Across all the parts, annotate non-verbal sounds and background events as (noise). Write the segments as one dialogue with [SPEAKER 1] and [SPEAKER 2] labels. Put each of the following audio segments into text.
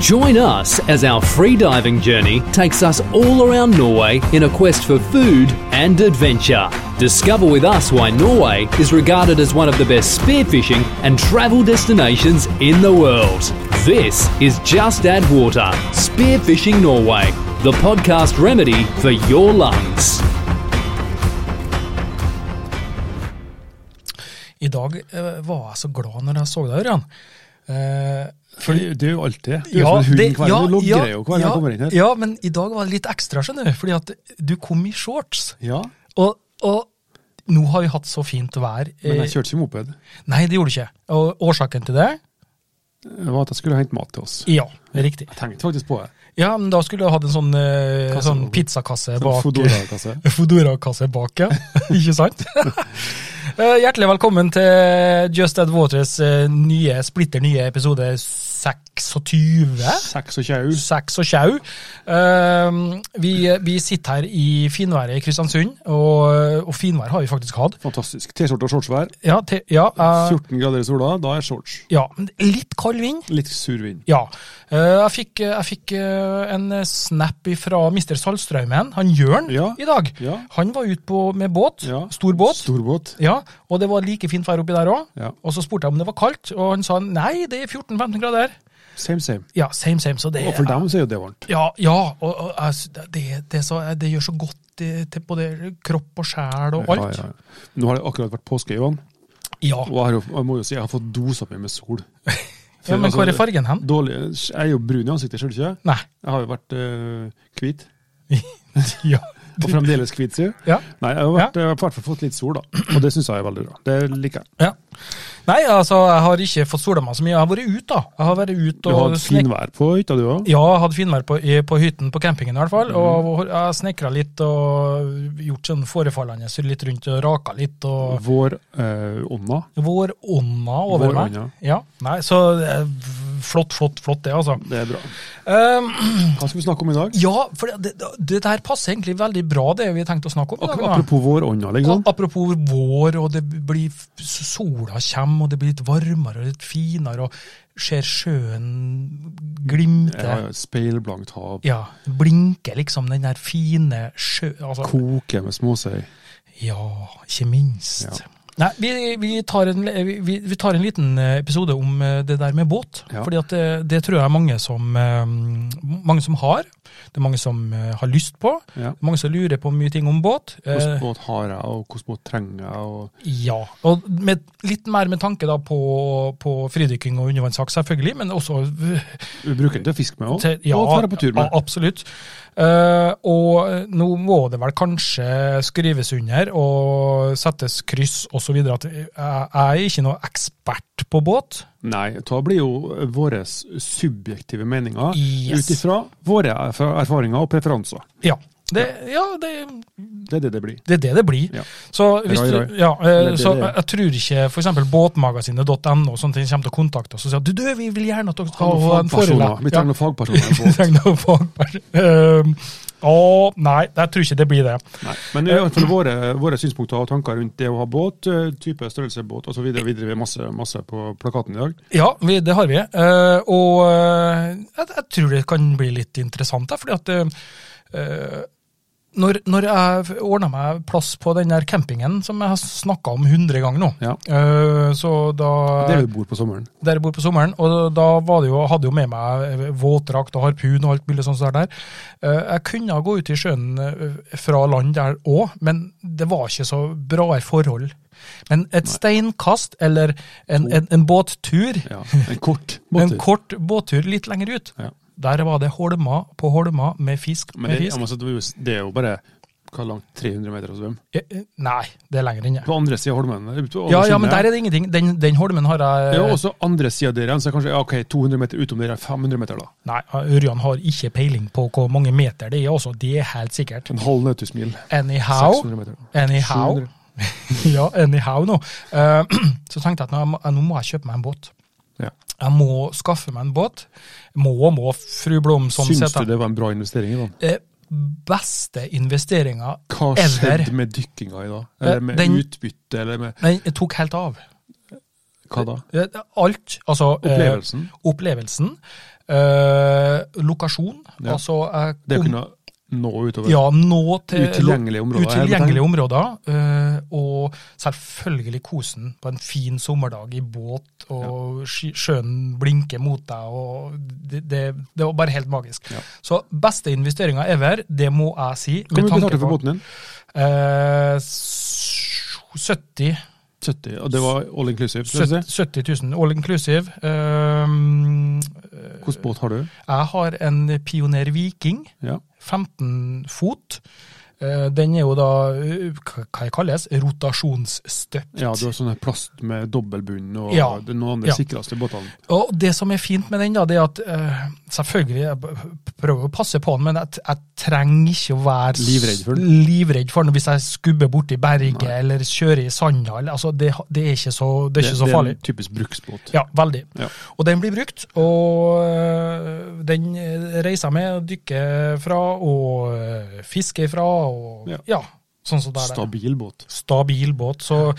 [SPEAKER 1] Join us as our free diving journey takes us all around Norway in a quest for food and adventure. Discover with us why Norway is regarded as one of the best spearfishing and travel destinations in the world. This is Just Add Water Spearfishing Norway, the podcast remedy for your lungs.
[SPEAKER 2] I dag eh, var jeg så glad når jeg så deg, Ørjan. Eh,
[SPEAKER 3] For det, det er jo alltid. Du er som en hund
[SPEAKER 2] det-
[SPEAKER 3] hver gang du logrer jo hver gang
[SPEAKER 2] ja,
[SPEAKER 3] du kommer inn her.
[SPEAKER 2] ja, men i dag var det litt ekstra, skjønner du. Fordi at du kom i shorts.
[SPEAKER 3] Ja,
[SPEAKER 2] Og, og nå har vi hatt så fint vær. eh,
[SPEAKER 3] men jeg kjørte ikke moped.
[SPEAKER 2] Nei, det gjorde du ikke. Og årsaken til det?
[SPEAKER 3] Det var at jeg skulle hente mat til oss.
[SPEAKER 2] Ja, det er riktig.
[SPEAKER 3] Jeg tenkte faktisk på det.
[SPEAKER 2] Ja, men da skulle du hatt en sånn, eh,
[SPEAKER 3] Kasse-
[SPEAKER 2] sånn pizzakasse
[SPEAKER 3] Sånn
[SPEAKER 2] bak. (laughs)
[SPEAKER 3] Foodora-kasse.
[SPEAKER 2] Fodora-kasse bak, ja. (laughs) Ikke sant? Eh, Hjertelig velkommen til Just Add Waters eh, nye, splitter nye episode 26.
[SPEAKER 3] Seks og tjau.
[SPEAKER 2] Seks og tjau. Eh, Vi, vi sitter her i finværet i Kristiansund, og, og finvær har vi faktisk hatt.
[SPEAKER 3] Fantastisk. T-skjorte og shortsvær.
[SPEAKER 2] Ja, te, ja, eh,
[SPEAKER 3] 14 grader i sola, da er shorts.
[SPEAKER 2] ja, men litt kald vind.
[SPEAKER 3] Litt sur vind.
[SPEAKER 2] Ja. Eh, Jeg fikk, jeg fikk eh, en snap fra Mr. Salstraumen, han Jørn,
[SPEAKER 3] Ja.
[SPEAKER 2] i dag.
[SPEAKER 3] Ja.
[SPEAKER 2] Han var ute på- med båt.
[SPEAKER 3] Ja.
[SPEAKER 2] Stor båt.
[SPEAKER 3] Storbåt.
[SPEAKER 2] Ja, og det var like fint vær oppi der òg.
[SPEAKER 3] Ja.
[SPEAKER 2] Og så spurte jeg om det var kaldt, og han sa nei, det er 14-15 grader.
[SPEAKER 3] Same, same.
[SPEAKER 2] Ja, same, same. Så det
[SPEAKER 3] Og for dem så er jo det varmt.
[SPEAKER 2] Ja, ja og, og altså, det, det, er så, det gjør så godt eh, til både kropp og sjel og
[SPEAKER 3] Ja,
[SPEAKER 2] alt.
[SPEAKER 3] ja. Nå har det akkurat vært påske, Johan.
[SPEAKER 2] Ja,
[SPEAKER 3] Og jeg, har jo, jeg må jo si jeg har fått dosa meg med sol.
[SPEAKER 2] ja Men
[SPEAKER 3] altså,
[SPEAKER 2] hvor er fargen hen?
[SPEAKER 3] Dårlig, jeg er jo brun i ansiktet, ser du ikke?
[SPEAKER 2] Nei. (laughs)
[SPEAKER 3] Jeg har jo vært øh, hvit.
[SPEAKER 2] Ja.
[SPEAKER 3] Og fremdeles hvit, sier du?
[SPEAKER 2] Ja.
[SPEAKER 3] Nei, jeg har vært, jeg har i hvert fall fått litt sol, da. Og det syns jeg er veldig bra. Det liker jeg.
[SPEAKER 2] ja. Nei, altså, jeg har ikke fått sola meg så mye. Jeg har vært ute, da. Jeg har vært
[SPEAKER 3] Du
[SPEAKER 2] ute
[SPEAKER 3] har
[SPEAKER 2] og
[SPEAKER 3] hatt finvær på hytta, du òg?
[SPEAKER 2] Ja, jeg hadde finvær på, i- på hytten på campingen i hvert fall,
[SPEAKER 3] Mhm.
[SPEAKER 2] og jeg snekra litt og gjort sånn forefallende litt rundt og raka litt og
[SPEAKER 3] Vår øh, ånda.
[SPEAKER 2] Vårånda over
[SPEAKER 3] Vårånda.
[SPEAKER 2] meg. Ja, nei, så eh, flott, flott, flott det, altså.
[SPEAKER 3] Det er bra.
[SPEAKER 2] Ehm,
[SPEAKER 3] Hva skal vi snakke om i dag?
[SPEAKER 2] ja, for det, det, det her passer egentlig veldig bra, det vi tenkte å snakke om. i
[SPEAKER 3] Ak
[SPEAKER 2] dag, da.
[SPEAKER 3] apropos vår ånda, liksom.
[SPEAKER 2] Og Apropos vår, og det blir f- sola kommer, og det blir litt varmere og litt finere, og ser sjøen glimte.
[SPEAKER 3] Ja,
[SPEAKER 2] Ja,
[SPEAKER 3] ja, Speilblankt hav.
[SPEAKER 2] blinker liksom den der fine sjø... Altså,
[SPEAKER 3] Koke med småsøy.
[SPEAKER 2] Ja, ikke minst.
[SPEAKER 3] Ja.
[SPEAKER 2] Nei, vi, vi, tar en, vi, vi vi tar en liten eh, episode om eh, det der med båt.
[SPEAKER 3] Ja.
[SPEAKER 2] fordi at det, det tror jeg er mange som, eh, mange som har. Det er mange som eh, har lyst på.
[SPEAKER 3] Ja.
[SPEAKER 2] Mange som lurer på mye ting om båt.
[SPEAKER 3] Hvordan
[SPEAKER 2] Eh,
[SPEAKER 3] båt har jeg, og hvordan båt trenger jeg? Og...
[SPEAKER 2] ja, og med, Litt mer med tanke da på, på fridykking og undervannsjakt, selvfølgelig, men også øh,
[SPEAKER 3] Vi bruker den til å fiske med òg.
[SPEAKER 2] til, ja,
[SPEAKER 3] og dra på tur med.
[SPEAKER 2] a- absolutt. Eh, og nå må det vel kanskje skrives under og settes kryss osv. at jeg jeg er ikke noe ekspert på båt.
[SPEAKER 3] Nei, da blir jo våre subjektive meninger
[SPEAKER 2] Yes.
[SPEAKER 3] ut ifra våre erf- erfaringer og preferanser.
[SPEAKER 2] Ja, det, ja, det,
[SPEAKER 3] Det er det det blir.
[SPEAKER 2] det er det det blir.
[SPEAKER 3] Ja.
[SPEAKER 2] Så, hvis
[SPEAKER 3] Rai, rai.
[SPEAKER 2] du, ja, eh,
[SPEAKER 3] Eller det
[SPEAKER 2] så
[SPEAKER 3] det er.
[SPEAKER 2] jeg, jeg tror ikke f.eks. båtmagasinet.no og sånne ting kommer til å kontakte oss og si at du, du, vi vil gjerne at dere skal ha en
[SPEAKER 3] Fagpersoner.
[SPEAKER 2] forelesning.
[SPEAKER 3] Vi trenger noen fagpersoner.
[SPEAKER 2] (laughs)
[SPEAKER 3] i
[SPEAKER 2] Vi
[SPEAKER 3] båt.
[SPEAKER 2] trenger noen fagperson. Eh, å, nei, jeg tror ikke det blir det.
[SPEAKER 3] Nei, Men i hvert fall våre, våre synspunkter og tanker rundt det å ha båt, eh, type størrelse båt osv. Vi driver masse, masse på plakaten i dag.
[SPEAKER 2] Ja, vi, det har vi. Eh, og eh, jeg, jeg tror det kan bli litt interessant, da, fordi at eh, når, når jeg ordna meg plass på den der campingen som jeg har snakka om 100 ganger nå,
[SPEAKER 3] Ja.
[SPEAKER 2] eh, så da
[SPEAKER 3] Det er jo bord på sommeren.
[SPEAKER 2] der jeg bor på sommeren, og da var det jo, hadde jeg jo med meg eh, våtdrakt og harpun og alt mulig sånt der. der. Eh, Jeg kunne gå ut i sjøen eh, fra land der òg, men det var ikke så bra i forhold. Men et steinkast eller en, en, en båttur,
[SPEAKER 3] Ja, En (laughs) kort
[SPEAKER 2] en
[SPEAKER 3] båttur.
[SPEAKER 2] kort båttur litt lenger ut,
[SPEAKER 3] Ja.
[SPEAKER 2] der var det holmer på holmer med fisk
[SPEAKER 3] Men
[SPEAKER 2] med
[SPEAKER 3] det, jeg
[SPEAKER 2] fisk.
[SPEAKER 3] må si at det er jo- det er jo bare hva langt 300 meter å svømme.
[SPEAKER 2] Eh, eh, Nei, det er lenger enn det.
[SPEAKER 3] På andre sida av holmen. eller på andre
[SPEAKER 2] Ja, ja,
[SPEAKER 3] siden,
[SPEAKER 2] men der er det ingenting. Den, den holmen har jeg
[SPEAKER 3] Ja, også andre sida der igjen, så kanskje ja, ok, 200 meter utom der er 500 meter, da.
[SPEAKER 2] Nei, Ørjan har ikke peiling på hvor mange meter det er også, det er helt sikkert.
[SPEAKER 3] En halv nautismil.
[SPEAKER 2] Anyhow,
[SPEAKER 3] 600 meter.
[SPEAKER 2] anyhow,
[SPEAKER 3] 700.
[SPEAKER 2] (laughs) ja, anyhow nå, Eh, (clears throat) så tenkte jeg at nå, må- nå må jeg kjøpe meg en båt.
[SPEAKER 3] Ja.
[SPEAKER 2] Jeg må skaffe meg en båt. Må og må, fru sånn Blomsson.
[SPEAKER 3] Syns
[SPEAKER 2] sitter-
[SPEAKER 3] du det var en bra investering i dag?
[SPEAKER 2] Eh, Beste investeringa
[SPEAKER 3] Hva
[SPEAKER 2] ever.
[SPEAKER 3] skjedde med dykkinga i dag?
[SPEAKER 2] Eh,
[SPEAKER 3] Eller med
[SPEAKER 2] den-
[SPEAKER 3] utbytte, eller med
[SPEAKER 2] Den tok helt av.
[SPEAKER 3] hva da?
[SPEAKER 2] Eh, Alt, altså eh,
[SPEAKER 3] Opplevelsen?
[SPEAKER 2] opplevelsen. Eh, lokasjon,
[SPEAKER 3] Ja.
[SPEAKER 2] altså jeg
[SPEAKER 3] Det å
[SPEAKER 2] kom-
[SPEAKER 3] kunne nå utover
[SPEAKER 2] ja, nå til
[SPEAKER 3] utilgjengelige områder. her,
[SPEAKER 2] utilgjengelige områder. eh, og selvfølgelig kosen på en fin sommerdag i båt, og sky- sjøen blinker mot deg. og det, det, det var bare helt magisk.
[SPEAKER 3] Ja.
[SPEAKER 2] Så beste investeringa ever, det må jeg si.
[SPEAKER 3] Hvor
[SPEAKER 2] med
[SPEAKER 3] mye
[SPEAKER 2] tanke
[SPEAKER 3] betalte du for
[SPEAKER 2] på-
[SPEAKER 3] båten din?
[SPEAKER 2] Eh, s- 70
[SPEAKER 3] 70, og det var all inclusive. skal jeg
[SPEAKER 2] 70
[SPEAKER 3] si.
[SPEAKER 2] 70 000, all inclusive. Ehm,
[SPEAKER 3] Hvilken båt har du?
[SPEAKER 2] jeg har en Pioner Viking,
[SPEAKER 3] Ja.
[SPEAKER 2] 15 fot. Eh, Den er jo da, eh, hva hva det kalles, rotasjonsstøpt.
[SPEAKER 3] ja, du har sånn her plast med dobbeltbunn og
[SPEAKER 2] Ja.
[SPEAKER 3] det er noen av de
[SPEAKER 2] Ja.
[SPEAKER 3] sikreste båtene.
[SPEAKER 2] Og det som er fint med den, da, det er at eh, selvfølgelig, jeg p- prøver å passe på den, men jeg, t- jeg trenger ikke å være s-
[SPEAKER 3] Livredd for
[SPEAKER 2] livredd for den hvis jeg skubber borti berget
[SPEAKER 3] Nei.
[SPEAKER 2] eller kjører i sanda. eller- Altså, det, ha- det er ikke så, det er ikke så farlig.
[SPEAKER 3] Det er en typisk bruksbåt.
[SPEAKER 2] Ja, veldig.
[SPEAKER 3] Ja.
[SPEAKER 2] Og den blir brukt, og øh, den øh, reiser med, dykker fra og øh, fisker fra, og
[SPEAKER 3] Ja.
[SPEAKER 2] ja, sånn som det er. der. (laughs)
[SPEAKER 3] Stabil båt.
[SPEAKER 2] Stabil båt. Så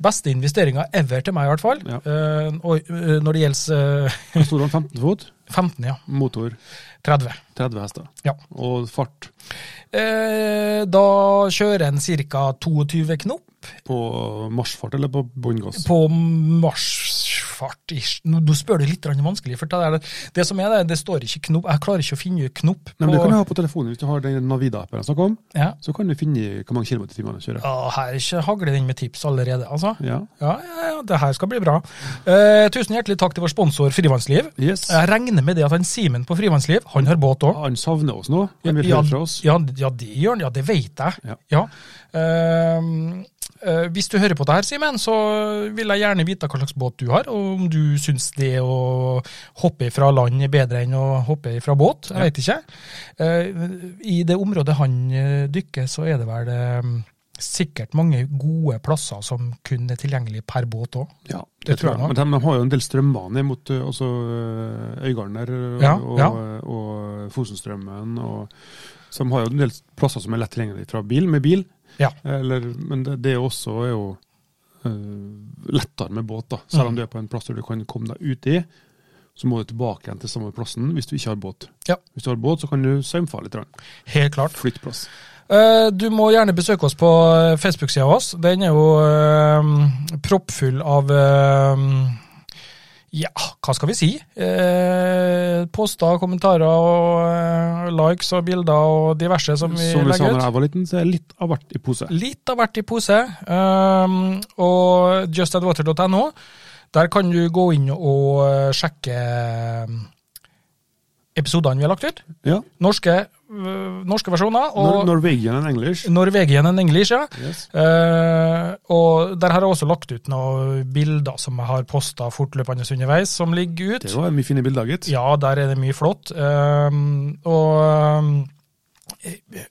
[SPEAKER 2] beste investeringa ever til meg, i hvert fall.
[SPEAKER 3] Ja.
[SPEAKER 2] Eh, og øh, når det gjelder øh,
[SPEAKER 3] Hvor stor er den? 15 fot?
[SPEAKER 2] 15, ja.
[SPEAKER 3] Motor
[SPEAKER 2] 30.
[SPEAKER 3] 30 hester.
[SPEAKER 2] Ja.
[SPEAKER 3] Og fart
[SPEAKER 2] Eh, da kjører en ca. 22 knop.
[SPEAKER 3] på marsjfart eller på bånn gass?
[SPEAKER 2] på marsjfart ish. Nå, nå spør du litt grann vanskelig, for det, er det, det som er det, det står ikke knop. Jeg klarer ikke å finne knopp på
[SPEAKER 3] Nei, men det kan du ha på telefonen. Hvis du har den Navida-appen jeg snakket om,
[SPEAKER 2] ja.
[SPEAKER 3] så kan du finne hvor mange kilometer i timen du kjører.
[SPEAKER 2] Ja, her ikke hagler den med tips allerede, altså.
[SPEAKER 3] Ja.
[SPEAKER 2] Ja, ja, ja, det her skal bli bra. Eh, tusen hjertelig takk til vår sponsor Frivannsliv.
[SPEAKER 3] Yes.
[SPEAKER 2] Jeg regner med det at han Simen på Frivannsliv, han har båt òg.
[SPEAKER 3] Han savner oss nå. Han vil
[SPEAKER 2] ja,
[SPEAKER 3] høre fra oss.
[SPEAKER 2] ja, ja, det gjør han. Ja, det vet jeg.
[SPEAKER 3] Ja.
[SPEAKER 2] Ehm, eh, hvis du hører på det her, Simen, så vil jeg gjerne vite hva slags båt du har, og om du syns det å hoppe fra land er bedre enn å hoppe fra båt. Jeg
[SPEAKER 3] Ja.
[SPEAKER 2] vet ikke. Eh, I det området han eh, dykker, så er det vel eh, sikkert mange gode plasser som kun er tilgjengelig per båt òg.
[SPEAKER 3] Ja,
[SPEAKER 2] Det tror jeg nok.
[SPEAKER 3] Men de, de har jo en del strømbaner mot eh, også eh, Øygarden der, og,
[SPEAKER 2] Ja, ja.
[SPEAKER 3] og, og eh, Fosenstrømmen. Og, så de har jo en del plasser som er lett tilgjengelig fra bil, med bil.
[SPEAKER 2] Ja.
[SPEAKER 3] Eller, men det, det også er jo eh, lettere med båt, da. Selv om
[SPEAKER 2] Mm.
[SPEAKER 3] du er på en plass der du kan komme deg ut i, så må du tilbake igjen til samme plassen hvis du ikke har båt.
[SPEAKER 2] Ja.
[SPEAKER 3] Hvis du har båt, så kan du saumfa litt. grann.
[SPEAKER 2] Helt klart.
[SPEAKER 3] Flyttplass.
[SPEAKER 2] Eh, Du må gjerne besøke oss på eh, Facebook-sida vår. Den er jo eh, proppfull av eh, Ja, hva skal vi si? Eh, poster, kommentarer, og eh, likes og bilder og diverse som vi,
[SPEAKER 3] Som vi sa
[SPEAKER 2] legger
[SPEAKER 3] da
[SPEAKER 2] ut.
[SPEAKER 3] jeg var liten, så er litt av hvert i pose.
[SPEAKER 2] Litt av hvert i pose. ehm, og justadwater.no. Der kan du gå inn og eh, sjekke eh, episodene vi har lagt ut.
[SPEAKER 3] Ja.
[SPEAKER 2] Norske, eh, norske versjoner. Og
[SPEAKER 3] Nor Norwegian and English.
[SPEAKER 2] Norwegian and English, ja.
[SPEAKER 3] Yes.
[SPEAKER 2] Eh, og der har jeg også lagt ut noen bilder som jeg har posta fortløpende underveis, som ligger ut.
[SPEAKER 3] Det var mye fine bilder, gitt.
[SPEAKER 2] Ja, der er det mye flott. Ehm, og ehm,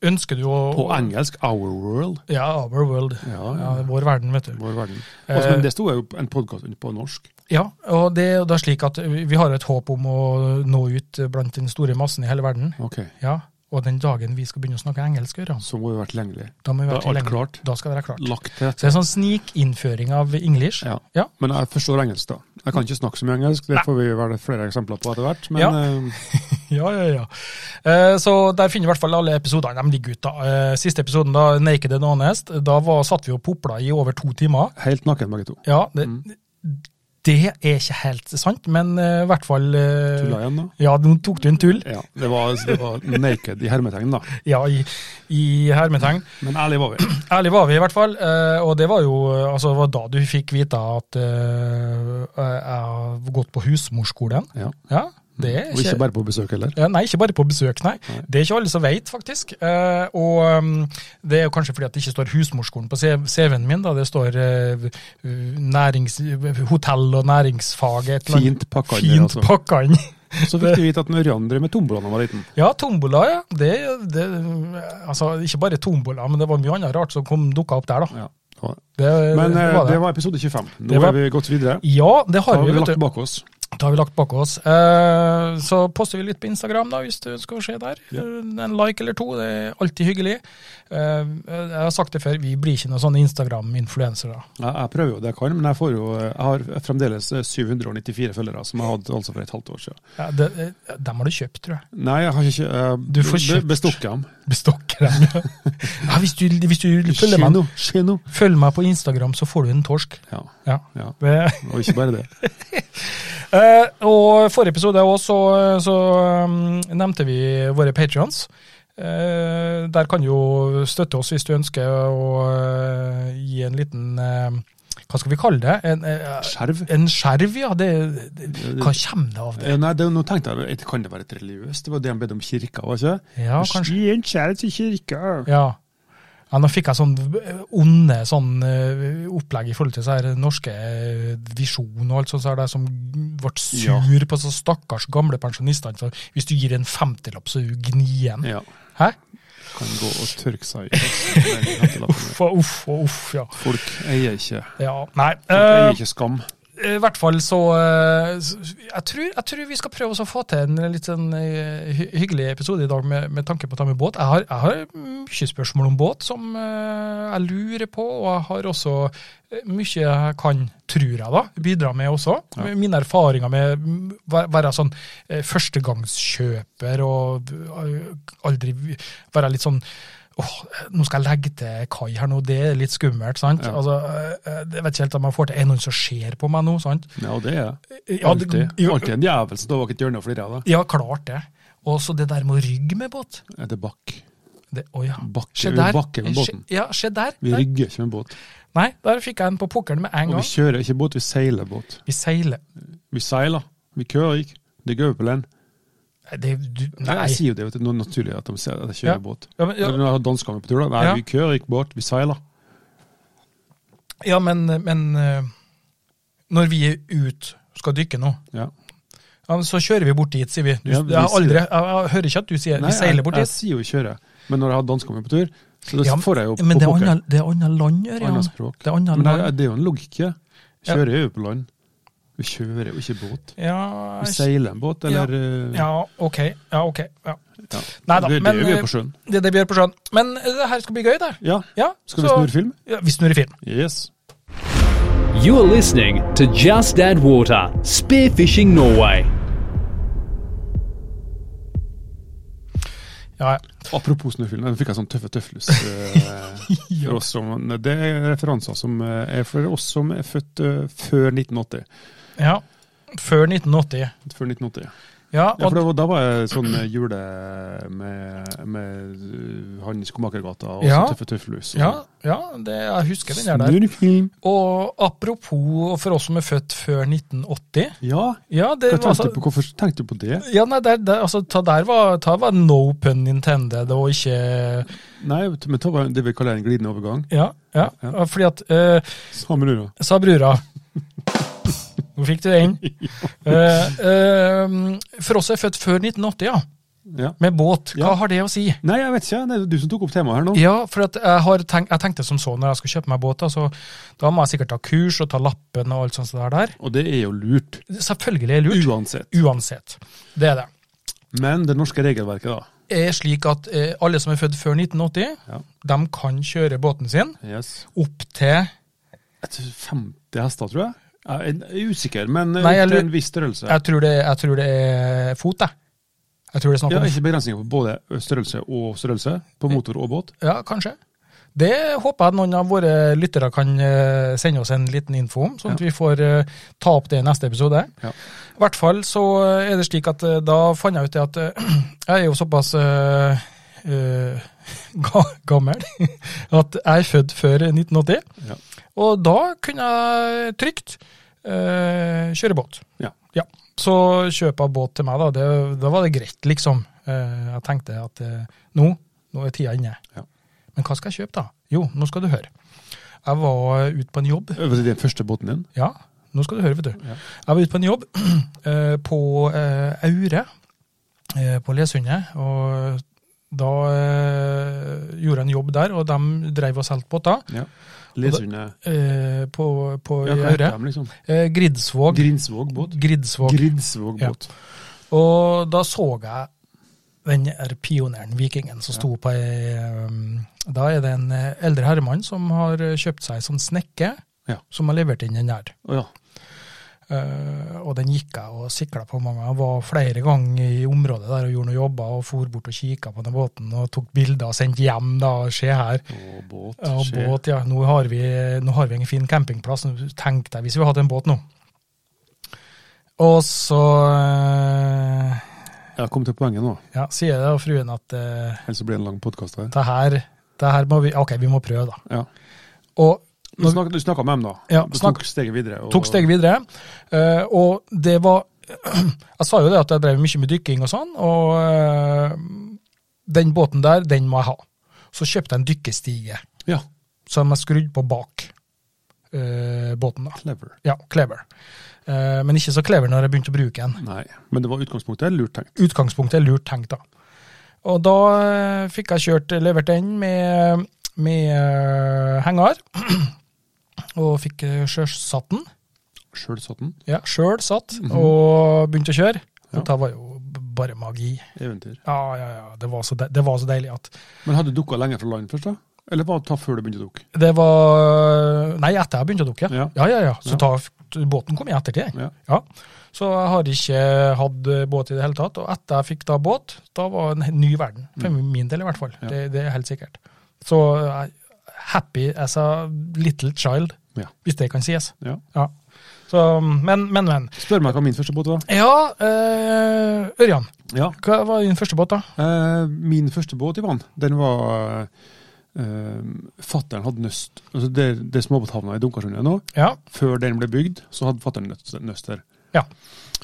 [SPEAKER 2] ønsker du å
[SPEAKER 3] På engelsk Our World.
[SPEAKER 2] Ja, Our World.
[SPEAKER 3] Ja,
[SPEAKER 2] Ja, vår verden, vet du.
[SPEAKER 3] Vår verden.
[SPEAKER 2] Eh,
[SPEAKER 3] Altså, men det sto jo en podkast på norsk.
[SPEAKER 2] Ja, og det er jo da slik at vi vi har et håp om å nå ut blant den store massen i hele verden.
[SPEAKER 3] Ok,
[SPEAKER 2] Ja, Og den dagen vi skal begynne å snakke engelsk, Gøran,
[SPEAKER 3] Så må det være tilgjengelig.
[SPEAKER 2] da må vi være
[SPEAKER 3] Da er alt
[SPEAKER 2] tilgjengelig.
[SPEAKER 3] klart.
[SPEAKER 2] Da skal det være klart.
[SPEAKER 3] Lagt til rette.
[SPEAKER 2] Så det er sånn snikinnføring av English.
[SPEAKER 3] Ja.
[SPEAKER 2] Ja.
[SPEAKER 3] Men jeg forstår engelsk, da. Jeg kan ikke snakke så mye engelsk, det får vi vel flere eksempler på etter hvert. Men
[SPEAKER 2] Ja.
[SPEAKER 3] eh,
[SPEAKER 2] Ja, ja, ja. Eh, Så der finner du i hvert fall alle episodene. De ligger ute. da. Eh, Siste episoden, da, 'Naked and Honest', da var, satt vi og popla i over to timer.
[SPEAKER 3] helt naken, begge to.
[SPEAKER 2] Ja, det,
[SPEAKER 3] Mm.
[SPEAKER 2] det er ikke helt sant, men eh, i hvert fall eh,
[SPEAKER 3] Tulla igjen, da.
[SPEAKER 2] Ja, nå tok du en tull.
[SPEAKER 3] Ja, det var, det var naked i hermetegn, da.
[SPEAKER 2] Ja, i, i hermetegn.
[SPEAKER 3] Men ærlig var vi.
[SPEAKER 2] Ærlig var vi, i hvert fall. eh, Og det var jo eh, altså, det var da du fikk vite at eh, jeg har gått på husmorskolen.
[SPEAKER 3] Ja.
[SPEAKER 2] Ja, det er
[SPEAKER 3] Og ikke bare på besøk heller.
[SPEAKER 2] Eh, Nei, ikke bare på besøk, nei.
[SPEAKER 3] Nei.
[SPEAKER 2] Det er ikke alle som vet, faktisk. Eh, og um, det er jo kanskje fordi at det ikke står husmorskolen på C- CV-en min, da. Det står eh, nærings, hotell og næringsfag et eller annet.
[SPEAKER 3] Fint pakka inn.
[SPEAKER 2] Fint
[SPEAKER 3] altså.
[SPEAKER 2] pakka inn.
[SPEAKER 3] Så fikk vi vite at når Ørjan drev med tombola da han var liten.
[SPEAKER 2] (laughs) Ja, tombola, ja. Det, det, altså, ikke bare tombola, men det var mye annet rart som kom dukka opp der, da.
[SPEAKER 3] Ja. det var det.
[SPEAKER 2] Det,
[SPEAKER 3] Men eh,
[SPEAKER 2] det var det.
[SPEAKER 3] det var episode 25. Nå
[SPEAKER 2] Det var-
[SPEAKER 3] er vi gått videre.
[SPEAKER 2] Ja, det
[SPEAKER 3] Da
[SPEAKER 2] har
[SPEAKER 3] har
[SPEAKER 2] vi,
[SPEAKER 3] vi
[SPEAKER 2] vet
[SPEAKER 3] lagt
[SPEAKER 2] du.
[SPEAKER 3] bak oss.
[SPEAKER 2] Det har vi lagt bak oss. Eh, så poster vi litt på Instagram da, hvis du ønsker å se der. Eh,
[SPEAKER 3] Ja.
[SPEAKER 2] En like eller to, det er alltid hyggelig. Eh, jeg har sagt det før, vi blir ikke noen sånne Instagram-influensere.
[SPEAKER 3] Jeg, jeg prøver jo det jeg kan, men jeg, får jo, jeg har fremdeles eh, 794 følgere, som jeg hadde altså for et halvt år siden.
[SPEAKER 2] Ja, det- eh, dem har du kjøpt, tror jeg.
[SPEAKER 3] Nei, jeg har ikke eh,
[SPEAKER 2] Du får
[SPEAKER 3] be-
[SPEAKER 2] kjøpt.
[SPEAKER 3] bestukket dem.
[SPEAKER 2] Bestokker dem. ja, hvis du, hvis du følger,
[SPEAKER 3] Skje
[SPEAKER 2] meg,
[SPEAKER 3] nå, skje nå.
[SPEAKER 2] følg meg på Instagram, så får du en torsk.
[SPEAKER 3] Ja,
[SPEAKER 2] Ja.
[SPEAKER 3] ja.
[SPEAKER 2] Det-
[SPEAKER 3] Og ikke bare det.
[SPEAKER 2] Eh, og forrige episode også, så, så mm, nevnte vi våre patrions. Eh, der kan du jo støtte oss hvis du ønsker å eh, gi en liten eh, Hva skal vi kalle det? En, eh,
[SPEAKER 3] Skjerv.
[SPEAKER 2] en skjerv, ja. Det, det, hva kommer det av det?
[SPEAKER 3] Eh, Nei, det, nå tenkte jeg, det- kan det være et religiøst? Det var det han bedde om kirka, var det ikke?
[SPEAKER 2] Ja, kanskje.
[SPEAKER 3] Gi en kjære til kirka.
[SPEAKER 2] Ja. ja, nå fikk jeg sånn eh, onde sånn eh, opplegg i forhold til så her norske eh, visjon og alt sånt, så her, der, som ble
[SPEAKER 3] Ja.
[SPEAKER 2] sur på så stakkars gamle pensjonistene. for Hvis du gir en femtilapp, så er du gnien.
[SPEAKER 3] Ja,
[SPEAKER 2] Hæ?
[SPEAKER 3] kan gå og tørke seg ut. altså.
[SPEAKER 2] Uff og uff og uff, ja.
[SPEAKER 3] Folk eier ikke,
[SPEAKER 2] ja nei.
[SPEAKER 3] folk eier
[SPEAKER 2] eh,
[SPEAKER 3] ikke skam.
[SPEAKER 2] I hvert fall så eh, s- jeg, tror, jeg tror vi skal prøve oss å få til en litt sånn eh, hy- hyggelig episode i dag med, med tanke på å ta med båt. Jeg har, jeg har mye spørsmål om båt som eh, jeg lurer på, og jeg har også eh, mye jeg kan, tror jeg da, bidra med også.
[SPEAKER 3] Ja.
[SPEAKER 2] Mine erfaringer med mm, væ- være sånn eh, førstegangskjøper og eh, aldri være litt sånn Åh, nå skal jeg legge til kai her nå, det er litt skummelt, sant?
[SPEAKER 3] Ja.
[SPEAKER 2] Altså, eh, eh, jeg vet ikke helt om jeg får til, er det noen som ser på meg nå, sant? Eh,
[SPEAKER 3] Ja, det er jeg.
[SPEAKER 2] Ja, det-
[SPEAKER 3] Alltid.
[SPEAKER 2] jo,
[SPEAKER 3] Alltid en djevel som står bak et hjørne og flirer av deg.
[SPEAKER 2] Ja, klart det. Og så det der med å rygge med båt.
[SPEAKER 3] Er det bakk?
[SPEAKER 2] Det, å ja.
[SPEAKER 3] Bakke-
[SPEAKER 2] Se
[SPEAKER 3] vi
[SPEAKER 2] der.
[SPEAKER 3] bakker med båten.
[SPEAKER 2] Se- Ja, se der.
[SPEAKER 3] Vi
[SPEAKER 2] der.
[SPEAKER 3] rygger ikke med båt.
[SPEAKER 2] Nei, der fikk jeg en på pokeren med en
[SPEAKER 3] Og
[SPEAKER 2] gang.
[SPEAKER 3] vi kjører ikke båt, vi seiler båt.
[SPEAKER 2] Vi seiler.
[SPEAKER 3] Vi seiler. Vi kører ikke. Det går jo på land.
[SPEAKER 2] Nei, Det, du,
[SPEAKER 3] Nei,
[SPEAKER 2] nei.
[SPEAKER 3] jeg sier jo det, vet du. Nå er det naturlig at de sier at jeg
[SPEAKER 2] Ja.
[SPEAKER 3] kjører båt.
[SPEAKER 2] Ja, men, ja,
[SPEAKER 3] Når jeg har danskene på tur, da. Nei,
[SPEAKER 2] Ja.
[SPEAKER 3] vi kører ikke båt, vi seiler.
[SPEAKER 2] ja men, men eh, når vi er ut skal dykke nå,
[SPEAKER 3] Ja.
[SPEAKER 2] ja, men så kjører vi bort dit, sier vi. Du,
[SPEAKER 3] Ja, vi
[SPEAKER 2] jeg, har
[SPEAKER 3] sier
[SPEAKER 2] aldri,
[SPEAKER 3] det.
[SPEAKER 2] jeg, jeg hører ikke at du sier
[SPEAKER 3] Nei,
[SPEAKER 2] vi seiler bort
[SPEAKER 3] jeg, jeg
[SPEAKER 2] dit.
[SPEAKER 3] sier jo kjøre, men når jeg har danskene på tur, så
[SPEAKER 2] Ja,
[SPEAKER 3] da får jeg jo på
[SPEAKER 2] Men det er
[SPEAKER 3] pokker.
[SPEAKER 2] annet- det er annet land, Ørjan.
[SPEAKER 3] Annet språk.
[SPEAKER 2] Det er annet
[SPEAKER 3] Men det,
[SPEAKER 2] land.
[SPEAKER 3] er- det er jo en logikk. ja. Kjører jeg jo på land. Vi kjører jo ikke båt.
[SPEAKER 2] Ja,
[SPEAKER 3] Vi seiler en båt, eller eh,
[SPEAKER 2] ja, ok. Ja, ok. Ja.
[SPEAKER 3] ja.
[SPEAKER 2] Neida,
[SPEAKER 3] Det, det
[SPEAKER 2] men,
[SPEAKER 3] er jo vi
[SPEAKER 2] eh,
[SPEAKER 3] på sjøen.
[SPEAKER 2] Det er det vi gjør på sjøen. Men eh, det her skal bli gøy, det.
[SPEAKER 3] Ja.
[SPEAKER 2] Ja,
[SPEAKER 3] Skal vi
[SPEAKER 2] så-
[SPEAKER 3] snurre film?
[SPEAKER 2] Ja, vi snurrer film.
[SPEAKER 3] Yes.
[SPEAKER 1] You are listening to Just Add Water, Spearfishing Norway.
[SPEAKER 2] Ja, ja.
[SPEAKER 3] Apropos snøfilm, den fikk jeg sånn tøffe tøflus
[SPEAKER 2] (laughs)
[SPEAKER 3] eh, for oss som Det er referanser som eh, er for oss som er født eh, før 1980.
[SPEAKER 2] ja. Før 1980.
[SPEAKER 3] Før 1980.
[SPEAKER 2] Ja,
[SPEAKER 3] Ja, for
[SPEAKER 2] og,
[SPEAKER 3] det var, Da var jeg sånn eh, jule med, med eh, han i Skomakergata og
[SPEAKER 2] Ja.
[SPEAKER 3] så tøffe tøflus.
[SPEAKER 2] ja, ja det, jeg husker den der der.
[SPEAKER 3] Snurrfilm.
[SPEAKER 2] Og apropos for oss som er født før 1980
[SPEAKER 3] Ja,
[SPEAKER 2] Ja, det var
[SPEAKER 3] hva tenkte
[SPEAKER 2] altså
[SPEAKER 3] du på? Hvorfor tenkte du på det?
[SPEAKER 2] ja, nei, der, der, altså, ta der var, ta var no pun intended, og ikke
[SPEAKER 3] Nei, men ta bare det vi kaller en glidende overgang.
[SPEAKER 2] Ja, ja,
[SPEAKER 3] Ja.
[SPEAKER 2] fordi at eh,
[SPEAKER 3] Samme nå, da.
[SPEAKER 2] sa brura. Nå fikk du
[SPEAKER 3] (laughs)
[SPEAKER 2] den. Eh, eh, for oss som er født før 1980, ja,
[SPEAKER 3] Ja.
[SPEAKER 2] med båt, hva
[SPEAKER 3] Ja.
[SPEAKER 2] har det å si?
[SPEAKER 3] Nei, jeg vet ikke. Det er du som tok opp temaet her nå.
[SPEAKER 2] Ja, for at jeg, har tenkt, jeg tenkte som så når jeg skulle kjøpe meg båt, altså, da må jeg sikkert ta kurs og ta lappen og alt sånt der. der.
[SPEAKER 3] Og det er jo lurt.
[SPEAKER 2] Selvfølgelig er det lurt,
[SPEAKER 3] Uansett.
[SPEAKER 2] uansett. Det er det.
[SPEAKER 3] Men det norske regelverket, da.
[SPEAKER 2] Er slik at eh, alle som er født før 1980,
[SPEAKER 3] Ja.
[SPEAKER 2] de kan kjøre båten sin
[SPEAKER 3] Yes.
[SPEAKER 2] opp til
[SPEAKER 3] Jeg tror 50 hester, tror jeg. Jeg er usikker, men eh,
[SPEAKER 2] Nei, jeg
[SPEAKER 3] til
[SPEAKER 2] lurer-
[SPEAKER 3] en viss størrelse.
[SPEAKER 2] Jeg tror det, jeg tror det er fot, jeg. Jeg tror det er snakk
[SPEAKER 3] ja,
[SPEAKER 2] om
[SPEAKER 3] ikke begrensninger på både størrelse og størrelse på motor og båt.
[SPEAKER 2] Ja, kanskje. Det håper jeg at noen av våre lyttere kan eh, sende oss en liten info om, sånn at vi får eh, ta opp det i neste episode.
[SPEAKER 3] Ja.
[SPEAKER 2] I hvert fall så er det slik at eh, da fant jeg ut det at eh, (clears throat) jeg er jo såpass eh, eh, (laughs) ga- gammel (laughs) at jeg er født før 1980.
[SPEAKER 3] Ja.
[SPEAKER 2] Og da kunne jeg trygt eh, kjøre båt.
[SPEAKER 3] Ja.
[SPEAKER 2] Så kjøp av båt til meg, da, det, da var det greit, liksom. Eh, jeg tenkte at eh, nå, nå er tida inne.
[SPEAKER 3] Ja.
[SPEAKER 2] Men hva skal jeg kjøpe, da? Jo, nå skal du høre. Jeg var ute på en jobb.
[SPEAKER 3] Var det den første båten din?
[SPEAKER 2] Ja, nå skal du høre, vet du.
[SPEAKER 3] Ja.
[SPEAKER 2] Jeg var ute på en jobb (clears throat) eh, på eh, Aure eh, på Lesundet, og da eh, gjorde en jobb der, og de drev og solgte båter
[SPEAKER 3] Ja. Lesundet.
[SPEAKER 2] eh, på, på
[SPEAKER 3] Ja, hva
[SPEAKER 2] Øre.
[SPEAKER 3] heter de, liksom?
[SPEAKER 2] Eh, Gridsvåg.
[SPEAKER 3] Grinsvåg båt.
[SPEAKER 2] Gridsvåg.
[SPEAKER 3] Grinsvåg
[SPEAKER 2] Ja.
[SPEAKER 3] båt.
[SPEAKER 2] Og da så jeg den her pioneren, vikingen, som sto på ei um, Da er det en eh, eldre herremann som har eh, kjøpt seg som snekke,
[SPEAKER 3] Ja.
[SPEAKER 2] som har levert inn den her.
[SPEAKER 3] Å ja.
[SPEAKER 2] Eh, og den gikk jeg og sikla på mange ganger. Jeg Var flere ganger i området der og gjorde noen jobber og for bort og kikka på den båten og tok bilder og sendte hjem. da, Se her.
[SPEAKER 3] Og båt.
[SPEAKER 2] Ja,
[SPEAKER 3] skjer.
[SPEAKER 2] båt, ja. Nå har, vi, nå har vi en fin campingplass. Nå Tenk deg hvis vi hadde en båt nå. Og så eh,
[SPEAKER 3] Ja, kom til poenget nå,
[SPEAKER 2] ja, sier jeg og fruen at eh,
[SPEAKER 3] ellers så blir det en lang podkast her.
[SPEAKER 2] det her, det her må vi Ok, vi må prøve, da.
[SPEAKER 3] Ja.
[SPEAKER 2] Og
[SPEAKER 3] Du snak- du snakka med dem, da.
[SPEAKER 2] Ja,
[SPEAKER 3] du
[SPEAKER 2] snakk-
[SPEAKER 3] tok steget videre. og-
[SPEAKER 2] tok steget videre. eh, og det var (clears throat) Jeg sa jo det at jeg drev mye med dykking og sånn, og eh, den båten der, den må jeg ha. Så kjøpte jeg en dykkerstige
[SPEAKER 3] Ja,
[SPEAKER 2] som jeg skrudde på bak eh, båten. da.
[SPEAKER 3] clever.
[SPEAKER 2] Ja, clever. Eh, men ikke så clever når jeg begynte å bruke den.
[SPEAKER 3] Nei, men det var utgangspunktet lurt tenkt.
[SPEAKER 2] Utgangspunktet er lurt tenkt, da. Og da eh, fikk jeg kjørt, levert den med, med eh, henger, (clears throat) og fikk eh, sjøsatt den.
[SPEAKER 3] Sjøl satt den.
[SPEAKER 2] Ja, sjøl satt, og begynte å kjøre.
[SPEAKER 3] Mhm. Ja.
[SPEAKER 2] Og da var jo b- bare magi.
[SPEAKER 3] Eventyr.
[SPEAKER 2] Ja, ja, ja. Det var så, de det var så deilig at
[SPEAKER 3] Men hadde du dukka lenge fra land først, da? Eller var det ta før du begynte å dukke?
[SPEAKER 2] Det var Nei, etter jeg begynte å dukke.
[SPEAKER 3] Ja.
[SPEAKER 2] ja, ja. ja. Så
[SPEAKER 3] Ja.
[SPEAKER 2] ta, båten kom i ettertid.
[SPEAKER 3] Ja.
[SPEAKER 2] Ja. Så jeg har ikke hatt eh, båt i det hele tatt. Og etter jeg fikk da båt, da var det en ny verden. For min del i hvert fall.
[SPEAKER 3] Mm. Ja.
[SPEAKER 2] Det, det er helt sikkert. Så jeg- happy as a little child,
[SPEAKER 3] Ja.
[SPEAKER 2] hvis det kan sies.
[SPEAKER 3] ja.
[SPEAKER 2] Ja. Så, men, men, men.
[SPEAKER 3] Spør meg hva min første båt var.
[SPEAKER 2] Ja, eh, Ørjan.
[SPEAKER 3] Ja.
[SPEAKER 2] Hva var din første båt, da?
[SPEAKER 3] Eh, min første båt, Ivan, den var eh, Fattern hadde nøst. Altså det, det er småbåthavna i Dunkarsund nå.
[SPEAKER 2] Ja.
[SPEAKER 3] Før den ble bygd, så hadde fattern nøst, nøst der.
[SPEAKER 2] Ja.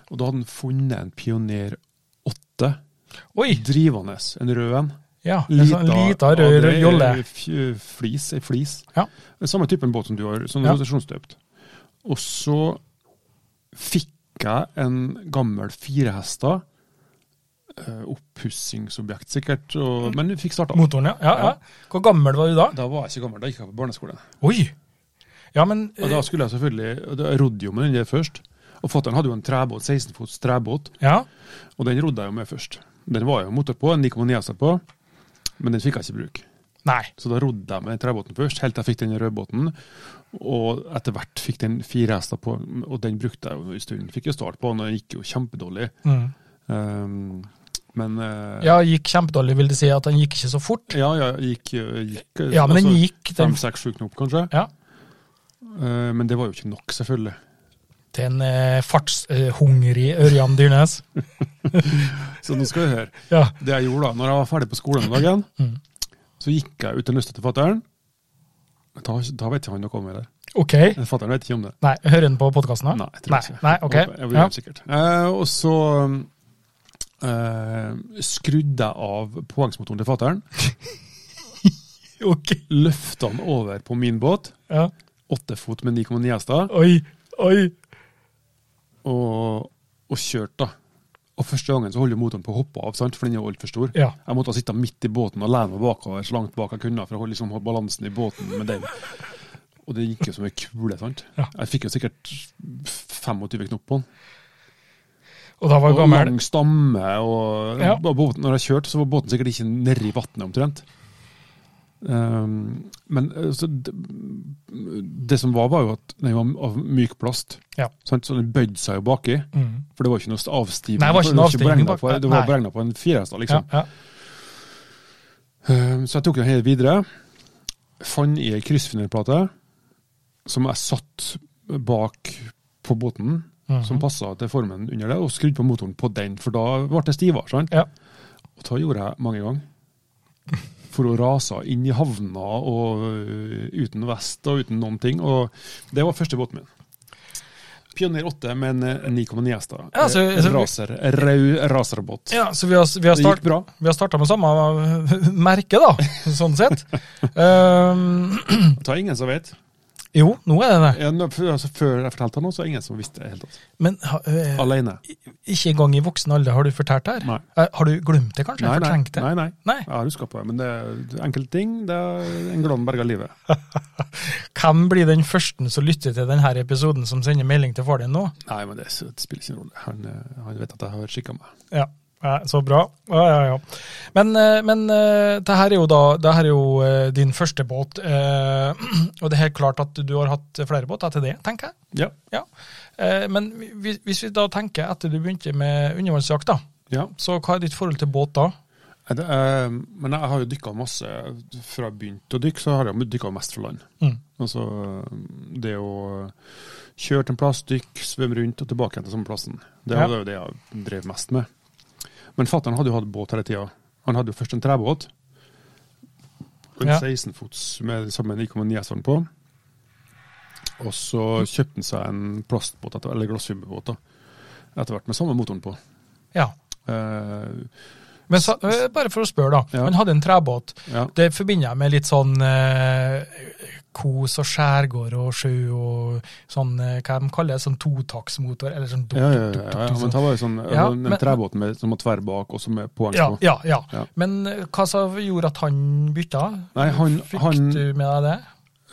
[SPEAKER 3] Og da hadde han funnet en Pioner 8
[SPEAKER 2] Oi!
[SPEAKER 3] drivende, en rød en.
[SPEAKER 2] Ja, en sånn lita
[SPEAKER 3] ja,
[SPEAKER 2] rød
[SPEAKER 3] det er
[SPEAKER 2] jolle.
[SPEAKER 3] fj- Flis, ei flis.
[SPEAKER 2] Ja.
[SPEAKER 3] Den Samme typen båt som du har, sånn
[SPEAKER 2] Ja.
[SPEAKER 3] rotasjonsdøpt. Og så fikk jeg en gammel firehester, eh, oppussingsobjekt sikkert,
[SPEAKER 2] Mm.
[SPEAKER 3] og, men jeg fikk starta.
[SPEAKER 2] Motoren, ja. ja, ja. Hvor gammel var du da?
[SPEAKER 3] Da var jeg ikke gammel, da gikk jeg på barneskolen.
[SPEAKER 2] Oi! Ja, men eh,
[SPEAKER 3] Og da skulle jeg selvfølgelig, og da jeg rodde jo med den der først, og fatteren hadde jo en trebåt, 16 fots trebåt,
[SPEAKER 2] Ja.
[SPEAKER 3] og den rodde jeg jo med først. Den var jeg jo motor på, en 9,9 hester på, men den fikk jeg ikke i bruk.
[SPEAKER 2] Nei.
[SPEAKER 3] Så da rodde jeg med den trebåten først, helt til jeg fikk den rødbåten. Og etter hvert fikk den fire hester på, og den brukte jeg jo en stund. Fikk jo start på den, og den gikk jo kjempedårlig.
[SPEAKER 2] Mm.
[SPEAKER 3] Um, men eh,
[SPEAKER 2] Ja, gikk kjempedårlig, vil det si at den gikk ikke så fort.
[SPEAKER 3] ja, ja, gikk, gikk
[SPEAKER 2] Ja, men
[SPEAKER 3] Altså,
[SPEAKER 2] den gikk den,
[SPEAKER 3] Fem-seks, sju knop, kanskje.
[SPEAKER 2] ja,
[SPEAKER 3] Eh, men det var jo ikke nok, selvfølgelig.
[SPEAKER 2] til en eh, fartshungrig eh, Ørjan Dyrnes.
[SPEAKER 3] Så nå skal vi høre.
[SPEAKER 2] Ja.
[SPEAKER 3] Det jeg gjorde da, når jeg var ferdig på skolen om dagen,
[SPEAKER 2] (laughs) Mm.
[SPEAKER 3] så gikk jeg ut til nøstet til fatteren. Da, da vet ikke han noe om det.
[SPEAKER 2] Ok.
[SPEAKER 3] Fatteren vet ikke om det.
[SPEAKER 2] Nei, hører han på podkasten?
[SPEAKER 3] Nei, jeg tror
[SPEAKER 2] Nei,
[SPEAKER 3] ikke.
[SPEAKER 2] nei, ok.
[SPEAKER 3] Jeg håper- Jeg blir
[SPEAKER 2] Ja.
[SPEAKER 3] sikkert. Eh, og så eh, skrudde jeg av påhengsmotoren til fatteren,
[SPEAKER 2] Ok.
[SPEAKER 3] løfta den over på min båt,
[SPEAKER 2] Ja.
[SPEAKER 3] åtte fot med 9,9 hester,
[SPEAKER 2] Oi, oi.
[SPEAKER 3] og, og kjørte. da. Og første gangen så holdt jo motoren på å hoppe av, sant? for den er jo altfor stor.
[SPEAKER 2] Ja.
[SPEAKER 3] Jeg måtte sitte midt i båten og lene meg bakover så langt bak jeg kunne for å holde liksom, holde balansen i båten med den. Og det gikk jo som ei kule. sant?
[SPEAKER 2] Ja.
[SPEAKER 3] Jeg fikk jo sikkert 25 knop på den.
[SPEAKER 2] Og da var
[SPEAKER 3] Og
[SPEAKER 2] gammel.
[SPEAKER 3] lang stamme. Og
[SPEAKER 2] Ja.
[SPEAKER 3] og båten, når jeg kjørte, så var båten sikkert ikke nedi vannet omtrent. Ehm, men eh, så det, det som var, var jo at den var av myk plast.
[SPEAKER 2] Ja.
[SPEAKER 3] Sant? Så den bøyde seg jo baki.
[SPEAKER 2] Mm.
[SPEAKER 3] For det var ikke noe avstivning.
[SPEAKER 2] Nei, det var ikke noe avstivning
[SPEAKER 3] beregnet
[SPEAKER 2] bak-
[SPEAKER 3] på- Det
[SPEAKER 2] nei.
[SPEAKER 3] var beregna på en firehester,
[SPEAKER 2] Ja,
[SPEAKER 3] liksom.
[SPEAKER 2] ja.
[SPEAKER 3] Ehm, så jeg tok den helt videre. Fant i ei kryssfinnerplate som jeg satt bak på båten,
[SPEAKER 2] Mhm.
[SPEAKER 3] som passa til formen under det, og skrudde på motoren på den, for da ble den stivere. sant?
[SPEAKER 2] ja.
[SPEAKER 3] Og det gjorde jeg mange ganger. For å rase inn i havna og øh, uten vest og uten noen ting. Og det var første båten min. Pioner 8 med en eh, 9,9 hester.
[SPEAKER 2] Ja, så-
[SPEAKER 3] Eh,
[SPEAKER 2] så-
[SPEAKER 3] raser, rau raserbåt.
[SPEAKER 2] ja, så vi har, vi har
[SPEAKER 3] det
[SPEAKER 2] start,
[SPEAKER 3] gikk bra.
[SPEAKER 2] Vi har starta med samme (laughs) merke, da, sånn sett. Ehm, (clears throat)
[SPEAKER 3] Det er ingen som vet.
[SPEAKER 2] Jo, nå er det det.
[SPEAKER 3] Ja, nå- for- altså, før jeg fortalte det nå, så er det ingen som visste det. helt. Altså.
[SPEAKER 2] Men ha- eh,
[SPEAKER 3] Alene.
[SPEAKER 2] ikke engang i voksen alder har du fortalt det her?
[SPEAKER 3] Nei.
[SPEAKER 2] Eh, Har du glemt det, kanskje?
[SPEAKER 3] Nei, nei,
[SPEAKER 2] Fortrengt det?
[SPEAKER 3] nei, nei.
[SPEAKER 2] Nei.
[SPEAKER 3] Jeg har huska på det, men det er enkelte ting. Det er en glad berga livet.
[SPEAKER 2] Hvem blir den første som lytter til denne episoden, som sender melding til far din nå?
[SPEAKER 3] Nei, men det, det spiller ikke noen rolle. Han, eh, han vet at jeg har skikka meg.
[SPEAKER 2] Ja, ja, så bra. Ja, ja, ja. Men, eh, men eh, det her er jo da det her er jo eh, din første båt, eh, (clears throat) og det er helt klart at du har hatt flere båter til det, tenker jeg.
[SPEAKER 3] Ja.
[SPEAKER 2] Ja. Eh, Men hvis hvis vi da tenker etter du begynte med undervannsjakt, da,
[SPEAKER 3] ja.
[SPEAKER 2] så hva er ditt forhold til båt da?
[SPEAKER 3] Nei, Det, eh, men jeg har jo dykka masse. Fra jeg begynte å dykke, så har jeg dykka mest fra land.
[SPEAKER 2] Mm.
[SPEAKER 3] Altså det å kjøre til en plass, dykke, svømme rundt og tilbake igjen til samme plassen. Det
[SPEAKER 2] Ja.
[SPEAKER 3] var jo det jeg drev mest med. Men fatter'n hadde jo hatt båt hele tida. Han hadde jo først en trebåt. En
[SPEAKER 2] Ja.
[SPEAKER 3] 16-fots med sammen 9,9 hestene på. Og så kjøpte han seg en plastbåt, etter- eller glassfiberbåt, da. etter hvert med samme motoren på.
[SPEAKER 2] Ja.
[SPEAKER 3] Eh,
[SPEAKER 2] Men så, eh, bare for å spørre, da.
[SPEAKER 3] Ja.
[SPEAKER 2] Han hadde en trebåt.
[SPEAKER 3] ja.
[SPEAKER 2] Det forbinder jeg med litt sånn eh, kos og skjærgård og sjø og sånn eh, hva de kaller det, sånn totaktsmotor, eller sånn
[SPEAKER 3] Ja, ja, ja, ja, ja, men det var jo sånn,
[SPEAKER 2] Ja,
[SPEAKER 3] den
[SPEAKER 2] men-
[SPEAKER 3] trebåten med, som var tverr bak, og som er poeng på.
[SPEAKER 2] Ja, ja, ja.
[SPEAKER 3] Ja.
[SPEAKER 2] Men eh, hva som gjorde at han bytta?
[SPEAKER 3] Nei, han-
[SPEAKER 2] Fikk
[SPEAKER 3] han-
[SPEAKER 2] du med deg det?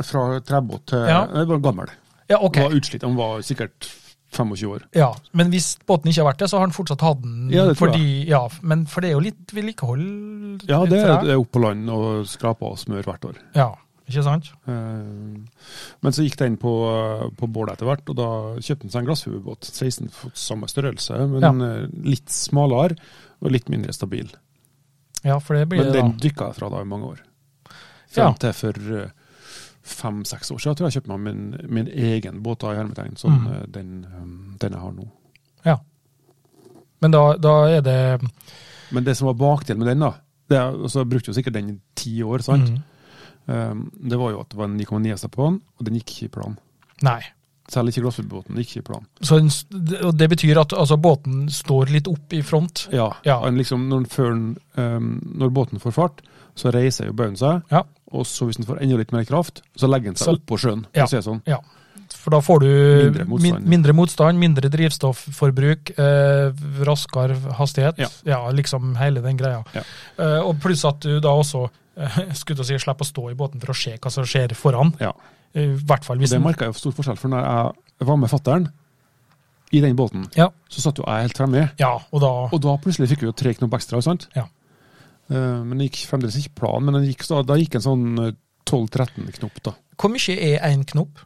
[SPEAKER 3] Fra trebåt til
[SPEAKER 2] Ja.
[SPEAKER 3] Nei, det var gammel.
[SPEAKER 2] Ja, ok.
[SPEAKER 3] Var utslitt. Han var sikkert 25 år.
[SPEAKER 2] Ja, Men hvis båten ikke har vært det, så har han fortsatt hatt den?
[SPEAKER 3] Ja, det tror jeg.
[SPEAKER 2] fordi, ja, men for det er jo litt vedlikehold?
[SPEAKER 3] Ja, det
[SPEAKER 2] for
[SPEAKER 3] er opp på land og skrapa og smør hvert år.
[SPEAKER 2] Ja, ikke sant?
[SPEAKER 3] Eh, Men så gikk den på, på bålet etter hvert, og da kjøpte han seg en glassfiberbåt. 16 fot samme størrelse, men eh, litt smalere og litt mindre stabil.
[SPEAKER 2] Ja, for det blir
[SPEAKER 3] Men
[SPEAKER 2] det
[SPEAKER 3] den
[SPEAKER 2] da.
[SPEAKER 3] dykka jeg fra da i mange år.
[SPEAKER 2] Ja.
[SPEAKER 3] Frem til for eh, fem-seks år siden tror jeg jeg kjøpte meg min, min egen båt da i hermetegn, sånn
[SPEAKER 2] Mm.
[SPEAKER 3] eh, den, eh, den jeg har nå.
[SPEAKER 2] Ja. Men da, da er det
[SPEAKER 3] Men det som var bakdelen med den, da det, er- og så brukte jeg jo sikkert den i ti år, sant?
[SPEAKER 2] Mm.
[SPEAKER 3] Um, det var jo at det var en 9,9 hester på den, og den gikk ikke i plan.
[SPEAKER 2] Nei.
[SPEAKER 3] Selv ikke glassfiberbåten gikk ikke i plan.
[SPEAKER 2] Så den, s- det- og det betyr at altså, båten står litt opp i front?
[SPEAKER 3] Ja,
[SPEAKER 2] Ja.
[SPEAKER 3] og Liksom når, den før den, um, når båten får fart, så reiser jo baugen seg.
[SPEAKER 2] Ja.
[SPEAKER 3] Og så hvis den får enda litt mer kraft, så legger den seg
[SPEAKER 2] Så-
[SPEAKER 3] opp på sjøen.
[SPEAKER 2] Ja.
[SPEAKER 3] for å si det sånn.
[SPEAKER 2] Ja. For da får du mindre
[SPEAKER 3] Mindre motstand.
[SPEAKER 2] motstand, min, mindre, motstand, mindre drivstofforbruk, eh, raskere hastighet.
[SPEAKER 3] Ja.
[SPEAKER 2] Ja. liksom hele den greia.
[SPEAKER 3] Ja.
[SPEAKER 2] Eh, og pluss at du da også eh, (laughs) skulle til å si, slipper å stå i båten for å se hva som skjer foran.
[SPEAKER 3] Ja.
[SPEAKER 2] Eh, I hvert fall
[SPEAKER 3] Og
[SPEAKER 2] hvis
[SPEAKER 3] det
[SPEAKER 2] den-
[SPEAKER 3] merka jeg jo stor forskjell, for når jeg var med fatter'n i den båten,
[SPEAKER 2] ja.
[SPEAKER 3] så satt jo jeg helt fremme.
[SPEAKER 2] ja, og da
[SPEAKER 3] Og da plutselig fikk vi jo tre knop ekstra, sant?
[SPEAKER 2] Ja.
[SPEAKER 3] Eh, men det gikk fremdeles ikke planen, men den gikk, så, da gikk en sånn eh, 12-13 knop, da.
[SPEAKER 2] Hvor mye er én knop?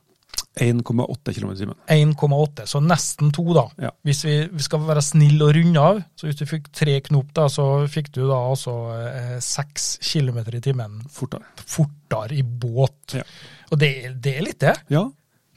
[SPEAKER 3] 1,8 km i timen.
[SPEAKER 2] 1,8, så nesten to, da.
[SPEAKER 3] Ja.
[SPEAKER 2] Hvis vi, vi skal være snille og runde av, så hvis du fikk tre knop, da, så fikk du da altså eh, seks kilometer i timen
[SPEAKER 3] Fortere.
[SPEAKER 2] fortere i båt.
[SPEAKER 3] Ja.
[SPEAKER 2] Og det, er- det er litt det,
[SPEAKER 3] Ja,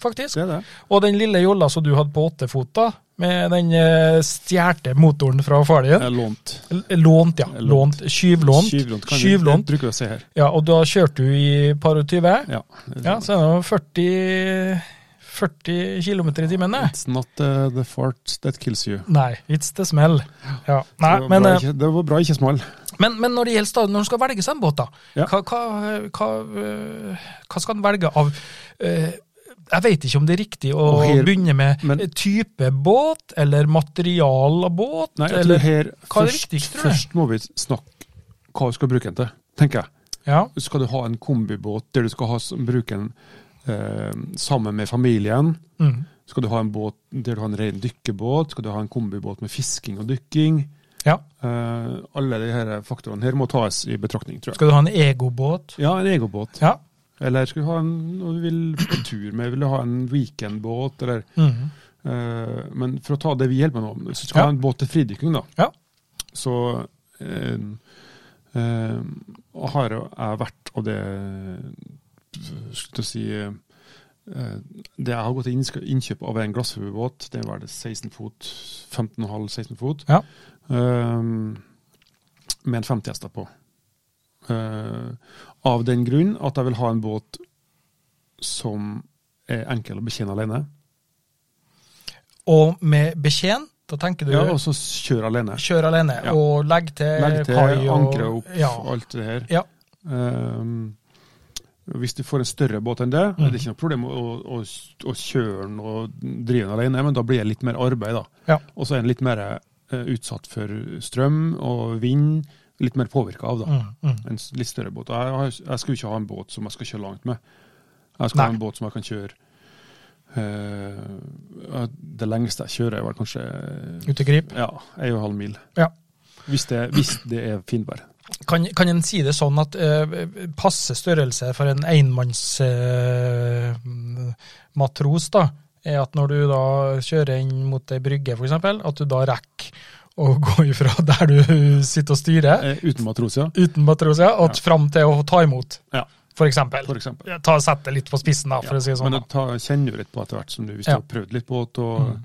[SPEAKER 2] faktisk.
[SPEAKER 3] det er det.
[SPEAKER 2] Og den lille jolla som du hadde på åttefot, da, med den eh, stjålne motoren fra far din.
[SPEAKER 3] Jeg lånt.
[SPEAKER 2] L- Lånt, ja.
[SPEAKER 3] Lånt.
[SPEAKER 2] Lånt. Skyvlånt.
[SPEAKER 3] Skyvlånt. kan vi-
[SPEAKER 2] Skyvlånt.
[SPEAKER 3] Det bruker vi å si her.
[SPEAKER 2] Ja, og da kjørte du i par og tyve.
[SPEAKER 3] Ja.
[SPEAKER 2] Ja, så er det jo 40, 40 kilometer i timen, det.
[SPEAKER 3] It's not uh, the fart that kills you.
[SPEAKER 2] Nei, it's the smell. Ja. Nei,
[SPEAKER 3] det, var
[SPEAKER 2] men,
[SPEAKER 3] bra,
[SPEAKER 2] eh,
[SPEAKER 3] ikke, det var bra ikke smal.
[SPEAKER 2] men, men når det gjelder stadig, når du skal velge seg en båt, da,
[SPEAKER 3] Ja.
[SPEAKER 2] hva, hva, hva, eh, hva skal en velge av eh, Jeg vet ikke om det er riktig å
[SPEAKER 3] Og her-
[SPEAKER 2] begynne med
[SPEAKER 3] men-
[SPEAKER 2] eh, type båt, eller material av båt,
[SPEAKER 3] Nei, jeg tror
[SPEAKER 2] eller
[SPEAKER 3] her
[SPEAKER 2] hva er det
[SPEAKER 3] først,
[SPEAKER 2] viktigste, tror du?
[SPEAKER 3] først må vi snakke hva vi skal bruke den til, tenker jeg.
[SPEAKER 2] ja,
[SPEAKER 3] skal du ha en kombibåt der du skal ha, s- bruke den eh, sammen med familien.
[SPEAKER 2] mm,
[SPEAKER 3] Skal du ha en båt der du har en ren dykkebåt? Skal du ha en kombibåt med fisking og dykking?
[SPEAKER 2] ja.
[SPEAKER 3] Eh, alle de her faktorene her må tas i betraktning, tror jeg.
[SPEAKER 2] Skal du ha en egobåt?
[SPEAKER 3] Ja, en egobåt.
[SPEAKER 2] Ja.
[SPEAKER 3] Eller skal du ha en noe du vil på tur med, vil du ha en weekendbåt, eller
[SPEAKER 2] Mm,
[SPEAKER 3] eh, Men for å ta det vi hjelper med nå, så skal
[SPEAKER 2] Ja.
[SPEAKER 3] du ha en båt til fridykking, da.
[SPEAKER 2] ja.
[SPEAKER 3] Så eh, eh, har jo jeg vært, og det Skal jeg si eh, Det jeg har gått til innsk- innkjøp av en glassfiberbåt, det var det 16 fot, 15,5-16 fot,
[SPEAKER 2] Ja.
[SPEAKER 3] eh, med en 50 hester på. Eh, av den grunn at jeg vil ha en båt som er enkel å betjene alene,
[SPEAKER 2] Og med betjent, da tenker du
[SPEAKER 3] ja, og så kjøre alene.
[SPEAKER 2] kjør alene,
[SPEAKER 3] Ja.
[SPEAKER 2] og legg til
[SPEAKER 3] Legge til
[SPEAKER 2] kai Eh, og
[SPEAKER 3] ankeret opp,
[SPEAKER 2] Ja.
[SPEAKER 3] alt det her.
[SPEAKER 2] ja.
[SPEAKER 3] Ehm, Hvis du får en større båt enn det, er
[SPEAKER 2] Mm.
[SPEAKER 3] det ikke noe problem å, å, å kjøre den og drive den alene, men da blir det litt mer arbeid, da.
[SPEAKER 2] Ja.
[SPEAKER 3] Og så er den litt mer eh, utsatt for strøm og vind, litt mer påvirka av, da.
[SPEAKER 2] Mm, mm.
[SPEAKER 3] En s- litt større båt. Jeg, har- jeg skal jo ikke ha en båt som jeg skal kjøre langt med. Jeg skal
[SPEAKER 2] Nei.
[SPEAKER 3] ha en båt som jeg kan kjøre eh, Det lengste jeg kjører, er vel kanskje
[SPEAKER 2] Ute i grip.
[SPEAKER 3] ja, en og en halv mil.
[SPEAKER 2] Ja.
[SPEAKER 3] Hvis det, hvis det er finvær.
[SPEAKER 2] Kan, kan en si det sånn at eh, passe størrelse for en enmannsmatros da, er at når du da kjører inn mot ei brygge f.eks., at du da rekker å (laughs) gå ifra der du sitter og styrer,
[SPEAKER 3] Eh, Uten matros, ja.
[SPEAKER 2] uten matros, ja, og fram til å ta imot,
[SPEAKER 3] Ja,
[SPEAKER 2] f.eks.
[SPEAKER 3] for eksempel.
[SPEAKER 2] Sett det litt på spissen, da, for å si det sånn. da.
[SPEAKER 3] Men du tar- kjenner jo litt på etter hvert som du, hvis
[SPEAKER 2] Ja.
[SPEAKER 3] du har prøvd litt båt og,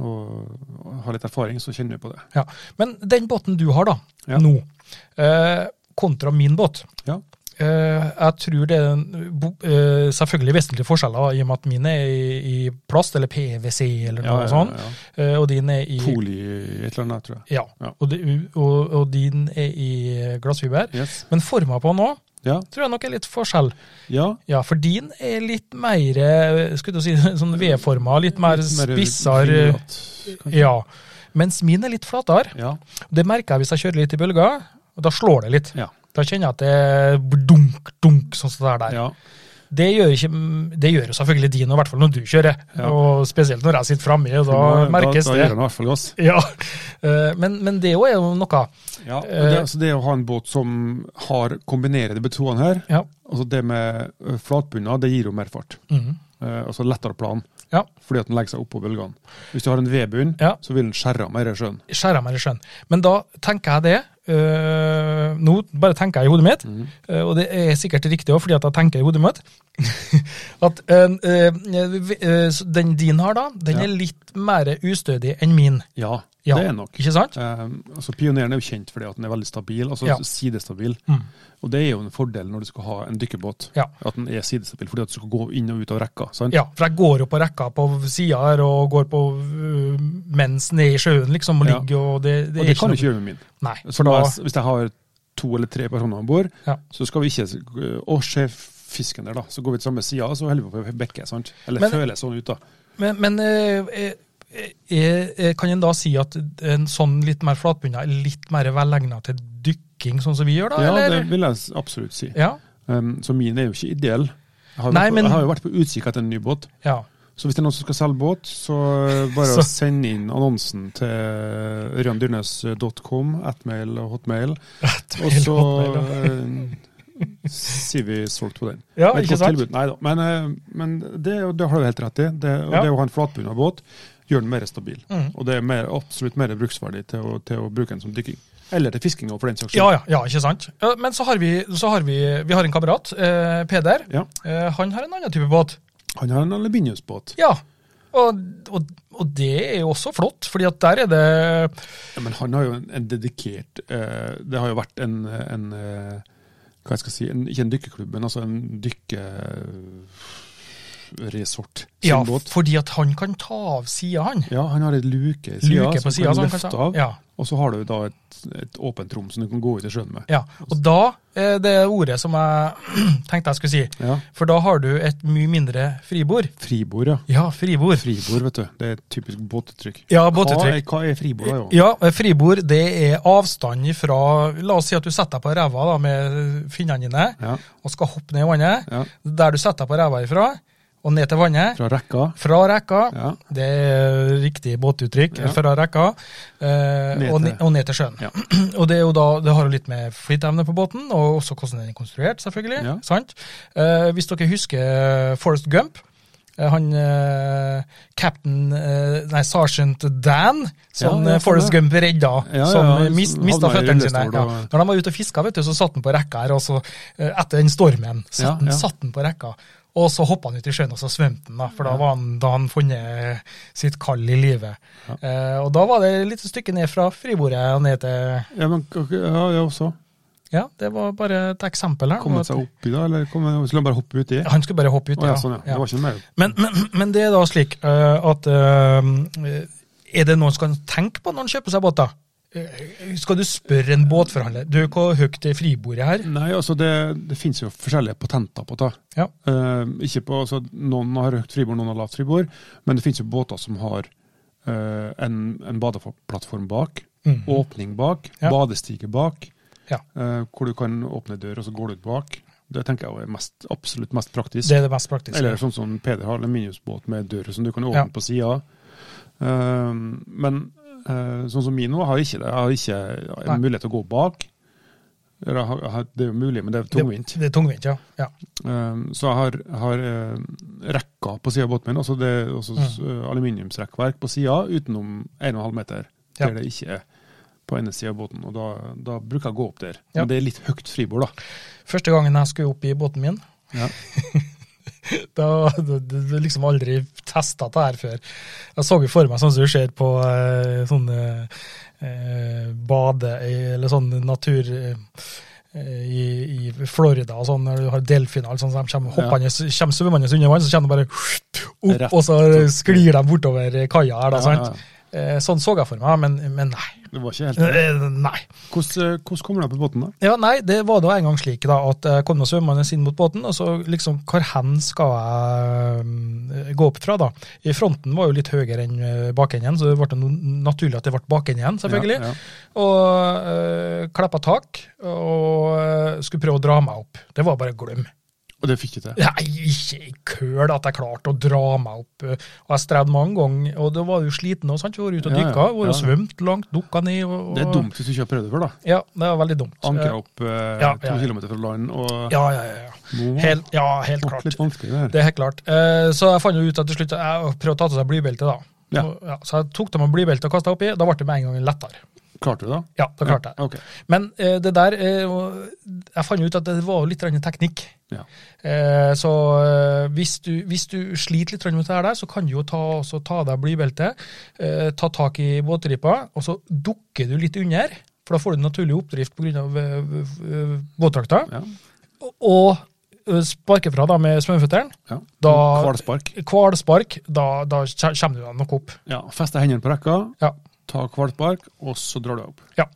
[SPEAKER 3] og, og har litt erfaring, så kjenner du på det.
[SPEAKER 2] Ja. Men den båten du har da,
[SPEAKER 3] Ja.
[SPEAKER 2] nå, eh, kontra min båt
[SPEAKER 3] Ja.
[SPEAKER 2] eh, Jeg tror det er en, bo- eh, selvfølgelig vesentlige forskjeller, i og med at min er i, i plast, eller PwC, eller noe sånt,
[SPEAKER 3] ja.
[SPEAKER 2] eh, og din er i
[SPEAKER 3] Poli et eller annet, tror jeg.
[SPEAKER 2] Ja,
[SPEAKER 3] Ja.
[SPEAKER 2] og, de, og, og din er i eh, glassfiber.
[SPEAKER 3] Yes.
[SPEAKER 2] Men forma på nå
[SPEAKER 3] Ja.
[SPEAKER 2] tror jeg nok er litt forskjell.
[SPEAKER 3] ja.
[SPEAKER 2] Ja, for din er litt mer eh, skulle du si, (laughs) sånn V-forma, litt mer
[SPEAKER 3] Mer
[SPEAKER 2] spissere.
[SPEAKER 3] vinglatt, kanskje.
[SPEAKER 2] Ja. Mens min er litt flatere.
[SPEAKER 3] Ja.
[SPEAKER 2] Det merker jeg hvis jeg kjører litt i bølger, og da slår det litt.
[SPEAKER 3] Ja.
[SPEAKER 2] Da kjenner jeg at det er dunk, dunk, sånn som det er der.
[SPEAKER 3] ja.
[SPEAKER 2] Det gjør, ikke, det gjør jo selvfølgelig din, og i hvert fall når du kjører.
[SPEAKER 3] Ja.
[SPEAKER 2] Og spesielt når jeg sitter framme, og da
[SPEAKER 3] Da-
[SPEAKER 2] merkes
[SPEAKER 3] da, da gjør
[SPEAKER 2] det.
[SPEAKER 3] han i hvert fall gass.
[SPEAKER 2] Ja, eh, men, men det òg er jo noe.
[SPEAKER 3] Ja, og det, altså det å ha en båt som har kombinerer de betoene her,
[SPEAKER 2] Ja.
[SPEAKER 3] altså det med ø, flatbunner, det gir jo mer fart.
[SPEAKER 2] Mhm.
[SPEAKER 3] Eh, altså lettere plan,
[SPEAKER 2] Ja.
[SPEAKER 3] fordi at den legger seg oppå bølgene. Hvis du har en V-bunn,
[SPEAKER 2] Ja.
[SPEAKER 3] så vil den skjære av mer i sjøen.
[SPEAKER 2] skjærer meg i skjønn. Men da tenker jeg det. øh, nå bare tenker jeg i hodet mitt,
[SPEAKER 3] Mhm.
[SPEAKER 2] øh, og det er sikkert riktig òg, fordi at jeg tenker i hodet mitt. (laughs) at øh, øh, vi- øh, så Den din har, da, den
[SPEAKER 3] Ja.
[SPEAKER 2] er litt mer ustødig enn min.
[SPEAKER 3] Ja,
[SPEAKER 2] Ja,
[SPEAKER 3] det er nok.
[SPEAKER 2] Ikke sant?
[SPEAKER 3] Eh, altså Pioneren er jo kjent fordi at den er veldig stabil, altså
[SPEAKER 2] Ja.
[SPEAKER 3] sidestabil.
[SPEAKER 2] Mm.
[SPEAKER 3] Og det er jo en fordel når du skal ha en dykkerbåt,
[SPEAKER 2] Ja.
[SPEAKER 3] at den er sidestabil fordi at du skal gå inn og ut av rekka. sant?
[SPEAKER 2] Ja, for jeg går jo på rekka på sida her, og går på øh, mens ned i sjøen, liksom, og
[SPEAKER 3] Ja.
[SPEAKER 2] ligger og Det, det
[SPEAKER 3] og
[SPEAKER 2] er
[SPEAKER 3] det kan du
[SPEAKER 2] noe-
[SPEAKER 3] ikke gjøre med min.
[SPEAKER 2] Nei.
[SPEAKER 3] Så
[SPEAKER 2] For
[SPEAKER 3] da,
[SPEAKER 2] da,
[SPEAKER 3] hvis jeg har to eller tre personer om bord,
[SPEAKER 2] Ja.
[SPEAKER 3] så skal vi ikke Å, se fisken der, da. Så går vi til samme sida, og så holder vi på å bekke. sant? Eller
[SPEAKER 2] Men-
[SPEAKER 3] føles sånn ut, da.
[SPEAKER 2] men men øh, øh, øh, øh, kan en da si at en sånn litt mer flatbunna er litt mer velegna til dykking, sånn som vi gjør, da?
[SPEAKER 3] Ja,
[SPEAKER 2] eller?
[SPEAKER 3] det vil jeg s- absolutt si.
[SPEAKER 2] Ja,
[SPEAKER 3] Um, så min er jo ikke ideell. Jeg har, jo
[SPEAKER 2] Nei,
[SPEAKER 3] vært på,
[SPEAKER 2] men-
[SPEAKER 3] jeg har jo vært på utkikk etter en ny båt.
[SPEAKER 2] ja.
[SPEAKER 3] Så hvis det er noen som skal selge båt, så eh, bare
[SPEAKER 2] (laughs) Så-
[SPEAKER 3] send inn annonsen til eh, ørjandyrnes.com, attmail og hotmail,
[SPEAKER 2] (laughs)
[SPEAKER 3] og så eh, sier vi solgt på den.
[SPEAKER 2] (laughs) Ja,
[SPEAKER 3] Med et
[SPEAKER 2] ikke
[SPEAKER 3] godt
[SPEAKER 2] sant?
[SPEAKER 3] tilbud. Neida, Men, eh, men det, er jo- det har du helt rett i. Det, og
[SPEAKER 2] Ja.
[SPEAKER 3] det å ha en flatbunna båt gjør den mer stabil.
[SPEAKER 2] Mhm.
[SPEAKER 3] Og det er mer, absolutt mer bruksverdig til å, til å bruke den som dykking. Eller til fisking, også, for den saks
[SPEAKER 2] Ja, ja, ja, ikke sant. Ja, Men så har vi, så har vi, vi har en kamerat, eh, Peder.
[SPEAKER 3] Ja.
[SPEAKER 2] Eh, han har en annen type båt.
[SPEAKER 3] Han har en aluminiumsbåt.
[SPEAKER 2] Ja, og, og, og det er jo også flott, fordi at der er det
[SPEAKER 3] Ja, men han har jo en, en dedikert eh, Det har jo vært en, en eh, Hva jeg skal si en, Ikke en dykkerklubb, men altså en dykkeresort. Sin
[SPEAKER 2] Ja,
[SPEAKER 3] båt.
[SPEAKER 2] fordi at han kan ta av sida, han.
[SPEAKER 3] Ja, han har en luke i sida
[SPEAKER 2] Luke på
[SPEAKER 3] som
[SPEAKER 2] sida.
[SPEAKER 3] kan
[SPEAKER 2] så han
[SPEAKER 3] løfte
[SPEAKER 2] kan ta-
[SPEAKER 3] av.
[SPEAKER 2] Ja,
[SPEAKER 3] Og så har du da et, et åpent rom som du kan gå ut i sjøen med.
[SPEAKER 2] ja. Og da er det ordet som jeg (clears throat) tenkte jeg skulle si.
[SPEAKER 3] Ja.
[SPEAKER 2] For da har du et mye mindre fribord.
[SPEAKER 3] Fribord, ja.
[SPEAKER 2] Ja, fribord.
[SPEAKER 3] Fribord, vet du. Det er et typisk båtuttrykk.
[SPEAKER 2] Ja, båtetrykk.
[SPEAKER 3] Hva er, hva er fribord, da? jo?
[SPEAKER 2] Ja, fribord det er avstand fra La oss si at du setter deg på ræva da, med finnene dine
[SPEAKER 3] Ja.
[SPEAKER 2] og skal hoppe ned i vannet.
[SPEAKER 3] Ja.
[SPEAKER 2] Der du setter deg på ræva ifra og ned til vannet.
[SPEAKER 3] Fra rekka,
[SPEAKER 2] Fra rekka.
[SPEAKER 3] Ja.
[SPEAKER 2] Det er riktig båtuttrykk.
[SPEAKER 3] Ja.
[SPEAKER 2] Fra rekka eh,
[SPEAKER 3] Ned
[SPEAKER 2] og,
[SPEAKER 3] til-
[SPEAKER 2] ned, og ned til sjøen.
[SPEAKER 3] Ja.
[SPEAKER 2] (clears throat) og det, er jo da, det har jo litt med flytevne på båten, og også hvordan den er konstruert, selvfølgelig.
[SPEAKER 3] Ja.
[SPEAKER 2] Sant? Eh, hvis dere husker eh, Forrest Gump. eh, Han eh, captain eh, Nei, sergeant Dan, som
[SPEAKER 3] Ja, ja,
[SPEAKER 2] eh, Forrest
[SPEAKER 3] sånn, ja.
[SPEAKER 2] Gump redda,
[SPEAKER 3] Ja, ja,
[SPEAKER 2] som eh,
[SPEAKER 3] ja,
[SPEAKER 2] mis,
[SPEAKER 3] som
[SPEAKER 2] mista
[SPEAKER 3] havna i
[SPEAKER 2] føttene sine.
[SPEAKER 3] rullestol
[SPEAKER 2] Ja.
[SPEAKER 3] og-
[SPEAKER 2] Når de var ute og fiska, vet du, så satt han på rekka her, og så, eh, etter den stormen, satt,
[SPEAKER 3] Ja,
[SPEAKER 2] han-
[SPEAKER 3] ja.
[SPEAKER 2] satt han på rekka. Og så hoppa han ut i sjøen, og så svømte han, da, for da var han, da han funnet eh, sitt kall i livet. Eh, og da var det et lite stykke ned fra fribordet og ned til
[SPEAKER 3] ja, men ja, ja, også.
[SPEAKER 2] Ja, det var bare et eksempel her. Og-
[SPEAKER 3] Kommet seg oppi da, eller kom, skulle han bare hoppe uti?
[SPEAKER 2] Han skulle bare hoppe uti,
[SPEAKER 3] Å ja, sånn, ja. Det var ikke noe mer.
[SPEAKER 2] Men, men, men det er da slik eh, at eh, Er det noen som kan tenke på når han kjøper seg båt, da? Eh, Skal du spørre en båtforhandler Du, hvor høyt er fribordet her?
[SPEAKER 3] Nei, altså det, det finnes jo forskjellige patenter på det.
[SPEAKER 2] Ja.
[SPEAKER 3] Eh, ikke på, altså, noen har høyt fribord, noen har lavt fribord, men det finnes jo båter som har eh, en, en badeplattform bak,
[SPEAKER 2] Mhm.
[SPEAKER 3] åpning bak,
[SPEAKER 2] Ja.
[SPEAKER 3] badestige bak,
[SPEAKER 2] Ja.
[SPEAKER 3] eh, hvor du kan åpne dør, og så går du ut bak. Det tenker jeg er mest, absolutt mest praktisk.
[SPEAKER 2] Det er det mest praktiske.
[SPEAKER 3] Eller sånn som Peder har, en minusbåt med dør som du kan åpne
[SPEAKER 2] Ja.
[SPEAKER 3] på sida. Um, men eh, sånn som min nå, har jeg ikke det. Jeg har ikke jeg har
[SPEAKER 2] Nei.
[SPEAKER 3] mulighet til å gå bak. Eller, jeg har, jeg har, det er jo mulig, men det er tungvint.
[SPEAKER 2] Det, det er tungvint, ja. ja.
[SPEAKER 3] Um, så jeg har, har eh, rekka på sida av båten min, altså det er også s-
[SPEAKER 2] Mm.
[SPEAKER 3] eh, aluminiumsrekkverk på sida utenom 1,5 meter,
[SPEAKER 2] Ja.
[SPEAKER 3] der det ikke er på ene sida av båten. Og da, da bruker jeg å gå opp der.
[SPEAKER 2] Ja.
[SPEAKER 3] Men det er litt høyt fribord, da.
[SPEAKER 2] Første gangen jeg skulle opp i båten min,
[SPEAKER 3] Ja.
[SPEAKER 2] da (laughs) hadde jeg liksom aldri testa det her før. Jeg så jo for meg sånn som du ser på eh, sånne eh, bade... Eller sånn natur eh, i, I Florida og sånn, når du har delfiner og sånn, så de kommer, hoppende, kommer svømmende under vann, så kommer de bare
[SPEAKER 3] Rett
[SPEAKER 2] opp, og så sklir de bortover kaia her, da.
[SPEAKER 3] Ja,
[SPEAKER 2] sant? Eh, Sånn så jeg for meg, men, men nei.
[SPEAKER 3] Det var ikke helt det.
[SPEAKER 2] Eh, Nei.
[SPEAKER 3] Hvordan, eh, hvordan kommer du deg på båten, da?
[SPEAKER 2] Ja, nei, det var da en gang slik da, at eh, jeg kom med svømmende inn mot båten, og så liksom, hvor hen skal jeg mm, gå opp fra da? I fronten var jo litt høyere enn eh, bakenden, så det ble no- naturlig at det ble bakenden, selvfølgelig.
[SPEAKER 3] Ja, ja.
[SPEAKER 2] Og øh, klappa tak, og øh, skulle prøve å dra meg opp. Det var bare glem.
[SPEAKER 3] Og det fikk du til.
[SPEAKER 2] Nei, ikke i køl at jeg klarte å dra meg opp. øh, Og jeg strevde mange ganger, og da var du sliten og sant, vi var ute og
[SPEAKER 3] Ja, ja,
[SPEAKER 2] dykka, var
[SPEAKER 3] ja.
[SPEAKER 2] og svømt langt, dukka ned. Og, og,
[SPEAKER 3] Det er dumt hvis du ikke har prøvd det før, da.
[SPEAKER 2] Ja, det var veldig dumt.
[SPEAKER 3] Ankra
[SPEAKER 2] Eh,
[SPEAKER 3] opp eh,
[SPEAKER 2] ja,
[SPEAKER 3] to
[SPEAKER 2] ja.
[SPEAKER 3] kilometer fra land og
[SPEAKER 2] Ja, ja, ja. ja.
[SPEAKER 3] Nå var
[SPEAKER 2] Helt, ja, helt
[SPEAKER 3] det
[SPEAKER 2] klart.
[SPEAKER 3] litt vanskelig det her.
[SPEAKER 2] Det er helt klart. Eh, Så jeg fant jo ut at til slutt eh, Jeg prøvde å ta til seg blybeltet, da.
[SPEAKER 3] Ja.
[SPEAKER 2] Og- Ja, så jeg tok det med blybeltet og kasta oppi. Da ble det med en gang lettere.
[SPEAKER 3] Klarte du det?
[SPEAKER 2] Ja, da klarte jeg.
[SPEAKER 3] Ja, ok.
[SPEAKER 2] Men eh, det der eh, og Jeg fant jo ut at det var jo litt grann teknikk.
[SPEAKER 3] Ja.
[SPEAKER 2] Eh, Så eh, hvis du, hvis du sliter litt grann med det her der, så kan du jo ta, også ta av deg blybeltet, eh, ta tak i båtripa, og så dukker du litt under. For da får du naturlig oppdrift pga. eh, båtdrakta.
[SPEAKER 3] Ja.
[SPEAKER 2] Og eh, sparker fra da med svømmeføttene.
[SPEAKER 3] Ja.
[SPEAKER 2] Da-
[SPEAKER 3] Kvalspark.
[SPEAKER 2] Kvalspark, da, da kje- kommer du deg nok opp.
[SPEAKER 3] Ja. Feste hendene på rekka,
[SPEAKER 2] Ja.
[SPEAKER 3] ta kvalspark, og så drar du opp.
[SPEAKER 2] ja.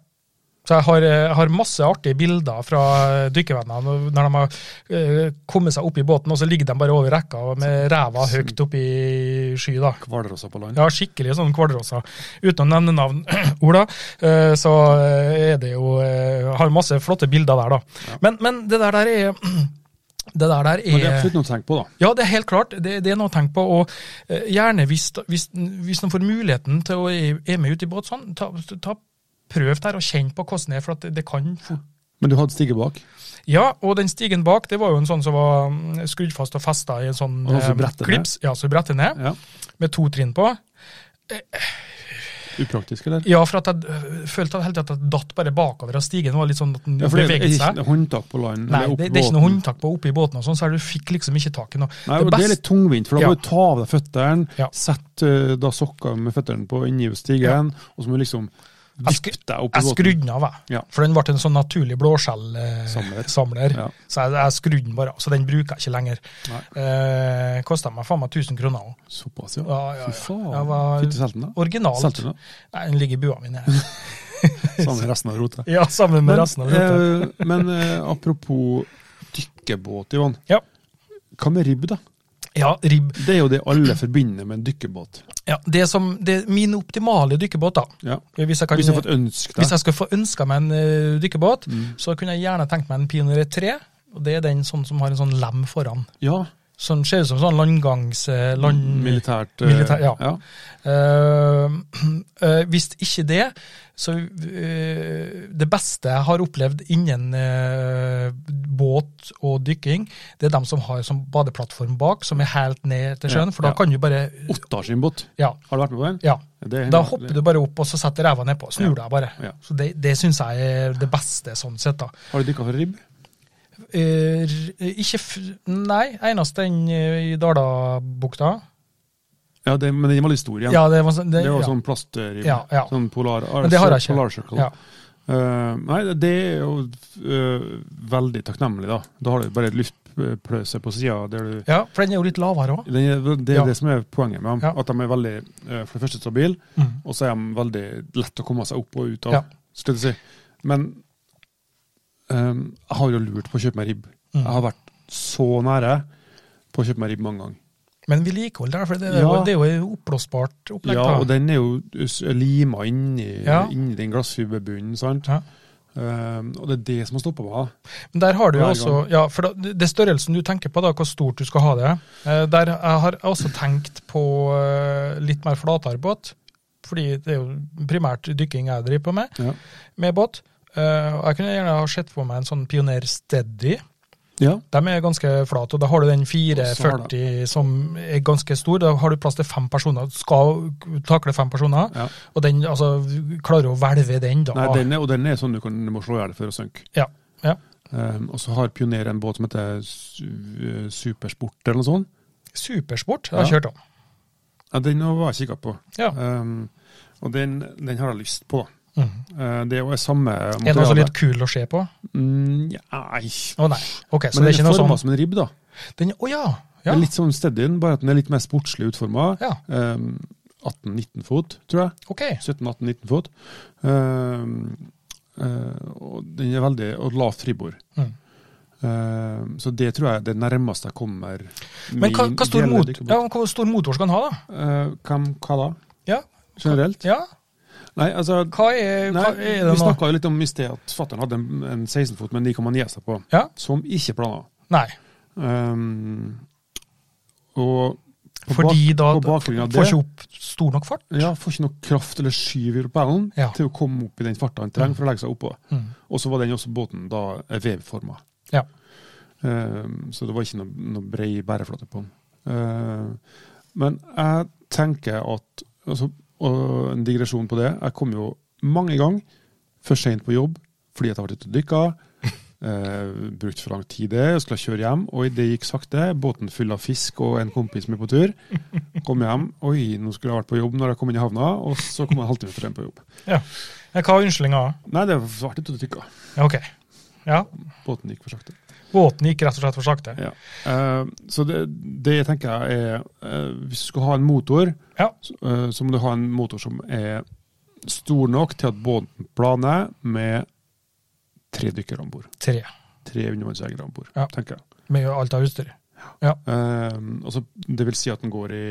[SPEAKER 2] Så jeg har, jeg har masse artige bilder fra eh, dykkervennene når de har eh, kommet seg opp i båten, og så ligger de bare over rekka med ræva høyt opp i sky. da.
[SPEAKER 3] Hvalrosser på land.
[SPEAKER 2] Ja, skikkelig sånn kvalrosser. Uten å nevne navn, (clears throat) Ola, eh, så eh, er det jo eh, Har masse flotte bilder der, da. Men, men det der der er (clears throat) Det der der
[SPEAKER 3] Men det er
[SPEAKER 2] er
[SPEAKER 3] absolutt noe å tenke på, da.
[SPEAKER 2] Ja, det er helt klart. Det, det er noe å tenke på. Og eh, gjerne hvis, hvis, hvis de får muligheten til å være med ut i båt, sånn, ta, ta, prøv der og kjenn på hvordan det er. For at det- det kan fort
[SPEAKER 3] Men du hadde stige bak.
[SPEAKER 2] Ja, og den stigen bak, det var jo en sånn som var mm, skrudd fast og festa i en sånn
[SPEAKER 3] Og så
[SPEAKER 2] eh,
[SPEAKER 3] brettet ned.
[SPEAKER 2] klips. Ja, så brettet ned,
[SPEAKER 3] Ja.
[SPEAKER 2] med to trinn på.
[SPEAKER 3] Upraktisk, eller?
[SPEAKER 2] Ja, for at jeg øh, følte hele tiden at jeg datt bare bakover av stigen. Det var litt sånn at den
[SPEAKER 3] Ja, for det er
[SPEAKER 2] beveget
[SPEAKER 3] ikke
[SPEAKER 2] seg.
[SPEAKER 3] noe håndtak på land.
[SPEAKER 2] Nei,
[SPEAKER 3] eller opp
[SPEAKER 2] det, det er ikke
[SPEAKER 3] båten.
[SPEAKER 2] noe håndtak på oppi båten, og sånn, så her du fikk liksom ikke tak i noe.
[SPEAKER 3] Nei, og det, er
[SPEAKER 2] best-
[SPEAKER 3] litt tungvint, for da
[SPEAKER 2] Ja.
[SPEAKER 3] må du ta av deg føttene,
[SPEAKER 2] Ja.
[SPEAKER 3] sette eh, da sokker med føttene på inni stigen, og så må du liksom
[SPEAKER 2] Jeg skru-
[SPEAKER 3] vippe deg opp i
[SPEAKER 2] Jeg
[SPEAKER 3] båten.
[SPEAKER 2] skrudde den av, jeg.
[SPEAKER 3] Ja.
[SPEAKER 2] For den ble en sånn naturlig blåskjellsamler.
[SPEAKER 3] Samler.
[SPEAKER 2] Eh, samler.
[SPEAKER 3] Ja.
[SPEAKER 2] Så jeg, jeg skrudde den bare av. Så den bruker jeg ikke lenger.
[SPEAKER 3] Nei.
[SPEAKER 2] Eh, Kosta meg faen meg 1000 kroner òg.
[SPEAKER 3] Såpass, ja.
[SPEAKER 2] Ja, ja,
[SPEAKER 3] Fy
[SPEAKER 2] ja. Jeg
[SPEAKER 3] faen.
[SPEAKER 2] var
[SPEAKER 3] Fytti selten, da.
[SPEAKER 2] originalt.
[SPEAKER 3] Solgte du den?
[SPEAKER 2] Nei, den ligger i bua mi. nede. (laughs)
[SPEAKER 3] Sammen med Sånn, resten av rotet.
[SPEAKER 2] Ja, sammen med resten av rotet.
[SPEAKER 3] eh, men eh, apropos dykkebåt, Ivan.
[SPEAKER 2] Ja.
[SPEAKER 3] Hva med ribb, da?
[SPEAKER 2] Ja, ribb.
[SPEAKER 3] Det er jo det alle forbinder med en dykkerbåt.
[SPEAKER 2] Ja, det som det er min optimale dykkerbåt, da.
[SPEAKER 3] Ja.
[SPEAKER 2] Hvis jeg, kan,
[SPEAKER 3] Hvis du har fått Mm. ønske
[SPEAKER 2] hvis
[SPEAKER 3] deg.
[SPEAKER 2] jeg skulle få ønska meg en eh, dykkerbåt, så kunne jeg gjerne tenkt meg en Pioner 3. Og det er den sånn som har en sånn lem foran.
[SPEAKER 3] Ja,
[SPEAKER 2] Sånn ser ut som sånn landgangs... eh, Land,
[SPEAKER 3] militært. eh,
[SPEAKER 2] Militær, ja.
[SPEAKER 3] ja.
[SPEAKER 2] Eh, (clears throat) eh, hvis ikke det, så eh, Det beste jeg har opplevd innen eh, båt og dykking, det er dem som har som badeplattform bak, som er helt ned til sjøen.
[SPEAKER 3] Ja,
[SPEAKER 2] For da
[SPEAKER 3] ja.
[SPEAKER 2] kan du bare
[SPEAKER 3] Ottar sin båt.
[SPEAKER 2] Ja.
[SPEAKER 3] Har du vært med på den?
[SPEAKER 2] ja.
[SPEAKER 3] Det er-
[SPEAKER 2] Da hopper du bare opp, og så setter ræva nedpå. Snur
[SPEAKER 3] Ja.
[SPEAKER 2] deg bare.
[SPEAKER 3] Ja.
[SPEAKER 2] Så Det, det syns jeg er det beste, sånn sett, da.
[SPEAKER 3] Har du dykka for ribb?
[SPEAKER 2] Eh, r- ikke f... Nei, eneste den eh, i Dalabukta.
[SPEAKER 3] Ja, det, men den var litt stor igjen.
[SPEAKER 2] Ja, det var sånn
[SPEAKER 3] det var
[SPEAKER 2] ja.
[SPEAKER 3] sånn plastribb.
[SPEAKER 2] Ja, ja.
[SPEAKER 3] Sånn polar,
[SPEAKER 2] Men det har jeg ikke.
[SPEAKER 3] Polar circle.
[SPEAKER 2] Ja.
[SPEAKER 3] Eh, nei, det er jo eh, veldig takknemlig, da. Da har du bare et luftpløse på sida. Det
[SPEAKER 2] Ja, for den er jo litt lavere òg.
[SPEAKER 3] er det,
[SPEAKER 2] Ja.
[SPEAKER 3] er det som er poenget med dem.
[SPEAKER 2] Ja.
[SPEAKER 3] At de er veldig, eh, for det første, stabile,
[SPEAKER 2] Mm.
[SPEAKER 3] og så er de veldig lett å komme seg opp og ut av.
[SPEAKER 2] Ja.
[SPEAKER 3] Skulle jeg si. Men eh, jeg har jo lurt på å kjøpe meg ribb.
[SPEAKER 2] Mm.
[SPEAKER 3] Jeg har vært så nære på å kjøpe meg ribb mange ganger.
[SPEAKER 2] Men vedlikehold der, for det er,
[SPEAKER 3] Ja.
[SPEAKER 2] jo, det er jo et oppblåsbart opplegg.
[SPEAKER 3] Ja,
[SPEAKER 2] da.
[SPEAKER 3] og den er jo s- lima inni,
[SPEAKER 2] Ja.
[SPEAKER 3] inni den glassfiberbunnen, sant.
[SPEAKER 2] Ja.
[SPEAKER 3] Eh, og det er det som har stoppa meg.
[SPEAKER 2] Men der har du jo
[SPEAKER 3] Hver
[SPEAKER 2] også, ja, for da, det- det størrelsen du tenker på, da, hvor stort du skal ha det, eh, der jeg har jeg også tenkt på eh, litt mer flatere båt, fordi det er jo primært dykking jeg driver på med,
[SPEAKER 3] Ja.
[SPEAKER 2] med båt. Eh, og Jeg kunne gjerne ha sett for meg en sånn Pioner Steady.
[SPEAKER 3] ja.
[SPEAKER 2] De er ganske flate, og da har du den
[SPEAKER 3] Og så har
[SPEAKER 2] 440 som er ganske stor. Da har du plass til fem personer. Du skal takle fem personer,
[SPEAKER 3] Ja.
[SPEAKER 2] og den altså, klarer å hvelve den, da.
[SPEAKER 3] Nei, den er, og den er sånn du, kan, du må slå i hjel for å synke.
[SPEAKER 2] Ja, ja.
[SPEAKER 3] Um, og så har Pioner en båt som heter Su- eh, Supersport eller noe sånt.
[SPEAKER 2] Supersport jeg har
[SPEAKER 3] Ja.
[SPEAKER 2] kjørt om.
[SPEAKER 3] Ja, den var jeg kikka på.
[SPEAKER 2] Ja.
[SPEAKER 3] Um, og den, den har jeg lyst på.
[SPEAKER 2] Mhm.
[SPEAKER 3] Uh, det er jo samme
[SPEAKER 2] Er den også litt kul å se på?
[SPEAKER 3] Mm, nei.
[SPEAKER 2] Å nei. Ok, så det
[SPEAKER 3] Men den
[SPEAKER 2] er
[SPEAKER 3] er
[SPEAKER 2] ikke noe
[SPEAKER 3] forma
[SPEAKER 2] sånn
[SPEAKER 3] som en ribb, da.
[SPEAKER 2] Den- Å ja!
[SPEAKER 3] Det
[SPEAKER 2] ja.
[SPEAKER 3] er litt som Steadyen, bare at den er litt mer sportslig utforma.
[SPEAKER 2] Ja,
[SPEAKER 3] Um, 18-19 fot, tror jeg.
[SPEAKER 2] ok.
[SPEAKER 3] 17-18-19 fot. Um, uh, og den er veldig Og lavt fribord.
[SPEAKER 2] Mm.
[SPEAKER 3] Um, så det tror jeg er det nærmeste jeg kommer
[SPEAKER 2] Men hva,
[SPEAKER 3] min
[SPEAKER 2] hva, stor
[SPEAKER 3] ideelle
[SPEAKER 2] mot,
[SPEAKER 3] dykkerbåt.
[SPEAKER 2] ja, hvor stor motor skal den ha, da?
[SPEAKER 3] Eh, hvem, hva da?
[SPEAKER 2] Ja,
[SPEAKER 3] Generelt?
[SPEAKER 2] ja.
[SPEAKER 3] Nei, altså
[SPEAKER 2] Hva er,
[SPEAKER 3] nei,
[SPEAKER 2] hva er det
[SPEAKER 3] Vi
[SPEAKER 2] nå?
[SPEAKER 3] snakka jo litt om i sted at fattern hadde en, en 16-fot med 9,9 hester på,
[SPEAKER 2] Ja.
[SPEAKER 3] som ikke plana.
[SPEAKER 2] Nei,
[SPEAKER 3] Um, og på
[SPEAKER 2] fordi da
[SPEAKER 3] bak, på bakgrunn av
[SPEAKER 2] får
[SPEAKER 3] det
[SPEAKER 2] ikke opp stor nok fart.
[SPEAKER 3] ja, får ikke noe kraft eller skyv i propellen
[SPEAKER 2] Ja.
[SPEAKER 3] til å komme opp i den farta han trenger for å legge seg oppå.
[SPEAKER 2] Mm.
[SPEAKER 3] Og så var den også båten da vevforma.
[SPEAKER 2] Ja.
[SPEAKER 3] Um, så det var ikke noe, noe brei bæreflate på den. Uh, men jeg tenker at altså, Og en digresjon på det. Jeg kom jo mange ganger for seint på jobb fordi at jeg var ute og dykka. (laughs) Uh, brukt for lang tid det, og skulle kjøre hjem. Og det gikk sakte. Båten full av fisk og en kompis med på tur. Kom hjem. Oi, nå skulle jeg vært på jobb når jeg kom inn i havna. Og så kom jeg en halvtime for sent på jobb.
[SPEAKER 2] Ja. Ja, Hva er unnskyldninga?
[SPEAKER 3] Nei, det var ute og dykka.
[SPEAKER 2] Ja, ok. Ja,
[SPEAKER 3] Båten gikk for sakte.
[SPEAKER 2] båten gikk rett og slett for sakte.
[SPEAKER 3] Ja. Eh, så det, det tenker jeg er eh, Hvis du skal ha en motor,
[SPEAKER 2] Ja.
[SPEAKER 3] så, eh, så må du ha en motor som er stor nok til at båten planer med tre dykkere om bord.
[SPEAKER 2] Tre,
[SPEAKER 3] Tre undervannsjegere om bord,
[SPEAKER 2] Ja.
[SPEAKER 3] tenker jeg.
[SPEAKER 2] med alt av utstyr.
[SPEAKER 3] Eh, altså, det vil si at den går i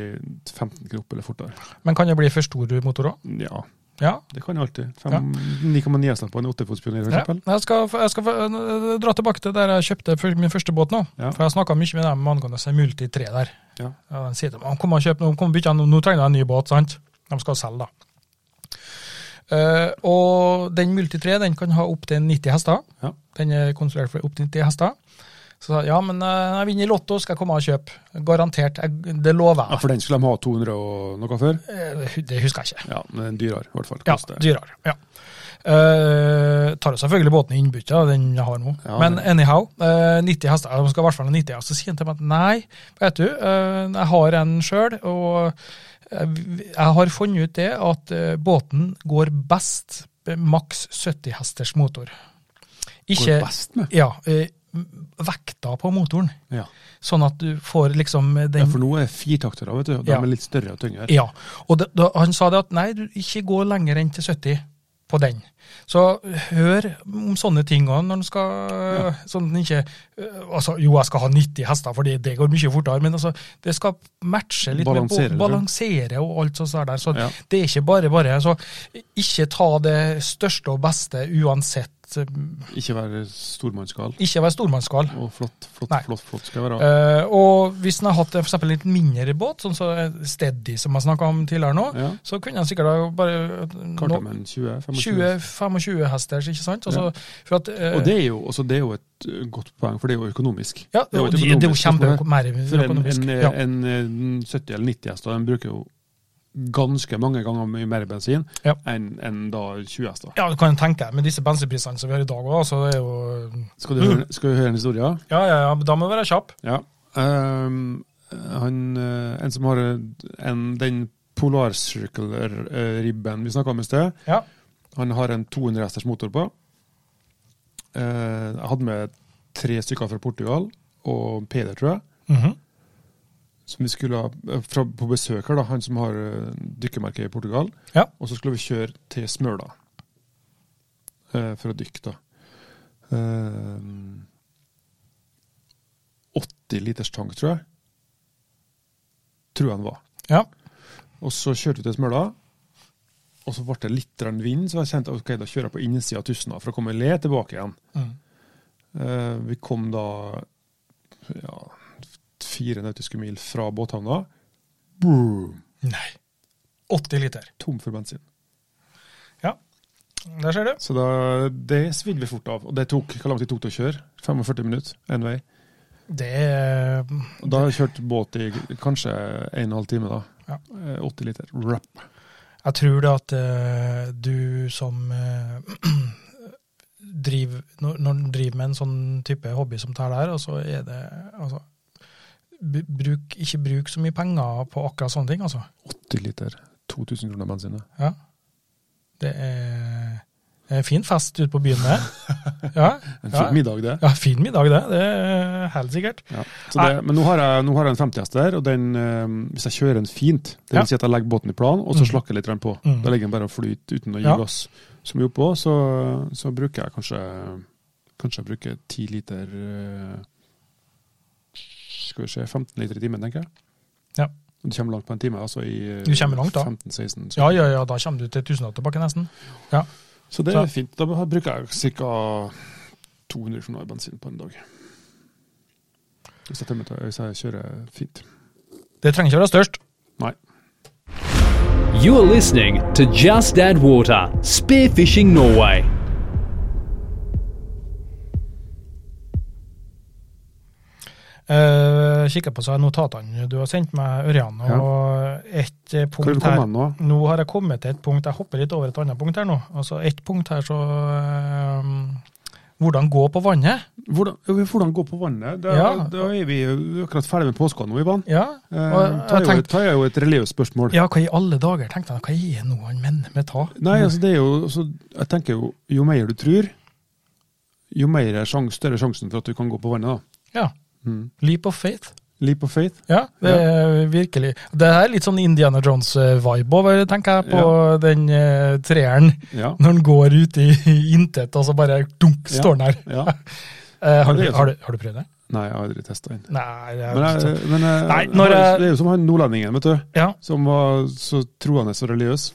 [SPEAKER 3] 15 knop eller fortere.
[SPEAKER 2] Men kan det bli for stor motor òg?
[SPEAKER 3] Ja,
[SPEAKER 2] Ja.
[SPEAKER 3] det kan jeg alltid.
[SPEAKER 2] Ja.
[SPEAKER 3] 9,9 hester på en 8-fotspioner,
[SPEAKER 2] Ja,
[SPEAKER 3] f.eks.
[SPEAKER 2] jeg skal, jeg skal øh, dra tilbake til der jeg kjøpte fyr- min første båt nå.
[SPEAKER 3] Ja.
[SPEAKER 2] For jeg snakka mye med dem angående seg Multi 3 der.
[SPEAKER 3] Ja.
[SPEAKER 2] Ja, de sier til meg, kom og kjøp, nå, kom og bytte, den, nå trenger jeg en ny båt, sant? De skal selge, da. Eh, og den Multi 3 den kan ha opptil 90 hester.
[SPEAKER 3] Ja.
[SPEAKER 2] Den er konstruert for opptil 90 hester. Så sa jeg, ja, men eh, når jeg vinner i Lotto, skal jeg komme og kjøpe. Garantert. Jeg, det lover
[SPEAKER 3] Ja,
[SPEAKER 2] jeg.
[SPEAKER 3] for den skulle de ha 200 og noe før?
[SPEAKER 2] Eh, det hu- det husker jeg ikke.
[SPEAKER 3] Ja, men den er dyrere, i hvert fall.
[SPEAKER 2] Ja,
[SPEAKER 3] Koster.
[SPEAKER 2] dyrere. Ja. Eh, tar jo selvfølgelig båten i innbytte, den jeg har nå.
[SPEAKER 3] Ja,
[SPEAKER 2] Men
[SPEAKER 3] det-
[SPEAKER 2] anyhow, eh, 90 hester. De skal i hvert fall ha 90 hester. Så sier han til meg at nei, vet du, eh, jeg har en sjøl, og jeg, jeg har funnet ut det at eh, båten går best med maks 70 hesters motor. Ikke
[SPEAKER 3] Går best med.
[SPEAKER 2] Ja. eh, vekta på motoren,
[SPEAKER 3] Ja.
[SPEAKER 2] sånn at du får liksom
[SPEAKER 3] Ja,
[SPEAKER 2] den
[SPEAKER 3] for nå er firtaktere, vet du. De
[SPEAKER 2] Ja.
[SPEAKER 3] er litt større og tyngre.
[SPEAKER 2] (laughs) Ja, og det, da, han sa det at nei, du ikke gå lenger enn til 70 på den. Så hør om sånne ting også når du skal Sånn at den ikke øh, altså, Jo, jeg skal ha 90 hester, for det, det går mye fortere, men altså, det skal matche litt.
[SPEAKER 3] Balansere,
[SPEAKER 2] med,
[SPEAKER 3] eller?
[SPEAKER 2] bo- balansere og alt sånt der. Så
[SPEAKER 3] Ja.
[SPEAKER 2] det er ikke bare bare. Så ikke ta det største og beste uansett.
[SPEAKER 3] Ikke være stormannsgal.
[SPEAKER 2] Ikke vær stormannsgal.
[SPEAKER 3] Og flott, flott,
[SPEAKER 2] Nei.
[SPEAKER 3] flott, flott skal jeg være.
[SPEAKER 2] Eh, og hvis en har hatt eh, for eksempel en litt mindre båt, sånn som eh, Steady som jeg snakka om tidligere nå,
[SPEAKER 3] Ja.
[SPEAKER 2] så kunne en sikkert ha bare eh, nå-
[SPEAKER 3] Kartamen 20, 25.
[SPEAKER 2] 20-25 hesters, ikke sant? Altså, for at, eh,
[SPEAKER 3] Og det er, jo, også, det er jo et ø, godt poeng, for det er jo økonomisk.
[SPEAKER 2] ja,
[SPEAKER 3] jo
[SPEAKER 2] og det,
[SPEAKER 3] et
[SPEAKER 2] det er jo
[SPEAKER 3] økonomisk spørsmål.
[SPEAKER 2] kjempe- mer
[SPEAKER 3] For en, eh,
[SPEAKER 2] økonomisk.
[SPEAKER 3] en, ø,
[SPEAKER 2] ja.
[SPEAKER 3] en, ø, 70 eller 90 hester, den bruker jo ganske mange ganger mye mer bensin
[SPEAKER 2] Ja.
[SPEAKER 3] enn enn da 20 hester.
[SPEAKER 2] ja, du kan jo tenke deg, med disse bensinprisene som vi har i dag òg, så det er jo
[SPEAKER 3] Skal du høre, skal du høre en historie?
[SPEAKER 2] Ja, ja, ja, men da må du være kjapp.
[SPEAKER 3] Ja. Ehm, han, ø, en som har ø, en, den Polar Circle-ribben vi snakka om i sted,
[SPEAKER 2] Ja.
[SPEAKER 3] Han har en 200 hesters motor på. Eh, Jeg hadde med tre stykker fra Portugal, og Peder, tror jeg,
[SPEAKER 2] Mhm.
[SPEAKER 3] som vi skulle ha eh, fra, på besøk her, da, han som har eh, dykkermerke i Portugal.
[SPEAKER 2] Ja.
[SPEAKER 3] Og så skulle vi kjøre til Smøla eh, for å dykke, da. Eh, 80 liters tank, tror jeg. Tror jeg den var.
[SPEAKER 2] ja.
[SPEAKER 3] Og så kjørte vi til Smøla, og så ble det litt grann vind, så jeg kjente ok, da kjører jeg på innsida av Tustna for å komme le tilbake igjen.
[SPEAKER 2] Mhm.
[SPEAKER 3] Eh, vi kom da ja, fire nautiske mil fra båthavna. Boom!
[SPEAKER 2] Nei. 80 liter.
[SPEAKER 3] Tom for bensin.
[SPEAKER 2] Ja, der ser du.
[SPEAKER 3] Så da, det svidde vi fort av. Og det tok, hvor lang tid tok det å kjøre? 45 minutter én vei.
[SPEAKER 2] Det er
[SPEAKER 3] Og da har jeg kjørt båt i kanskje 1 12 time, da.
[SPEAKER 2] Ja.
[SPEAKER 3] Eh, 80 liter. Rap.
[SPEAKER 2] Jeg tror det at eh, du som eh, (clears throat) driver Når når du driver med en sånn type hobby som det her der, og så er det altså, b- bruk, Ikke bruk så mye penger på akkurat sånne ting, altså.
[SPEAKER 3] 80 liter. 2000 kroner bensin. det.
[SPEAKER 2] Ja. Det er, det er en fin fest ute på byen, det.
[SPEAKER 3] (laughs)
[SPEAKER 2] Ja,
[SPEAKER 3] En fin
[SPEAKER 2] ja.
[SPEAKER 3] middag, det.
[SPEAKER 2] ja, fin middag, det. Det er helt sikkert.
[SPEAKER 3] Ja. Så det men nå har jeg, nå har jeg en 50-hester, og den, eh, hvis jeg kjører den fint Det
[SPEAKER 2] Ja.
[SPEAKER 3] vil si at jeg legger båten i plan, og så
[SPEAKER 2] Mm.
[SPEAKER 3] slakker jeg litt grann på.
[SPEAKER 2] Mm.
[SPEAKER 3] Da legger den bare og flyter uten å gi
[SPEAKER 2] Ja.
[SPEAKER 3] gass. Så mye oppå, så, så bruker jeg kanskje Kanskje jeg bruker 10 liter eh, Skal vi se 15 liter i timen, tenker jeg.
[SPEAKER 2] Ja.
[SPEAKER 3] Og Du kommer langt på en time, altså i eh,
[SPEAKER 2] Du kommer langt, da.
[SPEAKER 3] 15-16.
[SPEAKER 2] Ja, ja, ja, da kommer du til tusenlapp tilbake, nesten. Ja.
[SPEAKER 3] Så det
[SPEAKER 2] Så-
[SPEAKER 3] er fint. Da bruker jeg ca. 200 kroner i bensin på en dag. Hvis jeg, tømmer, hvis jeg kjører fint.
[SPEAKER 2] Det trenger ikke være størst.
[SPEAKER 3] Nei.
[SPEAKER 1] You're listening to Just Add Water Spearfishing Norway.
[SPEAKER 2] Uh, kikker på seg notatene du har sendt meg, Ørjan. Og et eh,
[SPEAKER 3] Hvor er
[SPEAKER 2] punkt
[SPEAKER 3] du kommet
[SPEAKER 2] her
[SPEAKER 3] hen nå?
[SPEAKER 2] Nå har jeg kommet til et punkt. Jeg hopper litt over et annet punkt her nå. Altså et punkt her så eh, Hvordan gå på vannet.
[SPEAKER 3] Hvordan, ja, hvordan gå på vannet? Da,
[SPEAKER 2] Ja.
[SPEAKER 3] da er vi jo akkurat ferdig med påska nå, Ivan.
[SPEAKER 2] Ja.
[SPEAKER 3] Eh,
[SPEAKER 2] Og
[SPEAKER 3] ta,
[SPEAKER 2] jeg
[SPEAKER 3] jo,
[SPEAKER 2] tenkte,
[SPEAKER 3] ta er jo et religiøst spørsmål.
[SPEAKER 2] ja, hva i alle dager, tenkte jeg. Hva er nå han mener med ta?
[SPEAKER 3] Nei, altså det er jo, så jeg tenker jo, jo mer du tror, jo mer er sjans, større sjansen for at du kan gå på vannet. da.
[SPEAKER 2] Ja.
[SPEAKER 3] Mm.
[SPEAKER 2] Leap of faith.
[SPEAKER 3] Leap of faith.
[SPEAKER 2] Ja, det
[SPEAKER 3] Ja.
[SPEAKER 2] er virkelig. Det er litt sånn Indiana Jones-vibe over, tenker jeg, på den eh, treeren.
[SPEAKER 3] Ja.
[SPEAKER 2] Når den går ut i i intet, og så bare dunk,
[SPEAKER 3] Ja.
[SPEAKER 2] står den her.
[SPEAKER 3] ja.
[SPEAKER 2] Eh, har,
[SPEAKER 3] Ja,
[SPEAKER 2] du,
[SPEAKER 3] det er jo
[SPEAKER 2] har, du, har du prøvd det?
[SPEAKER 3] Nei, jeg har aldri testa den.
[SPEAKER 2] Nei, det er
[SPEAKER 3] Men, jeg, men jeg,
[SPEAKER 2] Nei, når jeg-
[SPEAKER 3] det er jo som han nordlendingen, vet du.
[SPEAKER 2] ja.
[SPEAKER 3] Som var så troende og religiøs.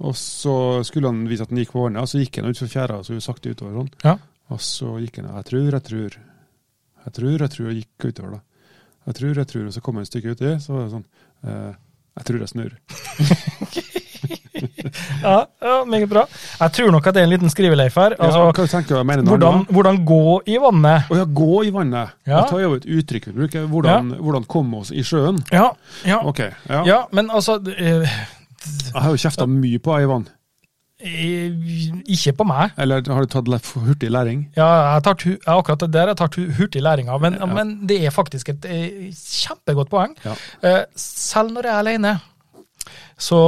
[SPEAKER 3] Og så skulle han vise at han gikk på vannet, og så gikk han utfor fjæra og så sakte utover. sånn.
[SPEAKER 2] Ja.
[SPEAKER 3] Og så gikk han jeg tror, jeg tror, jeg tror, jeg tror, og gikk utover da. Jeg tror, jeg tror, og så kom han et stykke uti, så var det sånn, eh, jeg tror jeg snur.
[SPEAKER 2] Ja, ja, meget bra. Jeg tror nok at det er en liten skriveleif her.
[SPEAKER 3] Altså,
[SPEAKER 2] Altså,
[SPEAKER 3] hva tenker du jeg mener nå?
[SPEAKER 2] hvordan, hvordan gå i vannet.
[SPEAKER 3] Å ja, gå i vannet.
[SPEAKER 2] Ja.
[SPEAKER 3] Det er jo et uttrykk vi bruker. Hvordan, hvordan komme oss i sjøen.
[SPEAKER 2] Ja, ja,
[SPEAKER 3] Ok, ja.
[SPEAKER 2] ja men altså eh,
[SPEAKER 3] Jeg har jo kjefta mye på Ivan.
[SPEAKER 2] eh, Ikke på meg.
[SPEAKER 3] Eller har du tatt le- for hurtig læring?
[SPEAKER 2] Ja, jeg tar tu, ja, akkurat det der jeg tar tu, hurtig læring av, men,
[SPEAKER 3] Ja.
[SPEAKER 2] men det er faktisk et eh, kjempegodt poeng.
[SPEAKER 3] Ja.
[SPEAKER 2] Eh, selv når jeg er alene, så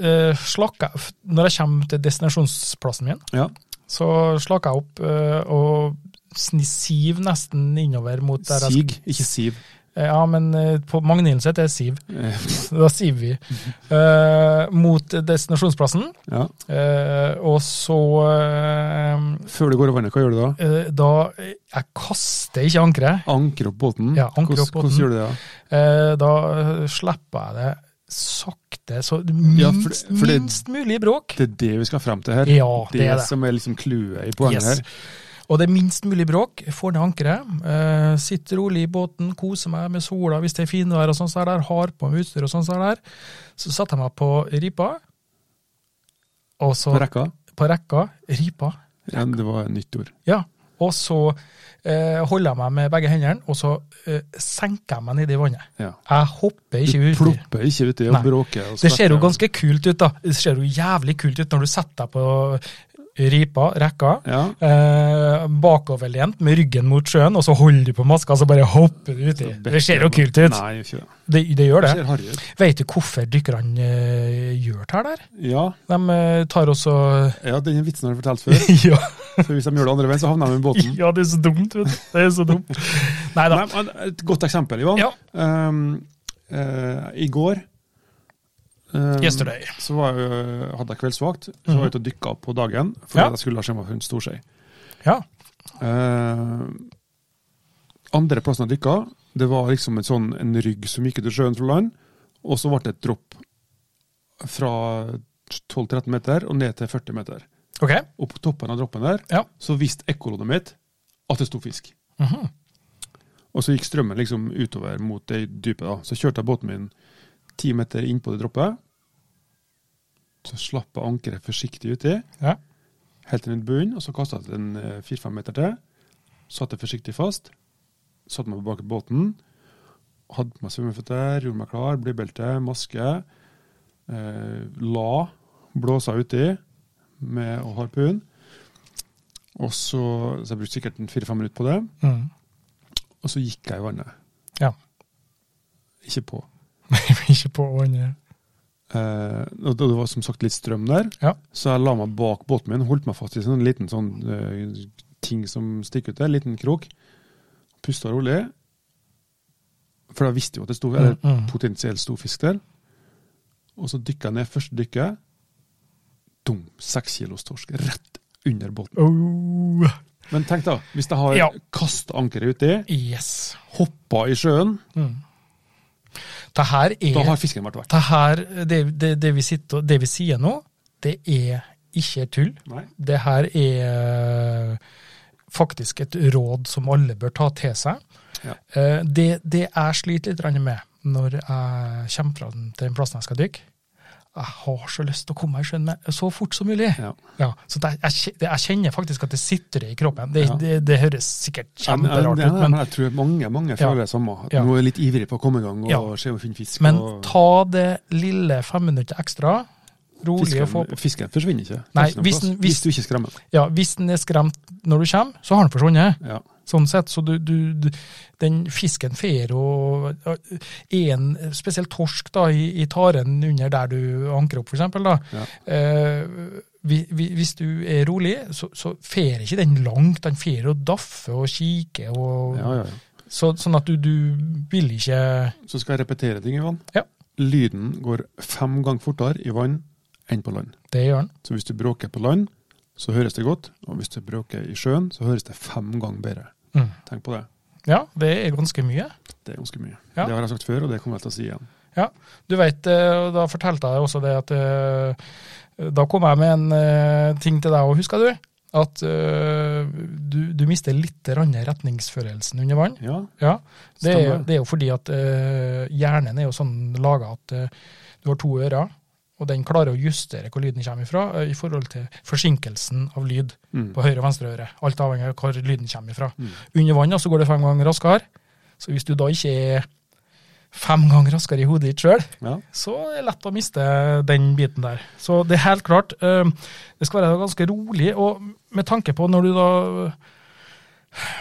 [SPEAKER 2] eh, slakker jeg f- Når jeg kommer til destinasjonsplassen min,
[SPEAKER 3] Ja.
[SPEAKER 2] så slakker jeg opp eh, og sni- siv nesten innover mot der jeg
[SPEAKER 3] Sig, ikke Siv.
[SPEAKER 2] skal Ja, men eh, på Magnhilden sitt er det siv. (laughs)
[SPEAKER 3] Eh,
[SPEAKER 2] Da siver vi. Eh, mot destinasjonsplassen,
[SPEAKER 3] Ja.
[SPEAKER 2] eh, og så eh,
[SPEAKER 3] Før du går i vannet, hva gjør du da?
[SPEAKER 2] Eh, da Jeg kaster ikke ankeret.
[SPEAKER 3] Anker opp båten?
[SPEAKER 2] Ja, anker
[SPEAKER 3] hvordan,
[SPEAKER 2] opp båten.
[SPEAKER 3] Hvordan gjør du det? da?
[SPEAKER 2] Eh, Da eh, slipper jeg det sakte, så
[SPEAKER 3] Ja, for det-
[SPEAKER 2] minst,
[SPEAKER 3] for det-
[SPEAKER 2] minst mulig bråk.
[SPEAKER 3] Det er det vi skal frem til her.
[SPEAKER 2] Ja, det
[SPEAKER 3] det
[SPEAKER 2] er det.
[SPEAKER 3] som er liksom clouet i poenget
[SPEAKER 2] Yes.
[SPEAKER 3] her.
[SPEAKER 2] Og det er minst mulig bråk. Får ned ankeret. Eh, sitter rolig i båten, koser meg med sola hvis det er finvær og sånn som det er der. Har på meg utstyr og sånn som det er der. Så setter jeg meg på ripa. Og så
[SPEAKER 3] På rekka.
[SPEAKER 2] på rekka. Ripa.
[SPEAKER 3] Ja, det var et nytt ord.
[SPEAKER 2] Ja. Og så eh, holder jeg meg med begge hendene, og så eh, senker jeg meg nedi vannet.
[SPEAKER 3] Ja.
[SPEAKER 2] Jeg hopper
[SPEAKER 3] Du
[SPEAKER 2] ikke uti.
[SPEAKER 3] plopper ikke uti og
[SPEAKER 2] Nei.
[SPEAKER 3] bråker. og
[SPEAKER 2] Det ser jo
[SPEAKER 3] spretter.
[SPEAKER 2] ganske kult ut, da. Det ser jo jævlig kult ut når du setter deg på ripa, rekka,
[SPEAKER 3] Ja.
[SPEAKER 2] eh, bakoverlent med ryggen mot sjøen, og så holder du på maska, og så bare hopper du uti. Det ser jo kult ut.
[SPEAKER 3] Nei, gjør ikke det.
[SPEAKER 2] Det, det gjør
[SPEAKER 3] Det
[SPEAKER 2] det.
[SPEAKER 3] ser harry ut.
[SPEAKER 2] Vet du hvorfor dykkerne eh, gjør det her der?
[SPEAKER 3] Ja,
[SPEAKER 2] De eh, tar også
[SPEAKER 3] ja, den vitsen har jeg fortalt
[SPEAKER 2] (laughs)
[SPEAKER 3] før.
[SPEAKER 2] ja,
[SPEAKER 3] For hvis de gjør det andre veien, så havner de i båten.
[SPEAKER 2] (laughs) ja, det er så dumt, vet du. Det er så dumt. Nei da.
[SPEAKER 3] Nei, sånn. men et godt eksempel, Ivan.
[SPEAKER 2] Ja.
[SPEAKER 3] Ehm, eh, I går ehm,
[SPEAKER 2] Yesterday. Mhm.
[SPEAKER 3] så var jeg, eh, hadde jeg kveldsvakt. Så var jeg ute og dykka på dagen fordi
[SPEAKER 2] Ja.
[SPEAKER 3] jeg skulle ha skjemmafugl storskei.
[SPEAKER 2] Ja.
[SPEAKER 3] Uh, andre plassen jeg dykka, det var liksom en sånn en rygg som gikk ut i sjøen fra land, og så ble det et dropp fra 12-13 meter og ned til 40 meter.
[SPEAKER 2] OK.
[SPEAKER 3] Og på toppen av droppen der
[SPEAKER 2] Ja.
[SPEAKER 3] så visste ekkolodet mitt at det sto fisk.
[SPEAKER 2] Mhm.
[SPEAKER 3] Og så gikk strømmen liksom utover mot det dypet. da. Så kjørte jeg båten min ti meter inn på det droppet. Så slapp jeg ankeret forsiktig uti.
[SPEAKER 2] Ja.
[SPEAKER 3] helt til den bunnen, og så kasta jeg den eh, fire-fem meter til. Satte forsiktig fast. Satte meg bak i båten. Hadde på meg svømmeføtter, gjorde meg klar, blybelte, maske. Eh, la blåsa uti med og harpun. Og så, så jeg brukte sikkert en fire-fem minutter på det.
[SPEAKER 2] Mm. (laughs)
[SPEAKER 3] Og så gikk jeg i vannet.
[SPEAKER 2] Ja.
[SPEAKER 3] Ikke på.
[SPEAKER 2] Ikke på vannet.
[SPEAKER 3] Eh, og det det var som sagt litt strøm der,
[SPEAKER 2] Ja.
[SPEAKER 3] så jeg la meg bak båten min, holdt meg fast i en sånn liten sånn eh, ting som stikker ut der, en liten krok. Pusta rolig. For jeg visste jo at det sto, eller
[SPEAKER 2] Mm, mm.
[SPEAKER 3] potensielt sto fisk der. Og så dykka jeg ned første dykket. Dum, seks kilos torsk rett under båten.
[SPEAKER 2] Oh.
[SPEAKER 3] Men tenk da, hvis jeg har
[SPEAKER 2] Ja.
[SPEAKER 3] kasta ankeret uti,
[SPEAKER 2] Yes.
[SPEAKER 3] hoppa i sjøen,
[SPEAKER 2] Det her
[SPEAKER 3] da
[SPEAKER 2] er
[SPEAKER 3] har fisken vært vekk.
[SPEAKER 2] det, her, det, det, det, vi sitter, og- det vi sier nå, det er ikke tull.
[SPEAKER 3] Nei.
[SPEAKER 2] Det her er eh, faktisk et råd som alle bør ta til seg.
[SPEAKER 3] Ja.
[SPEAKER 2] Eh, Det, det jeg sliter litt grann med når jeg kommer fram til den plassen jeg skal dykke, jeg har så lyst til å komme meg i sjøen med så fort som mulig.
[SPEAKER 3] Ja.
[SPEAKER 2] Ja, så det, jeg, kje- det, jeg kjenner faktisk at det sitter i kroppen. Det,
[SPEAKER 3] Ja.
[SPEAKER 2] det, det høres sikkert kjemperart
[SPEAKER 3] Ja,
[SPEAKER 2] ut,
[SPEAKER 3] men,
[SPEAKER 2] men
[SPEAKER 3] men jeg tror mange mange føler det samme. At
[SPEAKER 2] Ja.
[SPEAKER 3] Nå er jeg litt ivrig på å komme i gang og
[SPEAKER 2] Ja.
[SPEAKER 3] se om jeg finner fisk.
[SPEAKER 2] Men
[SPEAKER 3] og
[SPEAKER 2] ta det lille femminuttet ekstra. Rolig å få
[SPEAKER 3] fisken, fisken forsvinner ikke.
[SPEAKER 2] Nei,
[SPEAKER 3] Fisken er
[SPEAKER 2] hvis
[SPEAKER 3] plass.
[SPEAKER 2] den- hvis-
[SPEAKER 3] hvis du ikke skremmer den.
[SPEAKER 2] Ja, Hvis den er skremt når du kommer, så har den forsvunnet.
[SPEAKER 3] Ja.
[SPEAKER 2] Sånn sett, så du, du, du Den fisken fer og er en spesiell torsk da, i, i taren under der du anker opp, f.eks.
[SPEAKER 3] Ja.
[SPEAKER 2] Eh, vi- vi- hvis du er rolig, så, så fer ikke den langt. Den fer og daffer og kikker. Og,
[SPEAKER 3] Ja, ja, ja.
[SPEAKER 2] så, sånn at du, du vil ikke
[SPEAKER 3] Så skal jeg repetere ting, Ivan.
[SPEAKER 2] Ja.
[SPEAKER 3] Lyden går fem ganger fortere i vann enn på land.
[SPEAKER 2] Det gjør den.
[SPEAKER 3] Så hvis du bråker på land, så høres det godt. Og hvis du bråker i sjøen, så høres det fem ganger bedre.
[SPEAKER 2] Mm.
[SPEAKER 3] Tenk på det.
[SPEAKER 2] Ja, det er ganske mye.
[SPEAKER 3] Det er ganske mye.
[SPEAKER 2] Ja.
[SPEAKER 3] Det har jeg sagt før, og det kommer jeg til å si igjen.
[SPEAKER 2] Ja, du vet, eh, og da fortalte jeg også det at eh, Da kom jeg med en eh, ting til deg òg, husker du? At eh, du, du mister litt grann retningsfølelsen under vann.
[SPEAKER 3] Ja,
[SPEAKER 2] Ja, det er,
[SPEAKER 3] Stemmer.
[SPEAKER 2] det er jo fordi at eh, hjernen er jo sånn laga at eh, du har to ører, og den klarer å justere hvor lyden kommer ifra eh, i forhold til forsinkelsen av lyd
[SPEAKER 3] Mm.
[SPEAKER 2] på høyre og venstre øre. Alt avhengig av hvor lyden kommer ifra.
[SPEAKER 3] Mm.
[SPEAKER 2] Under vann da, så går det fem ganger raskere. Så hvis du da ikke er fem ganger raskere i hodet ditt sjøl,
[SPEAKER 3] ja.
[SPEAKER 2] så er det lett å miste den biten der. Så det er helt klart, eh, det skal være ganske rolig, og med tanke på når du da eh,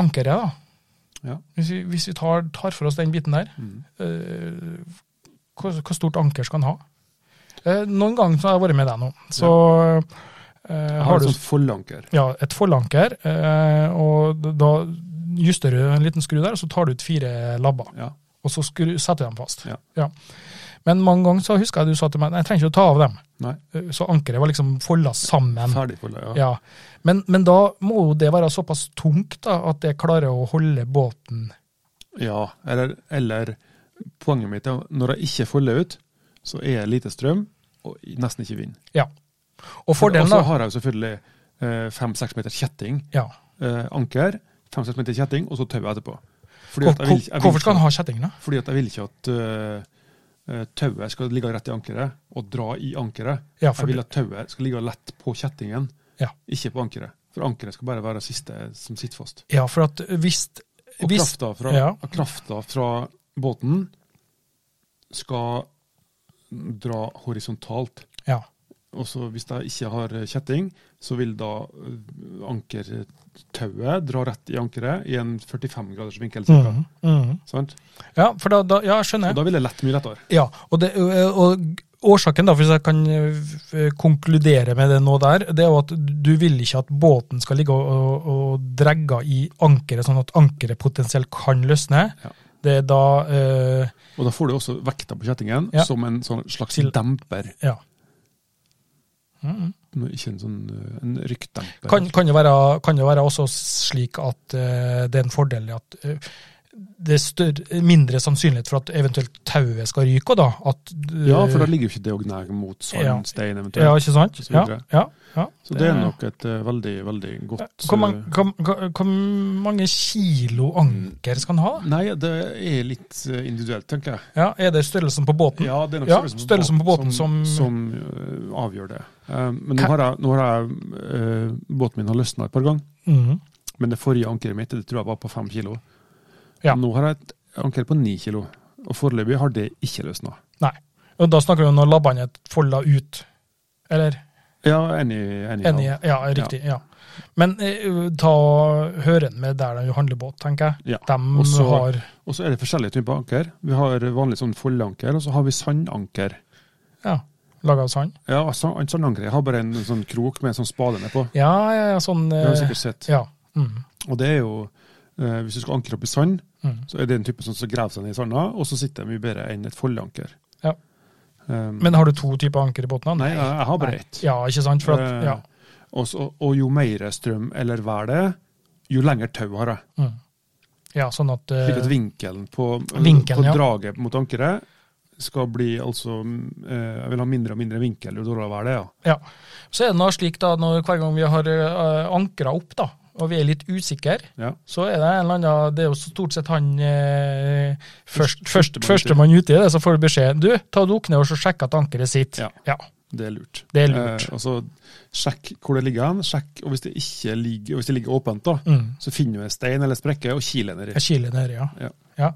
[SPEAKER 2] Ankeret, da.
[SPEAKER 3] Ja.
[SPEAKER 2] Hvis vi, hvis vi tar, tar for oss den biten der,
[SPEAKER 3] Mm.
[SPEAKER 2] eh, hvor, hvor stort anker skal en ha? Eh, noen ganger så har jeg vært med deg nå, så eh,
[SPEAKER 3] Jeg
[SPEAKER 2] har
[SPEAKER 3] har liksom-
[SPEAKER 2] du
[SPEAKER 3] et sånt forlanker.
[SPEAKER 2] ja, et forlanker, eh, og da- da justerer du en liten skru der, og så tar du ut fire labber
[SPEAKER 3] Ja.
[SPEAKER 2] og så skru, setter jeg dem fast.
[SPEAKER 3] Ja.
[SPEAKER 2] Men mange ganger så husker jeg du sa til meg nei, jeg trenger ikke å ta av dem.
[SPEAKER 3] Nei.
[SPEAKER 2] Så ankeret var liksom folda sammen.
[SPEAKER 3] Ferdig forla, ja.
[SPEAKER 2] Ja. Men, men da må jo det være såpass tungt da, at det klarer å holde båten
[SPEAKER 3] Ja, eller, eller poenget mitt er når jeg ikke folder ut, så er det lite strøm og nesten ikke vind.
[SPEAKER 2] Ja. Og fordelen,
[SPEAKER 3] og så
[SPEAKER 2] da
[SPEAKER 3] har jeg jo selvfølgelig eh, fem-seks meter kjetting,
[SPEAKER 2] ja.
[SPEAKER 3] eh, anker, fem-seks meter kjetting, og så tau etterpå. Fordi
[SPEAKER 2] Hvor,
[SPEAKER 3] at jeg vil, jeg vil,
[SPEAKER 2] hvorfor skal han
[SPEAKER 3] ikke-
[SPEAKER 2] ha kjetting, da?
[SPEAKER 3] Fordi at jeg vil ikke at eh, eh, tauet skal ligge rett i ankeret, og dra i ankeret.
[SPEAKER 2] Ja, for
[SPEAKER 3] jeg vil
[SPEAKER 2] det-
[SPEAKER 3] at tauet skal ligge lett på kjettingen,
[SPEAKER 2] Ja.
[SPEAKER 3] ikke på ankeret. For ankeret skal bare være det siste som sitter fast.
[SPEAKER 2] Ja, for at hvis,
[SPEAKER 3] Og
[SPEAKER 2] hvis
[SPEAKER 3] krafta fra,
[SPEAKER 2] ja.
[SPEAKER 3] og krafta fra båten skal dra horisontalt,
[SPEAKER 2] ja.
[SPEAKER 3] Og så hvis jeg ikke har kjetting, så vil da eh, ankertauet dra rett i ankeret i en 45 graders vinkel. cirka.
[SPEAKER 2] Mhm, mhm.
[SPEAKER 3] Sant?
[SPEAKER 2] Ja, for da, da Ja, skjønner.
[SPEAKER 3] Og da vil det lett mye lettere.
[SPEAKER 2] Ja, og, det, eh, og årsaken, da, hvis jeg kan eh, konkludere med det nå der, det er jo at du vil ikke at båten skal ligge og, og, og dregge i ankeret, sånn at ankeret potensielt kan løsne.
[SPEAKER 3] Ja.
[SPEAKER 2] Det er da eh,
[SPEAKER 3] Og da får du også vekta på kjettingen
[SPEAKER 2] Ja.
[SPEAKER 3] som en sånn slags
[SPEAKER 2] Til-
[SPEAKER 3] demper.
[SPEAKER 2] Ja. Mhm.
[SPEAKER 3] Men Ikke en sånn eh, en rykkdemper.
[SPEAKER 2] Kan, kan, det være, kan det være også slik at eh, det er en fordel i at eh, det er større, mindre sannsynlighet for at eventuelt tauet skal ryke, og da at
[SPEAKER 3] ja, for da ligger jo ikke det og gnager mot
[SPEAKER 2] Ja.
[SPEAKER 3] sandstein eventuelt.
[SPEAKER 2] Ja, ikke sant?
[SPEAKER 3] og så
[SPEAKER 2] Ja,
[SPEAKER 3] videre.
[SPEAKER 2] ja, ja.
[SPEAKER 3] Så det er nok et eh, veldig, veldig godt
[SPEAKER 2] Hvor, man,
[SPEAKER 3] eh,
[SPEAKER 2] hvor, hvor, hvor mange kilo anker skal han ha? da?
[SPEAKER 3] Nei, det er litt eh, individuelt, tenker jeg.
[SPEAKER 2] Ja, er det størrelsen på båten?
[SPEAKER 3] Ja, det er nok
[SPEAKER 2] Ja,
[SPEAKER 3] størrelsen,
[SPEAKER 2] størrelsen på båten
[SPEAKER 3] som,
[SPEAKER 2] som-
[SPEAKER 3] som, øh, avgjør det. Eh, men nå
[SPEAKER 2] Ka-
[SPEAKER 3] har jeg, nå har jeg øh, båten min har løsna et par ganger.
[SPEAKER 2] Mhm.
[SPEAKER 3] Men det forrige ankeret mitt det tror jeg var på fem kilo.
[SPEAKER 2] Ja.
[SPEAKER 3] Nå har jeg et anker på ni kilo. Og foreløpig har det ikke løsna.
[SPEAKER 2] Nei. Og da snakker vi om når labbene er folda ut. Eller?
[SPEAKER 3] Ja, enig. enig,
[SPEAKER 2] Enig, ja, riktig. ja. Men eh, ta høren med der de handler båt, tenker jeg.
[SPEAKER 3] Ja,
[SPEAKER 2] De
[SPEAKER 3] og så-
[SPEAKER 2] har
[SPEAKER 3] Og så er det forskjellige typer anker. Vi har vanlig sånn foldeanker, og så har vi sandanker.
[SPEAKER 2] ja, laga av sand.
[SPEAKER 3] Ja, sand, sandanker. Jeg har bare en, sånn krok med en sånn spade nedpå.
[SPEAKER 2] Ja, ja, ja, sånn
[SPEAKER 3] Det
[SPEAKER 2] eh,
[SPEAKER 3] har du sikkert sett.
[SPEAKER 2] Ja. mhm,
[SPEAKER 3] Og det er jo eh, Hvis du skal ankre opp i sand,
[SPEAKER 2] mhm.
[SPEAKER 3] Så er det en type som graver seg ned i sanda, og så sitter de mye bedre enn et foldeanker.
[SPEAKER 2] Ja.
[SPEAKER 3] Um,
[SPEAKER 2] Men har du to typer anker i båten? da?
[SPEAKER 3] nei, jeg, jeg har bare
[SPEAKER 2] Nei.
[SPEAKER 3] ett.
[SPEAKER 2] Ja, ikke sant? For at,
[SPEAKER 3] Eh,
[SPEAKER 2] ja.
[SPEAKER 3] og, så- og jo mer strøm eller vær det er, jo lengre tau har jeg.
[SPEAKER 2] mhm. ja, sånn at eh,
[SPEAKER 3] Slik at vinkelen på,
[SPEAKER 2] Vinkelen,
[SPEAKER 3] på
[SPEAKER 2] ja.
[SPEAKER 3] draget mot ankeret skal bli altså mm, eh, Jeg vil ha mindre og mindre vinkel jo dårligere vær det er. Ja.
[SPEAKER 2] Ja. Så er det nå slik da, når hver gang vi har uh, ankra opp, da, og vi er litt usikre,
[SPEAKER 3] Ja.
[SPEAKER 2] så er det en eller annen Det er jo stort sett han eh, først, først,
[SPEAKER 3] Førstemann
[SPEAKER 2] førstemann uti det, så får du beskjed. Du, ta og dukk ned og så sjekk at ankeret sitter.
[SPEAKER 3] Ja.
[SPEAKER 2] Ja.
[SPEAKER 3] Det er lurt.
[SPEAKER 2] Det er lurt.
[SPEAKER 3] Eh, og så Sjekk hvor det ligger hen. Sjekk, og Hvis det ikke ligger, og hvis det ligger åpent, da,
[SPEAKER 2] Mm.
[SPEAKER 3] så finner du en stein eller sprekke og kiler nedi.
[SPEAKER 2] Jeg kiler nedi, ja.
[SPEAKER 3] Ja.
[SPEAKER 2] ja.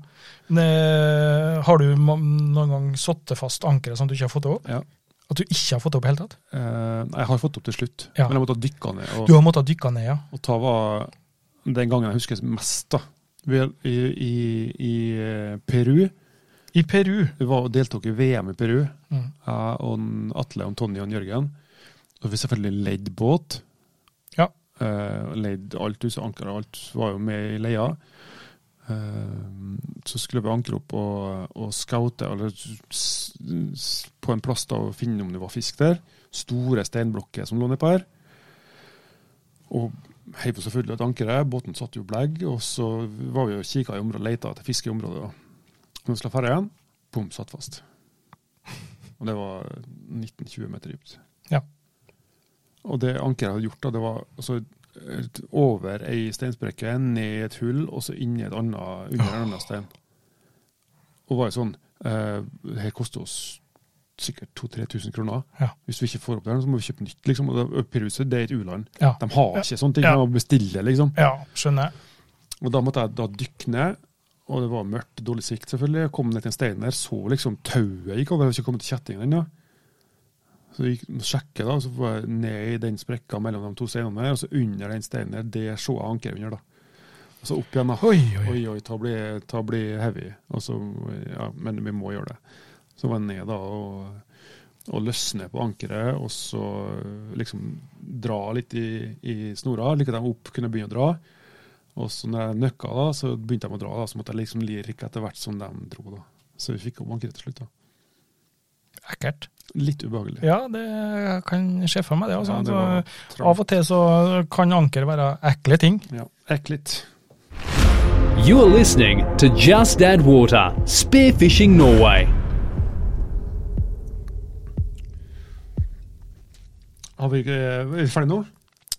[SPEAKER 2] Men, eh, har du ma- noen gang satt fast ankeret sånn at du ikke har fått det opp?
[SPEAKER 3] Ja.
[SPEAKER 2] At du ikke har fått det opp i det hele tatt?
[SPEAKER 3] Eh, nei, jeg har fått opp til slutt,
[SPEAKER 2] Ja.
[SPEAKER 3] men jeg måtte dykke ned. Og,
[SPEAKER 2] Du har måttet dykke ned, ja.
[SPEAKER 3] og ta var den gangen jeg husker mest, da. Vi, er- i, i, I eh, Peru.
[SPEAKER 2] I Peru.
[SPEAKER 3] Vi var og deltok i VM i Peru, jeg
[SPEAKER 2] Mm.
[SPEAKER 3] og en Atle og Tonje og en Jørgen. Og vi selvfølgelig leid båt.
[SPEAKER 2] Ja.
[SPEAKER 3] Eh, og leid alt, hus og anker og alt var jo med i leia. Eh, så skulle vi ankre opp og, og scoute eller, s, s, på en plass da, og finne om det var fisk der. Store steinblokker som lå nedpå her. Og heiv jo selvfølgelig et ankeret. Båten satt jo blegg. Og så var vi og kikka i området og leita etter fisk i området. Da. Når vi skulle ferdig igjen, bom, satt fast. Og det var 19-20 meter dypt.
[SPEAKER 2] Ja.
[SPEAKER 3] Og det ankeret jeg hadde gjort, da, det var altså, et- over ei steinsprekke, ned i et hull, og så inni et annet, under en annen stein. Og var jo sånn eh, Det her koster oss sikkert 2000-3000 kroner.
[SPEAKER 2] Ja.
[SPEAKER 3] Hvis vi ikke får opp det, her, så må vi kjøpe nytt. liksom. Og da- Peruset, det er et u-land.
[SPEAKER 2] Ja.
[SPEAKER 3] De har ikke sånne ting.
[SPEAKER 2] Ja.
[SPEAKER 3] De må bestille, liksom.
[SPEAKER 2] ja, skjønner jeg.
[SPEAKER 3] Og da måtte jeg da dykke ned, og det var mørkt, dårlig sikt selvfølgelig. Jeg kom ned til en stein der, så liksom tauet gikk over, jeg hadde ikke kommet til kjettingen ennå. Så jeg gikk og sjekket da, og så var jeg ned i den sprekka mellom de to steinene der, og så under den steinen der, det så jeg ankeret under da. Og så opp igjen da.
[SPEAKER 2] Oi, oi, oi.
[SPEAKER 3] Oi, oi, ta bli, ta bli heavy. Og så, ja, men vi må gjøre det. Så var jeg ned da og, og løsne på ankeret, og så liksom dra litt i, i snora, like at de opp kunne begynne å dra. Og så når jeg nøkka da, så begynte de å dra, da, så måtte jeg liksom lirke etter hvert som de dro da. Så vi fikk opp ankeret til slutt da.
[SPEAKER 2] Ekkelt.
[SPEAKER 3] Litt ubehagelig.
[SPEAKER 2] Ja, det kan skje for meg, det. Altså.
[SPEAKER 3] Ja, det
[SPEAKER 2] Så-
[SPEAKER 3] var
[SPEAKER 2] Av
[SPEAKER 3] travelt.
[SPEAKER 2] og til så kan anker være ekle ting.
[SPEAKER 3] Ja, ekkelt.
[SPEAKER 1] You are listening to Just Add Water Spearfishing Norway.
[SPEAKER 3] Har vi, ikke- er vi ferdig nå?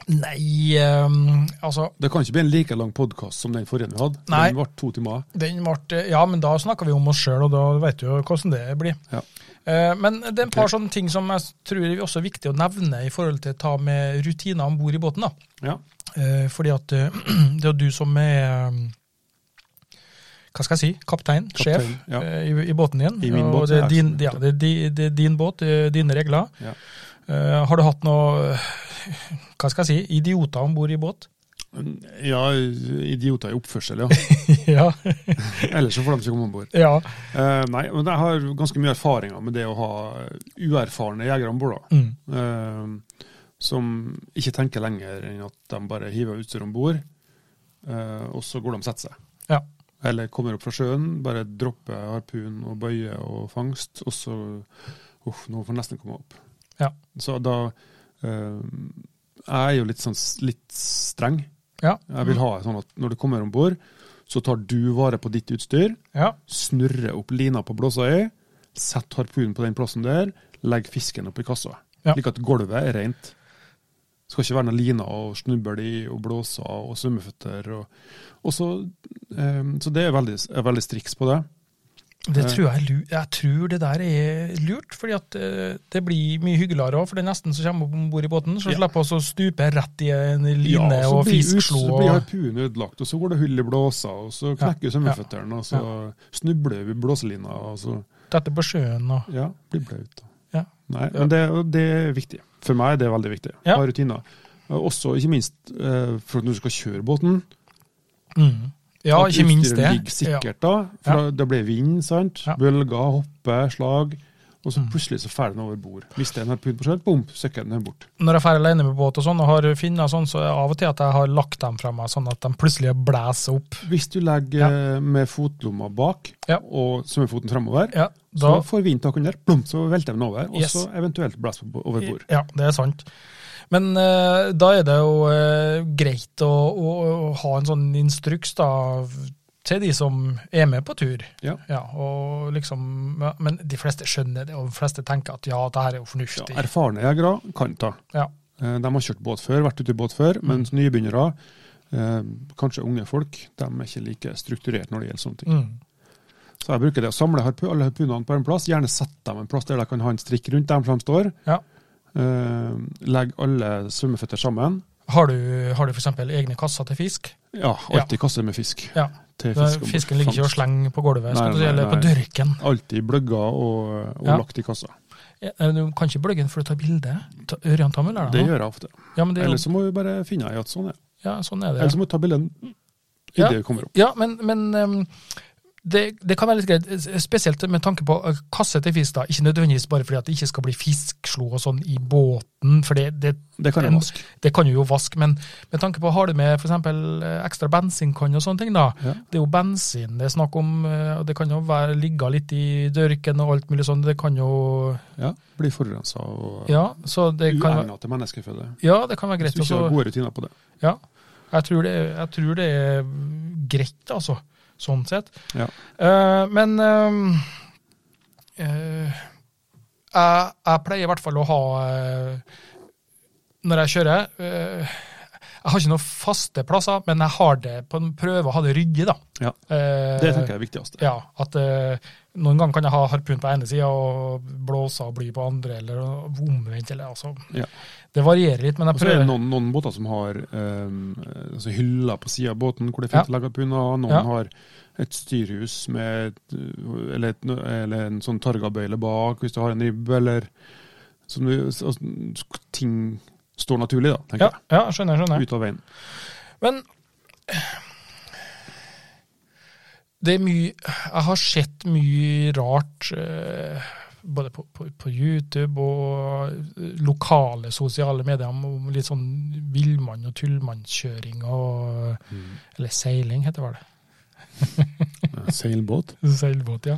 [SPEAKER 2] Nei, ehm, altså
[SPEAKER 3] Det kan ikke bli en like lang podcast som den forrige vi hadde.
[SPEAKER 2] Nei.
[SPEAKER 3] Den ble to timer.
[SPEAKER 2] den ble, Ja, men da snakker vi om oss sjøl, og da vet du jo hvordan det blir.
[SPEAKER 3] Ja.
[SPEAKER 2] Eh, Men det er et par sånne ting som jeg tror er også viktig å nevne i forhold til å ta med rutiner om bord i båten. da.
[SPEAKER 3] Ja.
[SPEAKER 2] Eh, Fordi at eh, (clears throat) det er jo du som er eh, hva skal jeg si, kaptein,
[SPEAKER 3] Kaptein,
[SPEAKER 2] sjef,
[SPEAKER 3] ja.
[SPEAKER 2] eh, i, i båten din.
[SPEAKER 3] I min
[SPEAKER 2] og
[SPEAKER 3] båt,
[SPEAKER 2] det
[SPEAKER 3] så
[SPEAKER 2] er
[SPEAKER 3] er jeg
[SPEAKER 2] din,
[SPEAKER 3] som-
[SPEAKER 2] ja, det er, di, det er din båt, eh, dine regler.
[SPEAKER 3] Ja.
[SPEAKER 2] Eh, har du hatt noe eh, hva skal jeg si, idioter om bord i båt? (laughs)
[SPEAKER 3] Ja, idioter i oppførsel, ja.
[SPEAKER 2] ja.
[SPEAKER 3] Ellers så får de ikke komme om bord.
[SPEAKER 2] ja.
[SPEAKER 3] Eh, nei, men jeg har ganske mye erfaringer med det å ha uerfarne jegere om bord. da.
[SPEAKER 2] Mm.
[SPEAKER 3] Eh, som ikke tenker lenger enn at de bare hiver utstyr om bord, eh, og så går de og setter seg.
[SPEAKER 2] Ja.
[SPEAKER 3] Eller kommer opp fra sjøen, bare dropper harpun og bøye og fangst, og så Uff, nå får den nesten komme opp.
[SPEAKER 2] Ja.
[SPEAKER 3] Så da eh, Jeg er jo litt, sånn, s- litt streng.
[SPEAKER 2] Ja.
[SPEAKER 3] Jeg vil ha det sånn at når du kommer om bord, så tar du vare på ditt utstyr,
[SPEAKER 2] ja.
[SPEAKER 3] snurrer opp lina på blåsa i, setter harpunen på den plassen der, legger fisken oppi kassa.
[SPEAKER 2] Ja.
[SPEAKER 3] Slik at gulvet er rent. Det skal ikke være noe lina og snubbel i og blåser og svømmeføtter. Og, og så, eh, så det er veldig, er veldig striks på det.
[SPEAKER 2] Det tror jeg, er lu- jeg tror det der er lurt, fordi at eh, det blir mye hyggeligere òg for den nesten som kommer om bord i båten. Så
[SPEAKER 3] Ja.
[SPEAKER 2] slipper vi å stupe rett i en line
[SPEAKER 3] Ja, så
[SPEAKER 2] og
[SPEAKER 3] blir ut-
[SPEAKER 2] fiskslo.
[SPEAKER 3] Så blir
[SPEAKER 2] Og,
[SPEAKER 3] harpunen ødelagt, og så går det hull i blåsa, og så knekker svømmeføttene, og så snubler vi i blåselina, og så
[SPEAKER 2] dette på sjøen og
[SPEAKER 3] ja, blir blaut. da.
[SPEAKER 2] Ja.
[SPEAKER 3] Nei, men det, og det er viktig. For meg er det veldig viktig.
[SPEAKER 2] Ja.
[SPEAKER 3] Ha rutiner. Eh, Også, ikke minst, eh, for at når du skal kjøre båten.
[SPEAKER 2] mm. Ja,
[SPEAKER 3] at
[SPEAKER 2] ikke minst det.
[SPEAKER 3] utstyret ligger sikkert da, for
[SPEAKER 2] Ja.
[SPEAKER 3] da- det blir vind, sant?
[SPEAKER 2] Ja. Mm.
[SPEAKER 3] Bølger, hopper, slag. Og så plutselig så fer den over bord. Mister en harpun på sjøen, bom, søkker den bort.
[SPEAKER 2] Når jeg drar alene med båt og sånn, og har finner sånn, så er det av og til at jeg har lagt dem fra meg, sånn at de plutselig blæser opp.
[SPEAKER 3] Hvis du legger eh, med fotlomma bak
[SPEAKER 2] Ja.
[SPEAKER 3] og svømmefoten framover,
[SPEAKER 2] Ja,
[SPEAKER 3] Så
[SPEAKER 2] da,
[SPEAKER 3] får vinden tak under, plump, så velter den over, og
[SPEAKER 2] Yes.
[SPEAKER 3] så eventuelt blæs på- over bord.
[SPEAKER 2] ja, det er sant. Men eh, da er det jo eh, greit å, å, å ha en sånn instruks da, til de som er med på tur.
[SPEAKER 3] Ja.
[SPEAKER 2] Ja, og liksom, ja, men de fleste skjønner det, og de fleste tenker at ja, det her er jo
[SPEAKER 3] Ja,
[SPEAKER 2] fornuftig.
[SPEAKER 3] erfarne jegere kan ta.
[SPEAKER 2] Ja,
[SPEAKER 3] Eh, De har kjørt båt før, vært ute i båt før, mens
[SPEAKER 2] Mm.
[SPEAKER 3] nybegynnere, eh, kanskje unge folk, de er ikke like strukturert når det gjelder sånne ting.
[SPEAKER 2] mm.
[SPEAKER 3] Så jeg bruker det å samle harpu, alle harpunene på en plass, gjerne sette dem en plass der de kan ha en strikk rundt dem for de står.
[SPEAKER 2] ja.
[SPEAKER 3] Eh, Legg alle svømmeføtter sammen.
[SPEAKER 2] Har du, har du for eksempel egne kasser til fisk?
[SPEAKER 3] Ja, alltid kasse med fisk.
[SPEAKER 2] Ja,
[SPEAKER 3] til fisk om
[SPEAKER 2] fisken
[SPEAKER 3] bord.
[SPEAKER 2] ligger ikke og
[SPEAKER 3] Fangst.
[SPEAKER 2] slenger på gulvet,
[SPEAKER 3] Nei,
[SPEAKER 2] skal du si,
[SPEAKER 3] nei,
[SPEAKER 2] eller på
[SPEAKER 3] nei.
[SPEAKER 2] dørken.
[SPEAKER 3] Alltid bløgger og, og
[SPEAKER 2] Ja.
[SPEAKER 3] lagt i kassa.
[SPEAKER 2] Ja, eh, Du kan ikke bløgge den for å ta bilde. Ta- Ørjan Tammel er
[SPEAKER 3] Det
[SPEAKER 2] det nå?
[SPEAKER 3] gjør jeg ofte.
[SPEAKER 2] Ja, men det, er jo-
[SPEAKER 3] Eller så må vi bare finne i at sånn er det.
[SPEAKER 2] ja, sånn er
[SPEAKER 3] Eller
[SPEAKER 2] det.
[SPEAKER 3] så
[SPEAKER 2] ja.
[SPEAKER 3] må du ta bilden idet
[SPEAKER 2] Ja.
[SPEAKER 3] det kommer opp.
[SPEAKER 2] Ja, men, men ehm, det, det kan være litt greit, eh, spesielt med tanke på eh, kasse til fisk. da, Ikke nødvendigvis bare fordi at det ikke skal bli fiskslo og sånn i båten, for det, det,
[SPEAKER 3] Det kan jeg
[SPEAKER 2] En-
[SPEAKER 3] vaske.
[SPEAKER 2] det kan jo vaske. Men med tanke på har du med f.eks. ekstra bensinkann og sånne ting, da.
[SPEAKER 3] Ja.
[SPEAKER 2] Det er jo bensin det er snakk om, eh, og det kan jo være ligge litt i dørken og alt mulig sånn. Det kan jo
[SPEAKER 3] Ja. Blir forurensa og
[SPEAKER 2] Ja, så det kan,
[SPEAKER 3] uegna til menneskeføde.
[SPEAKER 2] ja, det kan være
[SPEAKER 3] Hvis
[SPEAKER 2] greit.
[SPEAKER 3] du ikke
[SPEAKER 2] også-
[SPEAKER 3] har gode rutiner på det.
[SPEAKER 2] Ja, jeg tror det, jeg tror det er greit, altså. Sånn sett.
[SPEAKER 3] Ja.
[SPEAKER 2] Eh, men eh, eh, jeg, jeg pleier i hvert fall å ha eh, Når jeg kjører eh, Jeg har ikke noen faste plasser, men jeg har det på en prøve å ha det ryddig, da.
[SPEAKER 3] Ja.
[SPEAKER 2] Eh,
[SPEAKER 3] Det tenker jeg er viktigst.
[SPEAKER 2] ja, at eh, noen ganger kan jeg ha harpun på ene sida og blåse og bly på andre, eller omvendt, eller altså
[SPEAKER 3] Ja.
[SPEAKER 2] Det varierer litt, men
[SPEAKER 3] Og
[SPEAKER 2] jeg
[SPEAKER 3] så er
[SPEAKER 2] prøver.
[SPEAKER 3] det noen, noen båter som har um, altså hyller på sida av båten hvor det er fint
[SPEAKER 2] Ja.
[SPEAKER 3] å legge punder. Noen
[SPEAKER 2] Ja.
[SPEAKER 3] har et styrhus med et, eller, et, eller en sånn targabøyle bak hvis du har en ribbe, eller sånn, altså, Ting står naturlig, da,
[SPEAKER 2] Ja,
[SPEAKER 3] tenker
[SPEAKER 2] ja, skjønner, skjønner.
[SPEAKER 3] jeg. Ut av veien.
[SPEAKER 2] Men det er mye Jeg har sett mye rart, eh, både på, på, på YouTube og eh, lokale sosiale medier, om- om litt sånn villmann- og tullmannskjøring og
[SPEAKER 3] Mm.
[SPEAKER 2] Eller seiling, heter det vel.
[SPEAKER 3] Seilbåt.
[SPEAKER 2] Seilbåt, ja.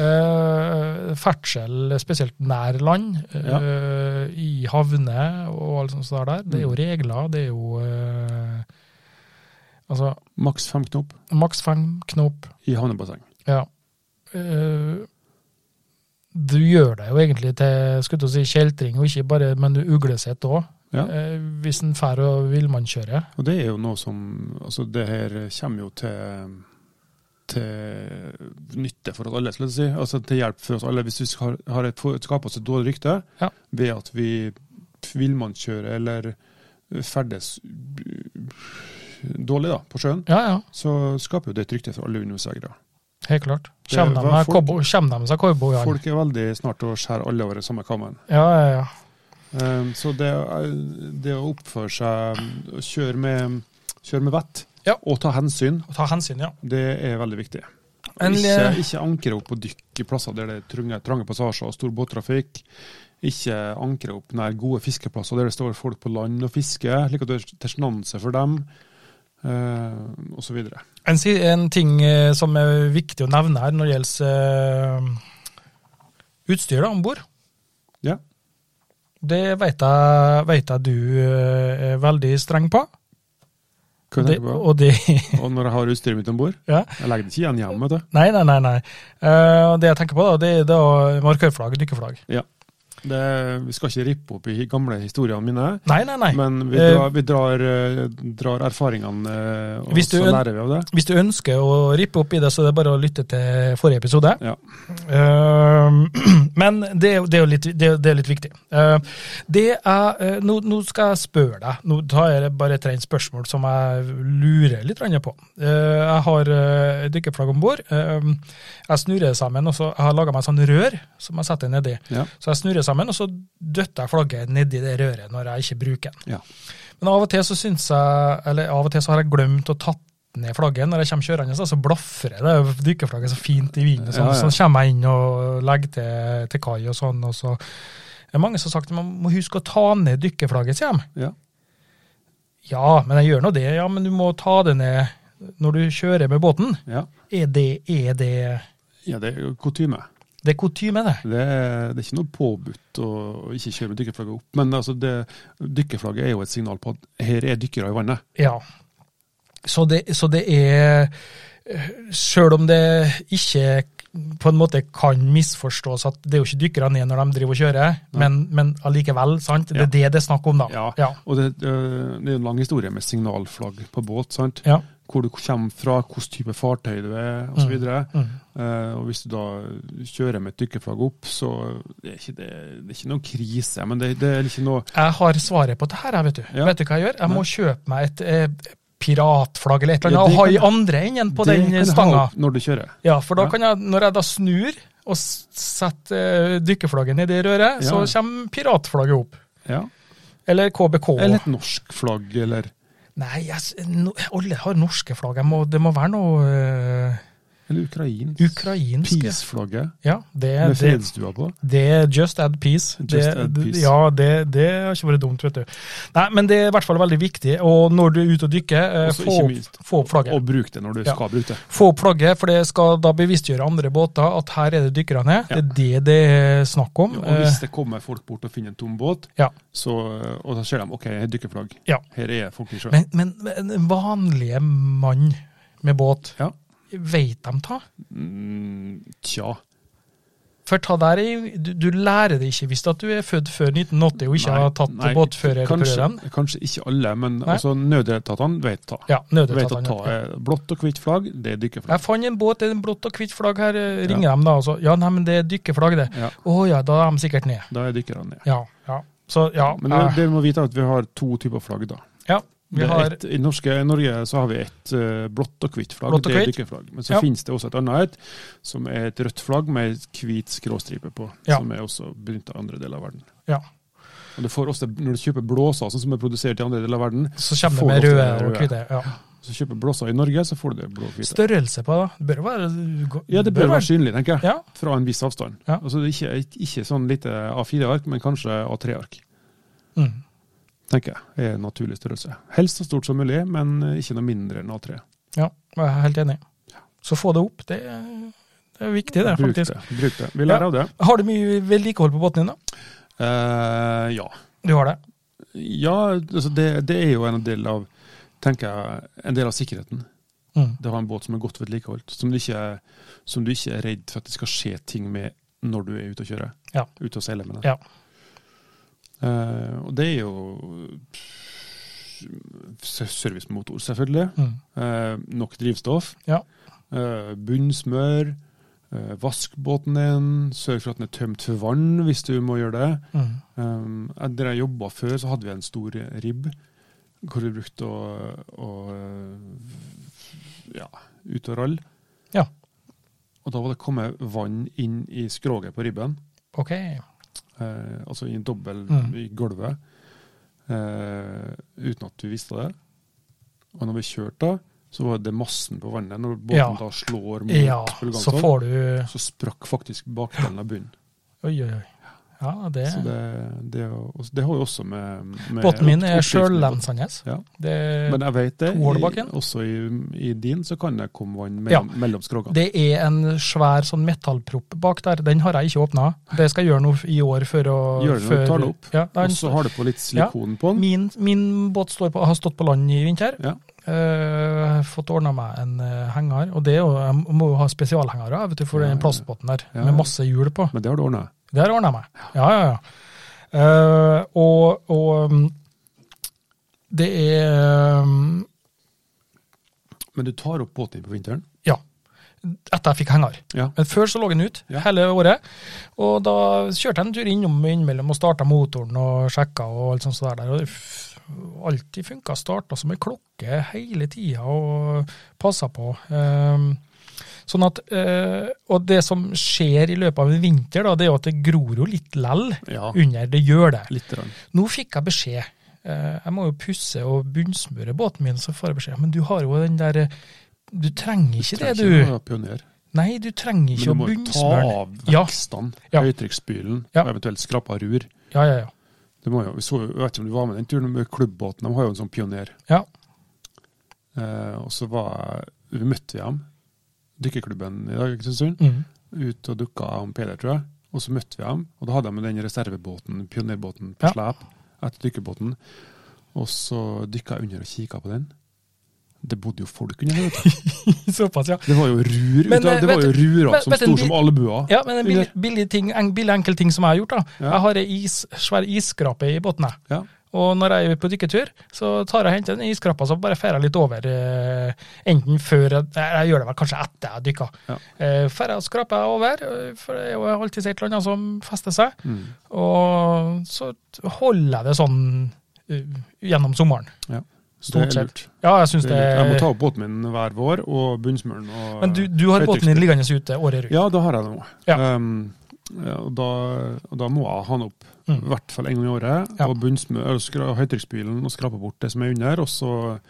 [SPEAKER 2] Eh, ferdsel, spesielt nær land, eh,
[SPEAKER 3] Ja.
[SPEAKER 2] i havner og alt sånt der. Det er jo
[SPEAKER 3] Mm.
[SPEAKER 2] regler, det er jo eh, Altså,
[SPEAKER 3] Maks fem knop
[SPEAKER 2] Maks fem knop.
[SPEAKER 3] i havnebasseng.
[SPEAKER 2] Ja. Eh, du gjør deg jo egentlig til skulle til å si, kjeltring, og ikke bare, men du uglesett òg.
[SPEAKER 3] Ja.
[SPEAKER 2] eh, hvis en drar og villmannskjører.
[SPEAKER 3] Og det er jo noe som Altså, det her kommer jo til til nytte for oss alle, skal jeg si. Altså til hjelp for oss alle. Hvis vi har, har et, for- skaper oss et dårlig rykte
[SPEAKER 2] Ja.
[SPEAKER 3] ved at vi villmannskjører eller ferdes dårlig da, på sjøen,
[SPEAKER 2] Ja, ja.
[SPEAKER 3] så skaper jo det et rykte for alle undersegere.
[SPEAKER 2] Helt klart.
[SPEAKER 3] Det
[SPEAKER 2] Kommer de med
[SPEAKER 3] var folk-
[SPEAKER 2] cowboy- kommer de seg cowboyene?
[SPEAKER 3] Folk er veldig snart til å skjære alle over i samme kammen.
[SPEAKER 2] Ja, ja, ja.
[SPEAKER 3] Eh, Eh, Så det, er- det å oppføre seg, å kjøre med, kjøre med vett
[SPEAKER 2] Ja.
[SPEAKER 3] og ta hensyn,
[SPEAKER 2] Å ta hensyn, ja.
[SPEAKER 3] det er veldig viktig. Og
[SPEAKER 2] En,
[SPEAKER 3] ikke,
[SPEAKER 2] eh,
[SPEAKER 3] ikke ankre opp og dykke i plasser der det er trange, trange passasjer og stor båttrafikk. Ikke ankre opp nær gode fiskeplasser der det står folk på land og fisker, slik at du er til sjenanse for dem, eh, og så videre.
[SPEAKER 2] En, si- en ting eh, som er viktig å nevne her når det gjelder eh, utstyr da, om bord,
[SPEAKER 3] Ja.
[SPEAKER 2] det vet jeg, vet jeg du eh, er veldig streng på.
[SPEAKER 3] Hva
[SPEAKER 2] Det,
[SPEAKER 3] tenker du på?
[SPEAKER 2] og det (laughs)
[SPEAKER 3] Og når jeg har utstyret mitt om bord
[SPEAKER 2] ja.
[SPEAKER 3] Jeg legger det ikke igjen hjemme, vet du.
[SPEAKER 2] Nei, nei, nei. nei. Eh, og det jeg tenker på, da, det er da markørflagg, dykkerflagg.
[SPEAKER 3] Det, vi skal ikke rippe opp i gamle historiene mine,
[SPEAKER 2] Nei, nei, nei.
[SPEAKER 3] men vi
[SPEAKER 2] Eh,
[SPEAKER 3] drar, vi drar, eh, drar erfaringene, eh, og
[SPEAKER 2] Hvis du-
[SPEAKER 3] så lærer vi av det.
[SPEAKER 2] Hvis du ønsker å rippe opp i det, så er det bare å lytte til forrige episode.
[SPEAKER 3] Ja.
[SPEAKER 2] Ehm, (clears throat) men det, er jo- det er jo litt, det, er- det er litt viktig. Ehm, det er, eh, nå, nå skal jeg spørre deg. Nå tar jeg bare et rent spørsmål som jeg lurer litt grann på. Ehm, jeg har eh, et dykkerflagg om bord. Ehm, jeg snurrer det sammen, og så jeg har laga meg sånn rør som jeg setter nedi.
[SPEAKER 3] Ja.
[SPEAKER 2] Så jeg snurrer sammen, og så døtter jeg flagget nedi det røret når jeg ikke bruker den.
[SPEAKER 3] Ja.
[SPEAKER 2] Men av og til så syns jeg, eller av og til så har jeg glemt å tatt ned flagget. Når jeg kommer kjørende, så- så blafrer det dykkerflagget så fint i vinden. Sånn,
[SPEAKER 3] Ja,
[SPEAKER 2] Så
[SPEAKER 3] ja.
[SPEAKER 2] kommer jeg inn og legger til, til kai og sånn. og så det er mange som har sagt man må huske å ta ned dykkerflagget, sier de.
[SPEAKER 3] Ja.
[SPEAKER 2] Ja, men jeg gjør nå det. Ja, men du må ta det ned når du kjører med båten.
[SPEAKER 3] Ja.
[SPEAKER 2] Er det er det,
[SPEAKER 3] ja, det er jo kutyme.
[SPEAKER 2] det er kutyme, det.
[SPEAKER 3] Det, er- det er ikke noe påbudt å å ikke kjøre med dykkerflagget opp. Men altså det, dykkerflagget er jo et signal på at her er dykkere i vannet.
[SPEAKER 2] Ja. Så det, så det er Sjøl om det ikke på en måte kan misforstås at det er jo ikke dykkerne er når de driver og kjører, men, men allikevel, sant? Det
[SPEAKER 3] Ja.
[SPEAKER 2] er det det er snakk om, da.
[SPEAKER 3] Ja.
[SPEAKER 2] Ja.
[SPEAKER 3] Og det, øh, det er jo en lang historie med signalflagg på båt. sant?
[SPEAKER 2] Ja.
[SPEAKER 3] Hvor du kommer fra, hvilken type fartøy du er osv.
[SPEAKER 2] Mm.
[SPEAKER 3] Eh, og hvis du da kjører med et dykkerflagg opp, så det er ikke, det, det er ikke noe krise. Men det, det er ikke noe
[SPEAKER 2] Jeg har svaret på det her, jeg, vet du.
[SPEAKER 3] Ja.
[SPEAKER 2] Vet du hva jeg gjør? Jeg må kjøpe meg et eh, piratflagg eller et eller
[SPEAKER 3] Ja,
[SPEAKER 2] annet,
[SPEAKER 3] det
[SPEAKER 2] og ha
[SPEAKER 3] kan
[SPEAKER 2] i
[SPEAKER 3] du-
[SPEAKER 2] andre enden på
[SPEAKER 3] det kan
[SPEAKER 2] den
[SPEAKER 3] du ha
[SPEAKER 2] stanga.
[SPEAKER 3] opp når du kjører.
[SPEAKER 2] Ja, for da
[SPEAKER 3] Ja.
[SPEAKER 2] kan jeg, når jeg da snur og s- setter eh, dykkerflagget ned i røret, så
[SPEAKER 3] Ja.
[SPEAKER 2] kommer piratflagget opp.
[SPEAKER 3] Ja.
[SPEAKER 2] Eller KBK.
[SPEAKER 3] Eller et norsk flagg, eller,
[SPEAKER 2] Nei, jeg, s- no, alle har norske flagg. Jeg må, det må være noe eh,
[SPEAKER 3] eller ukrainsk.
[SPEAKER 2] ukrainsk. ja.
[SPEAKER 3] Peace-flagget
[SPEAKER 2] Ja, det,
[SPEAKER 3] med
[SPEAKER 2] det,
[SPEAKER 3] fredsdua på.
[SPEAKER 2] det er just add peace.
[SPEAKER 3] Just
[SPEAKER 2] det,
[SPEAKER 3] add peace.
[SPEAKER 2] Ja, det, det har ikke vært dumt, vet du. Nei, men det er i hvert fall veldig viktig. Og når du er ute og dykker, eh,
[SPEAKER 3] Også
[SPEAKER 2] få,
[SPEAKER 3] ikke
[SPEAKER 2] opp-
[SPEAKER 3] minst,
[SPEAKER 2] få opp flagget.
[SPEAKER 3] Og bruk det når du
[SPEAKER 2] Ja.
[SPEAKER 3] skal bruke det.
[SPEAKER 2] Få opp flagget, for det skal da bevisstgjøre andre båter at her er det dykkerne.
[SPEAKER 3] Ja.
[SPEAKER 2] Det er det det er snakk om.
[SPEAKER 3] Og hvis
[SPEAKER 2] Eh,
[SPEAKER 3] det kommer folk bort og finner en tom båt,
[SPEAKER 2] Ja.
[SPEAKER 3] så, og da ser de ok, her er dykkerflagg,
[SPEAKER 2] Ja.
[SPEAKER 3] her er folk i sjøen.
[SPEAKER 2] Men, men men vanlige mann med båt,
[SPEAKER 3] Ja.
[SPEAKER 2] veit de ta?
[SPEAKER 3] Mm, tja.
[SPEAKER 2] For ta der, i- du, du lærer det ikke hvis at du er født før 1980 og ikke
[SPEAKER 3] Nei,
[SPEAKER 2] har tatt
[SPEAKER 3] nei, Kanskje,
[SPEAKER 2] båtførerprøven.
[SPEAKER 3] kanskje ikke alle, men
[SPEAKER 2] Nei.
[SPEAKER 3] altså, nødetatene vet ta.
[SPEAKER 2] Ja,
[SPEAKER 3] Vet å ta
[SPEAKER 2] nødetatene.
[SPEAKER 3] eh, blått og hvitt flagg, det er dykkerflagg.
[SPEAKER 2] Jeg fant en båt, det er en blått og hvitt flagg her, eh, ringer dem da og så, Ja, nei, men det er dykkerflagg, det.
[SPEAKER 3] Ja,
[SPEAKER 2] Å ja, da er de sikkert ned.
[SPEAKER 3] da er dykkerne ned.
[SPEAKER 2] Ja. ja. Så ja.
[SPEAKER 3] Men det,
[SPEAKER 2] eh,
[SPEAKER 3] det vi må vite er at vi har to typer flagg, da.
[SPEAKER 2] ja
[SPEAKER 3] Det
[SPEAKER 2] vi
[SPEAKER 3] er
[SPEAKER 2] har
[SPEAKER 3] et, I norske, i Norge så har vi et eh, blått og hvitt flagg,
[SPEAKER 2] Blått og
[SPEAKER 3] det er
[SPEAKER 2] hvitt.
[SPEAKER 3] dykkerflagg. Men så
[SPEAKER 2] Ja.
[SPEAKER 3] finnes det også et annet et, som er et rødt flagg med et hvit skråstripe på,
[SPEAKER 2] Ja.
[SPEAKER 3] som er også begynt av andre deler av verden.
[SPEAKER 2] Ja.
[SPEAKER 3] Og det får ofte, Når du kjøper blåser sånn som er produsert i andre deler av verden,
[SPEAKER 2] Så kommer
[SPEAKER 3] Får
[SPEAKER 2] det med
[SPEAKER 3] ofte
[SPEAKER 2] røde
[SPEAKER 3] det
[SPEAKER 2] og
[SPEAKER 3] røde.
[SPEAKER 2] hvite. Ja.
[SPEAKER 3] så kjøper blåser i Norge, så får du det blå-hvite.
[SPEAKER 2] Størrelse på det? Bør være
[SPEAKER 3] Ja, det bør være synlig, tenker jeg.
[SPEAKER 2] Ja.
[SPEAKER 3] Fra en viss avstand.
[SPEAKER 2] Ja.
[SPEAKER 3] Altså det er ikke, ikke sånn lite A4-ark, men kanskje A3-ark,
[SPEAKER 2] Mm.
[SPEAKER 3] tenker jeg. Er en naturlig størrelse. Helst så stort som mulig, men eh, ikke noe mindre enn A3.
[SPEAKER 2] Ja, jeg er helt enig. Så få det opp, det er, det er viktig, det,
[SPEAKER 3] Bruk
[SPEAKER 2] faktisk.
[SPEAKER 3] det. Bruk det. Vi lærer av det.
[SPEAKER 2] Har du mye vedlikehold på båten din, da?
[SPEAKER 3] Eh, ja.
[SPEAKER 2] Du har det?
[SPEAKER 3] Ja, altså det, det er jo en del av tenker jeg, en del av sikkerheten.
[SPEAKER 2] Mm.
[SPEAKER 3] Det å ha en båt som er godt vedlikeholdt. Som, du ikke- som du ikke er redd for at det skal skje ting med når du er ute og kjører.
[SPEAKER 2] Ja.
[SPEAKER 3] Ute og seiler med det.
[SPEAKER 2] Ja.
[SPEAKER 3] Eh, og det er jo s- servicemotor, selvfølgelig.
[SPEAKER 2] Mm.
[SPEAKER 3] Eh, nok drivstoff.
[SPEAKER 2] Ja.
[SPEAKER 3] Eh, bunnsmør. Eh, vask båten din. Sørg for at den er tømt for vann hvis du må gjøre det.
[SPEAKER 2] Mm.
[SPEAKER 3] Um, jeg- der jeg jobba før, så hadde vi en stor eh, ribb hvor vi brukte å, å eh, ja, ut og ralle.
[SPEAKER 2] Ja.
[SPEAKER 3] Og da var det kommet vann inn i skroget på ribben.
[SPEAKER 2] Ok.
[SPEAKER 3] eh, altså i en dobbel
[SPEAKER 2] Mm.
[SPEAKER 3] i gulvet, eh, uten at du visste det. Og når vi kjørte da, så var det massen på vannet. Når båten
[SPEAKER 2] Ja.
[SPEAKER 3] da slår mot
[SPEAKER 2] Ja, så
[SPEAKER 3] Bulgansson, så,
[SPEAKER 2] får du
[SPEAKER 3] sprakk faktisk bakdelen av bunnen.
[SPEAKER 2] Oi, oi, oi. Ja, det,
[SPEAKER 3] Så det, det, er jo- og det har jo også med, med
[SPEAKER 2] Båten min er
[SPEAKER 3] oppskriften å gjøre.
[SPEAKER 2] sjøllensende.
[SPEAKER 3] Ja.
[SPEAKER 2] Det,
[SPEAKER 3] Men jeg vet det,
[SPEAKER 2] To år tilbake
[SPEAKER 3] i,
[SPEAKER 2] igjen.
[SPEAKER 3] også i, i din så kan det komme vann
[SPEAKER 2] Ja.
[SPEAKER 3] mellom, mellom skrogene.
[SPEAKER 2] det er en svær sånn metallpropp bak der. Den har jeg ikke åpna. Det skal jeg gjøre nå i år for å
[SPEAKER 3] Gjør det når du
[SPEAKER 2] før-
[SPEAKER 3] tar det opp.
[SPEAKER 2] Ja,
[SPEAKER 3] Og
[SPEAKER 2] den,
[SPEAKER 3] så har du på litt silikon på den.
[SPEAKER 2] Min, min båt står på, har stått på land i vinter.
[SPEAKER 3] Ja.
[SPEAKER 2] Eh, Jeg har fått ordna meg en eh, henger, og det er jo, jeg må jo ha spesialhengere vet du, for
[SPEAKER 3] Ja, ja,
[SPEAKER 2] den
[SPEAKER 3] ja.
[SPEAKER 2] plastbåten der,
[SPEAKER 3] Ja, ja.
[SPEAKER 2] med masse hjul på.
[SPEAKER 3] Men det har du ordna.
[SPEAKER 2] Det har ordna meg. Ja, ja, ja. Eh, og, og mm, det er mm,
[SPEAKER 3] Men du tar opp båten på vinteren?
[SPEAKER 2] Ja. Etter jeg fikk henger.
[SPEAKER 3] Ja.
[SPEAKER 2] Men før så lå den ut
[SPEAKER 3] Ja.
[SPEAKER 2] hele året. Og da kjørte jeg en tur innom innimellom og starta motoren og sjekka og alt sånt der. Og det f- alltid funka. Starta som ei klokke hele tida og passa på. Ehm, sånn at, eh, Og det som skjer i løpet av en vinter, da, det er jo at det gror jo litt lell
[SPEAKER 3] Ja.
[SPEAKER 2] under. Det gjør det.
[SPEAKER 3] Litt. Rann.
[SPEAKER 2] Nå fikk jeg beskjed. eh, Jeg må jo pusse og bunnsmøre båten min, så får jeg beskjed. Men du har jo den der eh, Du trenger ikke det,
[SPEAKER 3] Trenger
[SPEAKER 2] du.
[SPEAKER 3] ikke å være pioner.
[SPEAKER 2] Nei, du trenger
[SPEAKER 3] Men
[SPEAKER 2] ikke
[SPEAKER 3] du
[SPEAKER 2] å
[SPEAKER 3] må jo ta
[SPEAKER 2] bunnsmøre den.
[SPEAKER 3] av
[SPEAKER 2] Ja.
[SPEAKER 3] vekstene,
[SPEAKER 2] Ja.
[SPEAKER 3] høytrykksspylen,
[SPEAKER 2] Ja.
[SPEAKER 3] og eventuelt skrapa rur.
[SPEAKER 2] Ja, ja, ja.
[SPEAKER 3] Det må jo, vi så, jo- jeg vet ikke om du var med den turen med klubbbåten, de har jo en sånn pioner.
[SPEAKER 2] ja.
[SPEAKER 3] Eh, og så var jeg, vi møtte vi dem, dykkerklubben i dag, i Kristiansund,
[SPEAKER 2] Mm.
[SPEAKER 3] ut og dukka om Peder, tror jeg. Og så møtte vi dem, og da hadde de den reservebåten, pionerbåten, på
[SPEAKER 2] Ja.
[SPEAKER 3] slep etter dykkerbåten. Og så dykka jeg under og kikka på den. Det bodde jo folk under der. vet
[SPEAKER 2] (laughs)
[SPEAKER 3] du.
[SPEAKER 2] Såpass, ja.
[SPEAKER 3] Det var jo rur,
[SPEAKER 2] Men,
[SPEAKER 3] ut av-
[SPEAKER 2] eh,
[SPEAKER 3] det var
[SPEAKER 2] vet
[SPEAKER 3] jo
[SPEAKER 2] du-
[SPEAKER 3] rurer
[SPEAKER 2] men-
[SPEAKER 3] som
[SPEAKER 2] vet du,
[SPEAKER 3] sto
[SPEAKER 2] vi-
[SPEAKER 3] som albuer.
[SPEAKER 2] Ja, men en billig, billig, ting, en billig enkel ting som jeg har gjort, da.
[SPEAKER 3] Ja.
[SPEAKER 2] Jeg har ei is, svær isskrape i bunnen, jeg.
[SPEAKER 3] Ja.
[SPEAKER 2] Og når jeg er på dykketur, så tar jeg og henter den isskrapa, så bare feirer jeg litt over. eh, Enten før jeg, nei, jeg gjør det vel kanskje etter jeg dykker.
[SPEAKER 3] Ja.
[SPEAKER 2] Eh, Feirer og skraper jeg over, eh, for det er jo alltid et eller annet som fester seg.
[SPEAKER 3] Mm.
[SPEAKER 2] Og så holder jeg det sånn eh, gjennom sommeren. Stort
[SPEAKER 3] Det er
[SPEAKER 2] sett. Ja, jeg syns
[SPEAKER 3] Det
[SPEAKER 2] det,
[SPEAKER 3] er lurt. Jeg må ta opp båten min hver vår, og bunnsmøren og
[SPEAKER 2] Men du, du har båten din liggende ute året rundt.
[SPEAKER 3] Ja, da har jeg det nå.
[SPEAKER 2] Ja.
[SPEAKER 3] Um, ja, og, da, og da må jeg ha den opp, i
[SPEAKER 2] Mm.
[SPEAKER 3] hvert fall en gang i året.
[SPEAKER 2] Ja.
[SPEAKER 3] Og bunnsmør, og skra- høytrykksspylen og skrape bort det som er under, og så,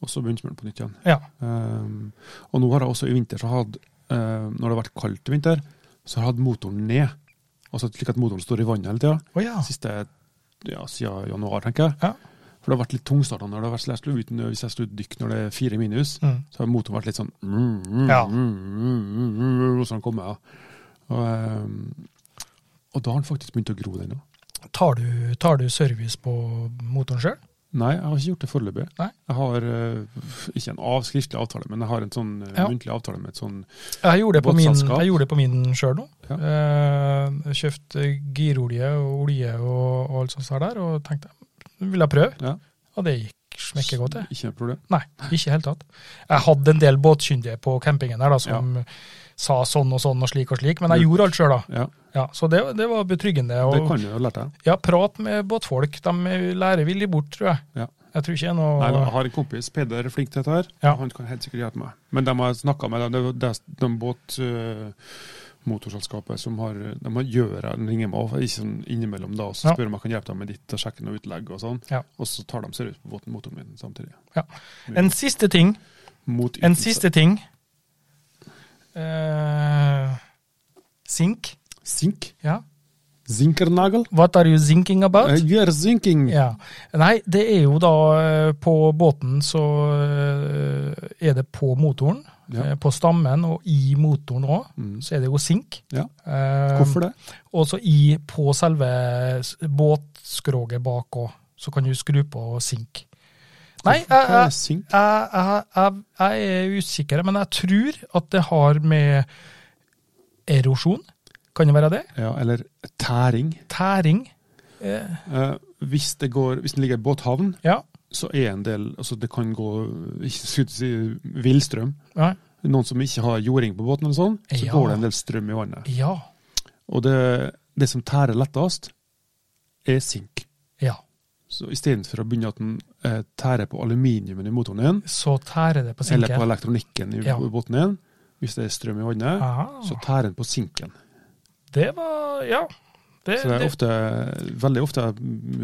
[SPEAKER 3] og så bunnsmøren på nytt igjen.
[SPEAKER 2] Ja.
[SPEAKER 3] Um, og nå har jeg også i vinter, så hatt, um, når det har vært kaldt i vinter, så har jeg hatt motoren ned. Altså slik at motoren står i vannet hele tida.
[SPEAKER 2] Å ja.
[SPEAKER 3] Siste, ja, siden januar, tenker jeg.
[SPEAKER 2] Ah. Ja.
[SPEAKER 3] For det har vært litt tungstarta når det har vært så jeg skulle ut, hvis jeg skulle dykke når det er fire minus.
[SPEAKER 2] Mm.
[SPEAKER 3] Så har motoren vært litt sånn mm, mm,
[SPEAKER 2] Ja.
[SPEAKER 3] mm, mm, mm, mm, Og sånn kommer jeg. Og, ehm, og da har den faktisk begynt å gro, den òg.
[SPEAKER 2] Tar, du, tar du service på motoren sjøl?
[SPEAKER 3] Nei, jeg har ikke gjort det foreløpig.
[SPEAKER 2] Nei.
[SPEAKER 3] Jeg har eh, ikke en av- skriftlig avtale, men jeg har en sånn eh,
[SPEAKER 2] Ja.
[SPEAKER 3] muntlig avtale med et sånn
[SPEAKER 2] Jeg gjorde det på min,
[SPEAKER 3] Båtselskap.
[SPEAKER 2] jeg gjorde det på min sjøl nå.
[SPEAKER 3] Ja.
[SPEAKER 2] Eh, Kjøpte girolje og olje og, og alt sånt der, der, og tenkte vil jeg prøve,
[SPEAKER 3] ja,
[SPEAKER 2] og det gikk smekke godt, det.
[SPEAKER 3] Ikke noe problem.
[SPEAKER 2] Nei, ikke i hele tatt. Jeg hadde en del båtkyndige på campingen her da, som sa sånn og sånn og slik og slik, men jeg
[SPEAKER 3] Lurt.
[SPEAKER 2] gjorde alt sjøl da.
[SPEAKER 3] Ja,
[SPEAKER 2] Ja, så det, det var betryggende.
[SPEAKER 3] Det
[SPEAKER 2] Og,
[SPEAKER 3] kan du jo ha lært deg.
[SPEAKER 2] ja, prat med båtfolk. De lærer villig bort, tror jeg.
[SPEAKER 3] Ja.
[SPEAKER 2] Jeg tror ikke det er noe
[SPEAKER 3] Nei, jeg har en kompis, Peder, er flink til dette her.
[SPEAKER 2] Ja.
[SPEAKER 3] Han kan helt sikkert hjelpe meg. Men de har snakka med de, de, de båtmotorselskapet som har De har gjør jeg ringer meg også, ikke sånn innimellom da, og så
[SPEAKER 2] Ja.
[SPEAKER 3] spør om jeg kan hjelpe dem med ditt og sjekke noe utlegg og sånn.
[SPEAKER 2] Ja.
[SPEAKER 3] Og så tar de seriøst på båten, motoren min samtidig.
[SPEAKER 2] Ja. En siste ting.
[SPEAKER 3] Mot
[SPEAKER 2] En
[SPEAKER 3] ytelse.
[SPEAKER 2] siste ting. Eh, sink.
[SPEAKER 3] Sink.
[SPEAKER 2] Ja.
[SPEAKER 3] Zinkernagel.
[SPEAKER 2] What are you thinking about?
[SPEAKER 3] Eh, You are zinking.
[SPEAKER 2] Ja. Nei, det er jo da eh, På båten så eh, er det på motoren.
[SPEAKER 3] Ja.
[SPEAKER 2] eh, På stammen og i motoren òg,
[SPEAKER 3] Mm.
[SPEAKER 2] så er det jo sink.
[SPEAKER 3] Ja.
[SPEAKER 2] Eh,
[SPEAKER 3] Hvorfor det?
[SPEAKER 2] Og så i på selve s- båtskroget bak òg, så kan du skru på sink. Nei, eh, jeg,
[SPEAKER 3] Hva
[SPEAKER 2] jeg,
[SPEAKER 3] er sink?
[SPEAKER 2] jeg, jeg, jeg, jeg er usikker, men jeg tror at det har med erosjon, kan det være det?
[SPEAKER 3] Ja, eller tæring.
[SPEAKER 2] Tæring. Eh,
[SPEAKER 3] Eh, hvis, det går, hvis den ligger i båthavn,
[SPEAKER 2] ja.
[SPEAKER 3] så er en del altså Det kan gå ikke skulle si villstrøm.
[SPEAKER 2] Nei.
[SPEAKER 3] noen som ikke har jording på båten, eller sånn, så
[SPEAKER 2] Ja.
[SPEAKER 3] går det en del strøm i vannet.
[SPEAKER 2] Ja.
[SPEAKER 3] Og det, det som tærer lettest, er sink.
[SPEAKER 2] Ja.
[SPEAKER 3] Så Istedenfor å begynne at den eh, tærer på aluminiumen i motoren din,
[SPEAKER 2] Så tærer det på
[SPEAKER 3] eller på
[SPEAKER 2] sinken.
[SPEAKER 3] elektronikken i
[SPEAKER 2] Ja.
[SPEAKER 3] båten din, hvis det er strøm i vannet,
[SPEAKER 2] Ah,
[SPEAKER 3] så tærer den på sinken.
[SPEAKER 2] det var Ja. Det,
[SPEAKER 3] Så det er
[SPEAKER 2] det-
[SPEAKER 3] ofte, veldig ofte jeg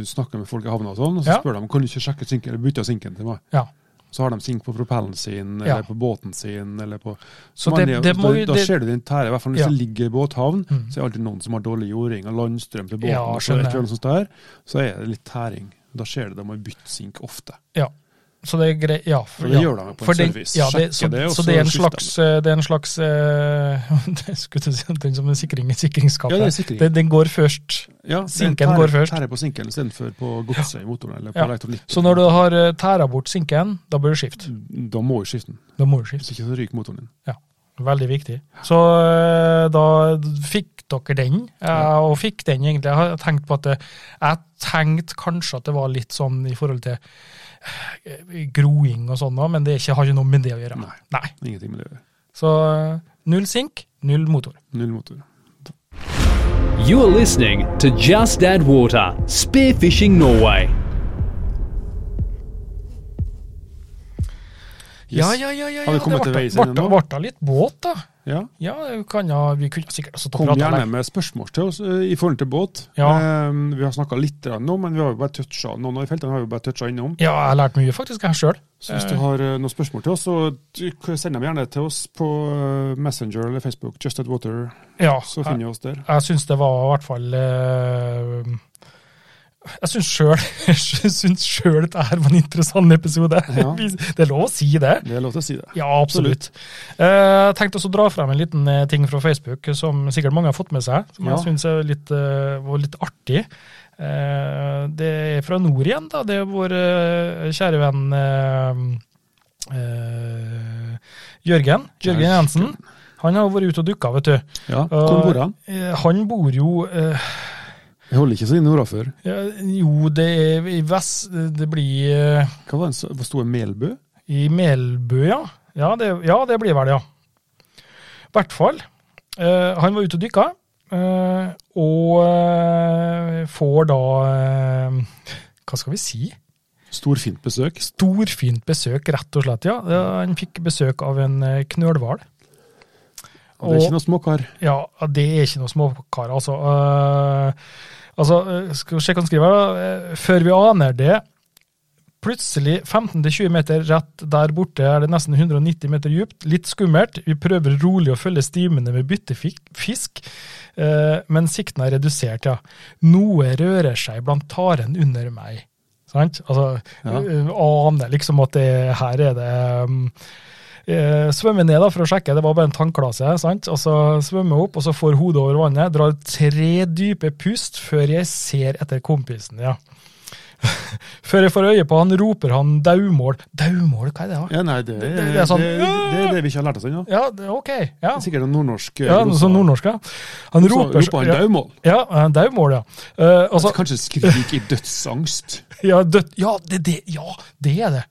[SPEAKER 3] snakker med folk i havna og sånn, og så
[SPEAKER 2] Ja.
[SPEAKER 3] spør de kan du ikke sjekke sinken, eller bytte sinken til meg.
[SPEAKER 2] ja.
[SPEAKER 3] Så har de sink på propellen sin,
[SPEAKER 2] Ja.
[SPEAKER 3] eller på båten sin, eller på
[SPEAKER 2] Så
[SPEAKER 3] Men
[SPEAKER 2] det, det må
[SPEAKER 3] altså, da,
[SPEAKER 2] vi
[SPEAKER 3] da
[SPEAKER 2] det,
[SPEAKER 3] ser du den tære, i hvert fall hvis
[SPEAKER 2] Ja.
[SPEAKER 3] det ligger i båthavn,
[SPEAKER 2] Mm.
[SPEAKER 3] så er det alltid noen som har dårlig jording og landstrøm til båten,
[SPEAKER 2] Ja,
[SPEAKER 3] og så,
[SPEAKER 2] skjønner
[SPEAKER 3] er det
[SPEAKER 2] jeg.
[SPEAKER 3] ikke noe sånt der, så er det litt tæring. Da skjer det, de må bytte sink ofte.
[SPEAKER 2] Så det er greit, ja.
[SPEAKER 3] For det
[SPEAKER 2] ja.
[SPEAKER 3] gjør de jo på en
[SPEAKER 2] For den-
[SPEAKER 3] service.
[SPEAKER 2] Ja, det,
[SPEAKER 3] Sjekker
[SPEAKER 2] så,
[SPEAKER 3] det, og
[SPEAKER 2] så
[SPEAKER 3] så
[SPEAKER 2] det er en
[SPEAKER 3] skifter
[SPEAKER 2] slags, eh, det er en slags eh, (laughs) det skulle til å si omtrent som en sikring i
[SPEAKER 3] Ja,
[SPEAKER 2] sikringsskapet.
[SPEAKER 3] det er sikring.
[SPEAKER 2] Den- den går først.
[SPEAKER 3] ja, det er
[SPEAKER 2] sinken
[SPEAKER 3] tære-
[SPEAKER 2] går først.
[SPEAKER 3] Tære på sinken istedenfor på godset i motoren eller på
[SPEAKER 2] Ja.
[SPEAKER 3] elektronikken.
[SPEAKER 2] Så når du har eh, tæra bort sinken, da bør du skifte.
[SPEAKER 3] Da må du skifte den,
[SPEAKER 2] Da må du skifte.
[SPEAKER 3] hvis ikke så ryker motoren din.
[SPEAKER 2] Veldig viktig. Så eh, da fikk dere den, eh, og fikk den egentlig. Jeg har tenkt på at det, jeg tenkte kanskje at det var litt sånn i forhold til eh, groing og sånn, da, men det er ikke, har ikke noe med det å gjøre.
[SPEAKER 3] Nei.
[SPEAKER 2] Nei.
[SPEAKER 3] Ingenting med det å gjøre.
[SPEAKER 2] Så eh, null sink, null motor.
[SPEAKER 3] Null motor.
[SPEAKER 1] You are listening to Just Add Water Spearfishing Norway.
[SPEAKER 3] Yes.
[SPEAKER 2] Ja, ja, ja, ja, ja.
[SPEAKER 3] Har vi kommet
[SPEAKER 2] det
[SPEAKER 3] til
[SPEAKER 2] ble-
[SPEAKER 3] veis ende
[SPEAKER 2] ble-
[SPEAKER 3] nå?
[SPEAKER 2] ble da litt båt, da.
[SPEAKER 3] Ja.
[SPEAKER 2] Ja, det kan, ja vi kunne sikkert også
[SPEAKER 3] Kom
[SPEAKER 2] pratet
[SPEAKER 3] gjerne
[SPEAKER 2] lenge.
[SPEAKER 3] med spørsmål til oss eh, i forhold til båt.
[SPEAKER 2] Ja.
[SPEAKER 3] Eh, vi har snakka litt grann nå, men vi har jo bare toucha noen av feltene. har vi jo bare touchet innom.
[SPEAKER 2] Ja, jeg har lært mye faktisk, jeg sjøl.
[SPEAKER 3] Så hvis du har eh, noen spørsmål til oss, så du k- send dem gjerne til oss på eh, Messenger eller Facebook. Just at water,
[SPEAKER 2] Ja,
[SPEAKER 3] så finner vi oss der.
[SPEAKER 2] Jeg syns det var i hvert fall eh, Jeg syns sjøl (laughs) jeg synes selv dette her var en interessant episode.
[SPEAKER 3] Ja.
[SPEAKER 2] (laughs) Vi- Det er lov å si det.
[SPEAKER 3] Det er lov til å si det.
[SPEAKER 2] Ja, absolutt. Eh, Jeg tenkte også å dra frem en liten eh, ting fra Facebook som sikkert mange har fått med seg, som
[SPEAKER 3] Ja.
[SPEAKER 2] jeg syns var litt artig. Eh, Det er fra nord igjen, da. Det er vår eh, kjære venn eh, eh, Jørgen. Jørgen Jensen. Han har vært ute og dukka, vet du.
[SPEAKER 3] Ja, Hvor bor han?
[SPEAKER 2] Eh, Han bor jo eh,
[SPEAKER 3] Jeg holder ikke så inne orda før.
[SPEAKER 2] ja, Jo, det er i vest Det blir eh,
[SPEAKER 3] Hva var den så- hva sto det? Melbø?
[SPEAKER 2] i Melbu, ja. Ja det, ja, det blir vel det, ja. I hvert fall. eh, han var ute og dykka, eh, og eh, får da eh, Hva skal vi si?
[SPEAKER 3] Storfint besøk.
[SPEAKER 2] Storfint besøk, rett og slett. ja. Eh, han fikk besøk av en eh, knølhval.
[SPEAKER 3] Og det er ikke noe småkar.
[SPEAKER 2] Ja, det er ikke noe småkar, altså. Eh, altså, eh, skal vi se hva han skriver. da. Eh, Før vi aner det, plutselig 15-20 meter rett der borte er det nesten 190 meter djupt. Litt skummelt. Vi prøver rolig å følge stimene med byttefisk, eh, men sikten er redusert, ja. Noe rører seg blant taren under meg. Sant? Altså,
[SPEAKER 3] Ja.
[SPEAKER 2] eh, aner liksom at det, her er det um, eh, svømmer ned da for å sjekke, det var bare en tannklase, sant? og så svømmer jeg opp, og så får hodet over vannet, drar tre dype pust før jeg ser etter kompisen, ja. før jeg får øye på han, roper han daumål. Daumål, hva er det da?
[SPEAKER 3] Ja, nei, det,
[SPEAKER 2] det- det er sånn-
[SPEAKER 3] det, det er det vi ikke har lært oss ennå.
[SPEAKER 2] Ja, det, ok, ja.
[SPEAKER 3] Det er Sikkert noen nordnorsk eh,
[SPEAKER 2] Ja, noe sånn nordnorsk, ja. Han roper,
[SPEAKER 3] roper han daumål.
[SPEAKER 2] Ja, ja, daumål, ja. Eh, altså,
[SPEAKER 3] Kanskje skrik i dødsangst.
[SPEAKER 2] ja, dødt, ja, det, det, ja, det er det.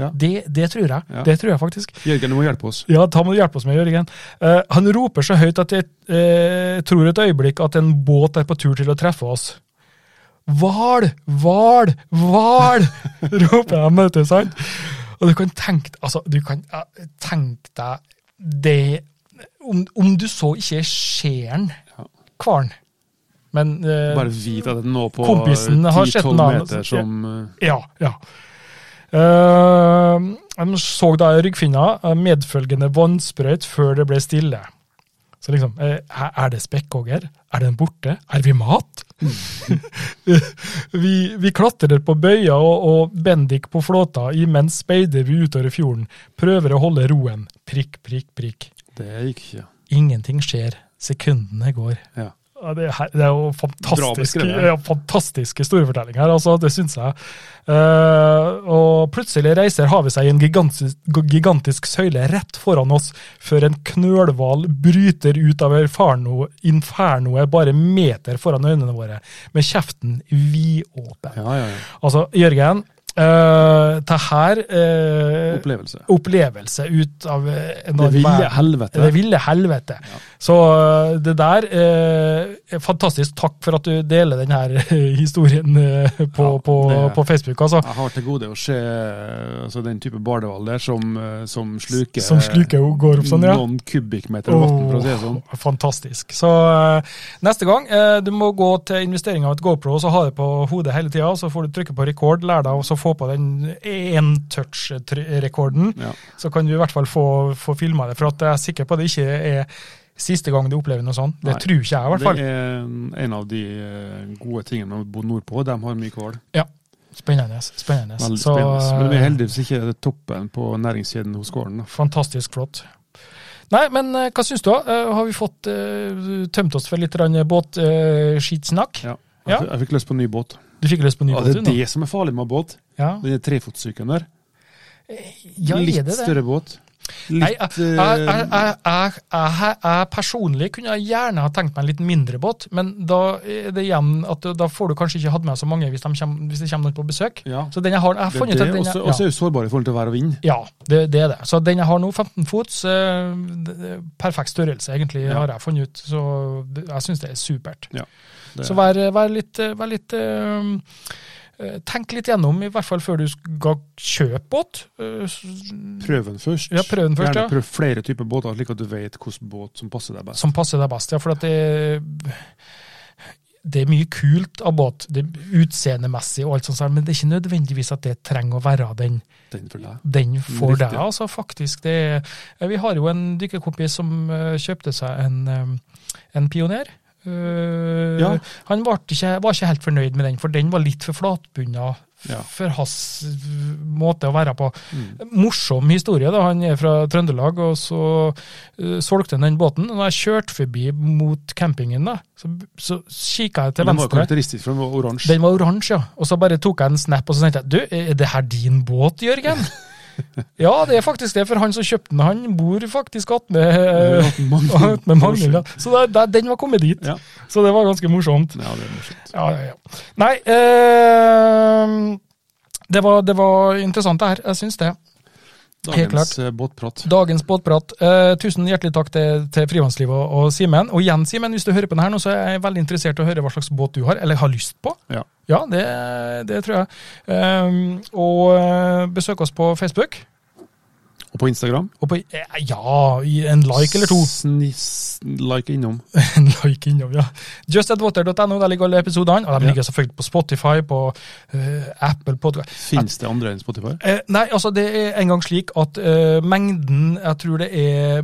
[SPEAKER 3] Ja.
[SPEAKER 2] Det, det tror jeg.
[SPEAKER 3] Ja.
[SPEAKER 2] Det tror jeg faktisk.
[SPEAKER 3] Jørgen, du må hjelpe oss.
[SPEAKER 2] Ja, da må du hjelpe oss med, Jørgen. Eh, han roper så høyt at jeg eh, tror et øyeblikk at en båt er på tur til å treffe oss. Hval, hval, hval! (laughs) roper jeg, vet du, sant? Og du kan tenke altså, du kan ja, tenke deg det om, om du så ikke ser den,
[SPEAKER 3] Ja.
[SPEAKER 2] hvalen. Men eh,
[SPEAKER 3] Bare vit at det nå på
[SPEAKER 2] Kompisen har sett
[SPEAKER 3] 10-12
[SPEAKER 2] navnet,
[SPEAKER 3] meter
[SPEAKER 2] så-
[SPEAKER 3] som eh,
[SPEAKER 2] Ja, ja. Eh, de så da i ryggfinna eh, medfølgende vannsprøyt før det ble stille. Så liksom, eh, er er det spekkhogger? Er den borte? Er vi mat? (laughs) vi, vi klatrer på bøya og, og bendik på flåta, imens speider vi utover fjorden. Prøver å holde roen. Prikk, prikk, prikk.
[SPEAKER 3] Det gikk ikke.
[SPEAKER 2] Ingenting skjer. Sekundene går.
[SPEAKER 3] Ja.
[SPEAKER 2] Ja, det, er, her- det er jo fantastiske,
[SPEAKER 3] beskrevet.
[SPEAKER 2] ja, fantastiske storfortellinger, altså, det syns jeg. Eh, og plutselig reiser havet seg i en gigantisk, gigantisk søyle rett foran oss, før en knølhval bryter ut av inferno, infernoet bare meter foran øynene våre, med kjeften vidåpen.
[SPEAKER 3] Ja, ja, ja.
[SPEAKER 2] Altså, Jørgen, Uh, det her eh,
[SPEAKER 3] Opplevelse.
[SPEAKER 2] opplevelse ut av eh,
[SPEAKER 3] Det
[SPEAKER 2] enorm
[SPEAKER 3] ville
[SPEAKER 2] verden.
[SPEAKER 3] helvete.
[SPEAKER 2] Det ville helvete.
[SPEAKER 3] Ja.
[SPEAKER 2] Så eh, det der eh, er Fantastisk. Takk for at du deler denne historien eh, på,
[SPEAKER 3] Ja,
[SPEAKER 2] på,
[SPEAKER 3] det-
[SPEAKER 2] på Facebook, altså.
[SPEAKER 3] Jeg har til gode å se altså, den type bardeval der som, eh, som sluker,
[SPEAKER 2] Som sluker og går opp sånn, ja.
[SPEAKER 3] noen kubikkmeter vann, for å si det sånn.
[SPEAKER 2] Åh, Fantastisk. Så eh, neste gang eh, du må gå til investering av et GoPro, så ha det på hodet hele tida, så får du trykke på rekord, lær deg å så få på den én-touch-rekorden.
[SPEAKER 3] Ja.
[SPEAKER 2] Så kan du i hvert fall få, få filma det, for at jeg er sikker på at det ikke er siste gang du opplever noe sånt. Det
[SPEAKER 3] Nei.
[SPEAKER 2] tror ikke jeg, i hvert fall.
[SPEAKER 3] Det er en av de eh, gode tingene med å bo nordpå. De har mye hval.
[SPEAKER 2] Spennende. spennende.
[SPEAKER 3] Veldig
[SPEAKER 2] Så,
[SPEAKER 3] spennende. Men vi
[SPEAKER 2] eh,
[SPEAKER 3] er heldige hvis ikke det er toppen på næringskjeden hos gården. Da.
[SPEAKER 2] Fantastisk flott. Nei, men eh, hva syns du? da? Eh, Har vi fått eh, tømt oss for litt båtskitsnakk?
[SPEAKER 3] Ja. Jeg,
[SPEAKER 2] Ja.
[SPEAKER 3] f- jeg fikk lyst på en ny båt.
[SPEAKER 2] Du fikk lyst på ny
[SPEAKER 3] Ja,
[SPEAKER 2] båt,
[SPEAKER 3] det
[SPEAKER 2] du
[SPEAKER 3] er
[SPEAKER 2] nå?
[SPEAKER 3] det som er farlig med båt.
[SPEAKER 2] Ja.
[SPEAKER 3] Den er trefotsyken der.
[SPEAKER 2] Ja, er
[SPEAKER 3] Litt
[SPEAKER 2] det det?
[SPEAKER 3] større båt.
[SPEAKER 2] Nei,
[SPEAKER 3] Litt
[SPEAKER 2] jeg,
[SPEAKER 3] eh,
[SPEAKER 2] jeg, jeg, jeg, jeg, jeg, jeg personlig kunne jeg gjerne ha tenkt meg en litt mindre båt, men da er det igjen at da får du kanskje ikke hatt med så mange hvis, de kommer, hvis det kommer noen på besøk.
[SPEAKER 3] Ja.
[SPEAKER 2] Så den jeg har, jeg har
[SPEAKER 3] Det er
[SPEAKER 2] funnet ut
[SPEAKER 3] det,
[SPEAKER 2] at den
[SPEAKER 3] også,
[SPEAKER 2] jeg,
[SPEAKER 3] også
[SPEAKER 2] ja.
[SPEAKER 3] er vi sårbare i forhold til vær og vind.
[SPEAKER 2] Ja, det, det er det. Så den jeg har nå, 15 fots, eh, det- det- perfekt størrelse egentlig,
[SPEAKER 3] Ja.
[SPEAKER 2] har jeg funnet ut. Så det- jeg syns det er supert.
[SPEAKER 3] Det-
[SPEAKER 2] Så vær, vær litt, eh, vær litt eh, eh, Tenk litt gjennom, i hvert fall før du skal kjøpe båt. Eh, s-
[SPEAKER 3] Prøv den først.
[SPEAKER 2] Ja, prøv den først,
[SPEAKER 3] Gjerne
[SPEAKER 2] ja.
[SPEAKER 3] prøv flere typer båter, slik at du vet hvilken båt som passer deg best.
[SPEAKER 2] som passer deg best. Ja, for at det, det er mye kult av båt, det er utseendemessig og alt sånt, sånn, men det er ikke nødvendigvis at det trenger å være den,
[SPEAKER 3] Den for deg.
[SPEAKER 2] den for
[SPEAKER 3] Riktig.
[SPEAKER 2] deg. Altså, faktisk, det er, eh, vi har jo en dykkerkompis som eh, kjøpte seg en, eh, en pioner. Eh,
[SPEAKER 3] Ja.
[SPEAKER 2] Han var ikke, var ikke helt fornøyd med den, for den var litt for flatbunna
[SPEAKER 3] Ja.
[SPEAKER 2] for hans eh, måte å være på
[SPEAKER 3] Mm.
[SPEAKER 2] morsom historie. da, Han er fra Trøndelag, og så eh, solgte han den båten. Og når jeg kjørte forbi mot campingen, da, så, så kikka jeg til
[SPEAKER 3] Den var jo
[SPEAKER 2] venstre.
[SPEAKER 3] karakteristisk, for den var oransje.
[SPEAKER 2] Den var oransje, ja. Og så bare tok jeg en snap og så tenkte jeg, du, er det her din båt,
[SPEAKER 3] (laughs)
[SPEAKER 2] Jørgen? ja, det er faktisk det, for han som kjøpte den, han bor faktisk attmed (laughs)
[SPEAKER 3] Den var
[SPEAKER 2] uh,
[SPEAKER 3] mange-
[SPEAKER 2] Magnhild. ja. Så da- da- den var kommet dit.
[SPEAKER 3] Ja.
[SPEAKER 2] Så det var ganske morsomt.
[SPEAKER 3] Ja, det er morsomt.
[SPEAKER 2] Ja, ja, ja. Nei, eh, det, var, det var interessant det her. Jeg syns det. Helt
[SPEAKER 3] Dagens eh, båtprat.
[SPEAKER 2] Dagens båtprat. Eh, tusen hjertelig takk til, til Frivannslivet og, og Simen. Og igjen, Simen, hvis du hører på den her nå, så er jeg veldig interessert i å høre hva slags båt du har, eller har lyst på.
[SPEAKER 3] Ja.
[SPEAKER 2] Ja, det, det tror jeg. Ehm, og eh, besøk oss på Facebook.
[SPEAKER 3] Og på Instagram
[SPEAKER 2] Og på, eh, ja, i en like eller to.
[SPEAKER 3] Sniss, like innom.
[SPEAKER 2] (laughs) en like innom, ja. Justadwater.no, der ligger alle episodene. Og de
[SPEAKER 3] Ja.
[SPEAKER 2] ligger selvfølgelig på Spotify, på eh, Apple Podcast.
[SPEAKER 3] Fins det andre enn Spotify?
[SPEAKER 2] Eh, nei, altså det er engang slik at eh, mengden, jeg tror det er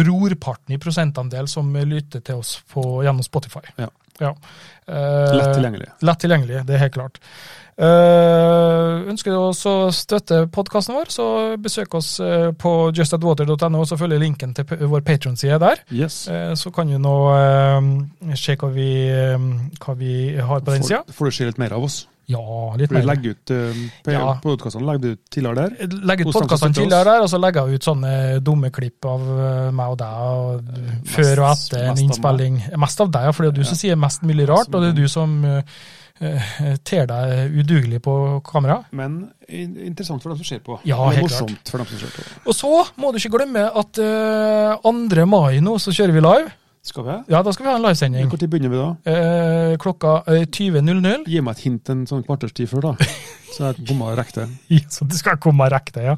[SPEAKER 2] brorparten i prosentandel som lytter til oss på, gjennom Spotify.
[SPEAKER 3] Ja.
[SPEAKER 2] Eh,
[SPEAKER 3] Lett tilgjengelig.
[SPEAKER 2] Lett tilgjengelig, det er helt klart. Eh, ønsker du også å støtte podkasten vår, så besøk oss eh, på justadwater.no, så følger linken til p- vår Patron-side der.
[SPEAKER 3] Yes.
[SPEAKER 2] Eh, så kan du nå eh, se hva vi, eh, hva vi har på den sida.
[SPEAKER 3] Får, får du se litt mer av oss?
[SPEAKER 2] Ja, litt
[SPEAKER 3] For du
[SPEAKER 2] mer.
[SPEAKER 3] legger ut eh, på
[SPEAKER 2] Ja.
[SPEAKER 3] podkastene legger du ut tidligere der.
[SPEAKER 2] legger ut
[SPEAKER 3] Hvordan
[SPEAKER 2] podkastene
[SPEAKER 3] støtter oss?
[SPEAKER 2] tidligere der, og så legger jeg ut sånne dumme klipp av eh, meg og deg, og før og
[SPEAKER 3] mest-
[SPEAKER 2] etter en
[SPEAKER 3] mest av
[SPEAKER 2] innspilling. Mest av deg, ja, for det er du som sier mest mulig rart, og det er du som eh, eh, ter deg udugelig på kamera.
[SPEAKER 3] Men in interessant for dem som ser på.
[SPEAKER 2] Ja,
[SPEAKER 3] Og
[SPEAKER 2] helt
[SPEAKER 3] morsomt for dem som ser på.
[SPEAKER 2] Og så må du ikke glemme at eh, 2. mai nå, så kjører vi live.
[SPEAKER 3] Skal vi?
[SPEAKER 2] Ja, da skal vi ha en livesending.
[SPEAKER 3] Når begynner vi da?
[SPEAKER 2] Eh, klokka eh, 20.00.
[SPEAKER 3] Gi meg et hint en sånn kvarters tid før, da. Så jeg bomma riktig.
[SPEAKER 2] (laughs) Så det skal komme rekte, ja.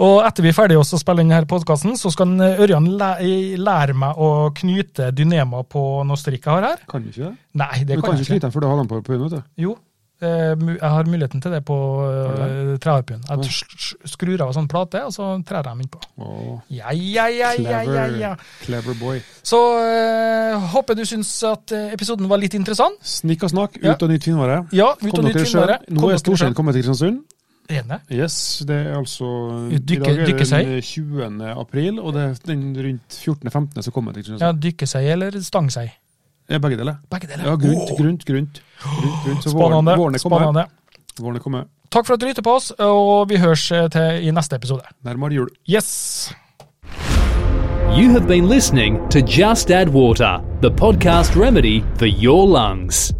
[SPEAKER 2] Og etter vi er ferdige også å spille inn denne podkasten, så skal en, eh, Ørjan læ- lære meg å knyte dynema på noe strikk jeg har her.
[SPEAKER 3] Kan du ikke det?
[SPEAKER 2] Nei, det
[SPEAKER 3] du
[SPEAKER 2] kan
[SPEAKER 3] kan
[SPEAKER 2] jeg
[SPEAKER 3] ikke
[SPEAKER 2] ikke.
[SPEAKER 3] knyte den før du har den på på hunden, vet du.
[SPEAKER 2] Jo, eh, mu- jeg har muligheten til det på
[SPEAKER 3] Har
[SPEAKER 2] uh, treharpien.
[SPEAKER 3] Ja.
[SPEAKER 2] Jeg s- s- skrur av en sånn plate, og så trer jeg dem innpå.
[SPEAKER 3] Åh,
[SPEAKER 2] Ja, ja, ja, ja, ja,
[SPEAKER 3] clever,
[SPEAKER 2] ja.
[SPEAKER 3] clever boy.
[SPEAKER 2] Så eh, håper du syns at eh, episoden var litt interessant.
[SPEAKER 3] Snikk og snakk, ut
[SPEAKER 2] Ja.
[SPEAKER 3] og nytt Finnvare.
[SPEAKER 2] Ja, ut og
[SPEAKER 3] Kom
[SPEAKER 2] nytt
[SPEAKER 3] dere sjøl.
[SPEAKER 2] vinnere.
[SPEAKER 3] Nå
[SPEAKER 2] Kom
[SPEAKER 3] er
[SPEAKER 2] dere selv.
[SPEAKER 3] Storsjøen kommet til Kristiansund.
[SPEAKER 2] Ene.
[SPEAKER 3] Yes, det er altså
[SPEAKER 2] Dykke-
[SPEAKER 3] I dag er det
[SPEAKER 2] dykkesei.
[SPEAKER 3] den 20. april, og det er den rundt 14.-15. som kommer til
[SPEAKER 2] Ja,
[SPEAKER 3] Kristiansund.
[SPEAKER 2] dykkesei eller stangsei.
[SPEAKER 3] Ja. Begge deler.
[SPEAKER 2] Begge deler.
[SPEAKER 3] Ja, grunt, grunt, grunt. grunt, grunt. Så våren,
[SPEAKER 2] Spennende.
[SPEAKER 3] våren er kommet.
[SPEAKER 2] Spennende.
[SPEAKER 3] Våren er kommet.
[SPEAKER 2] Takk for at du lytter på oss, og vi høres eh, til i neste episode.
[SPEAKER 3] Nærmere jul.
[SPEAKER 2] Yes!
[SPEAKER 1] You have been listening to Just Add Water, the podcast remedy for your lungs.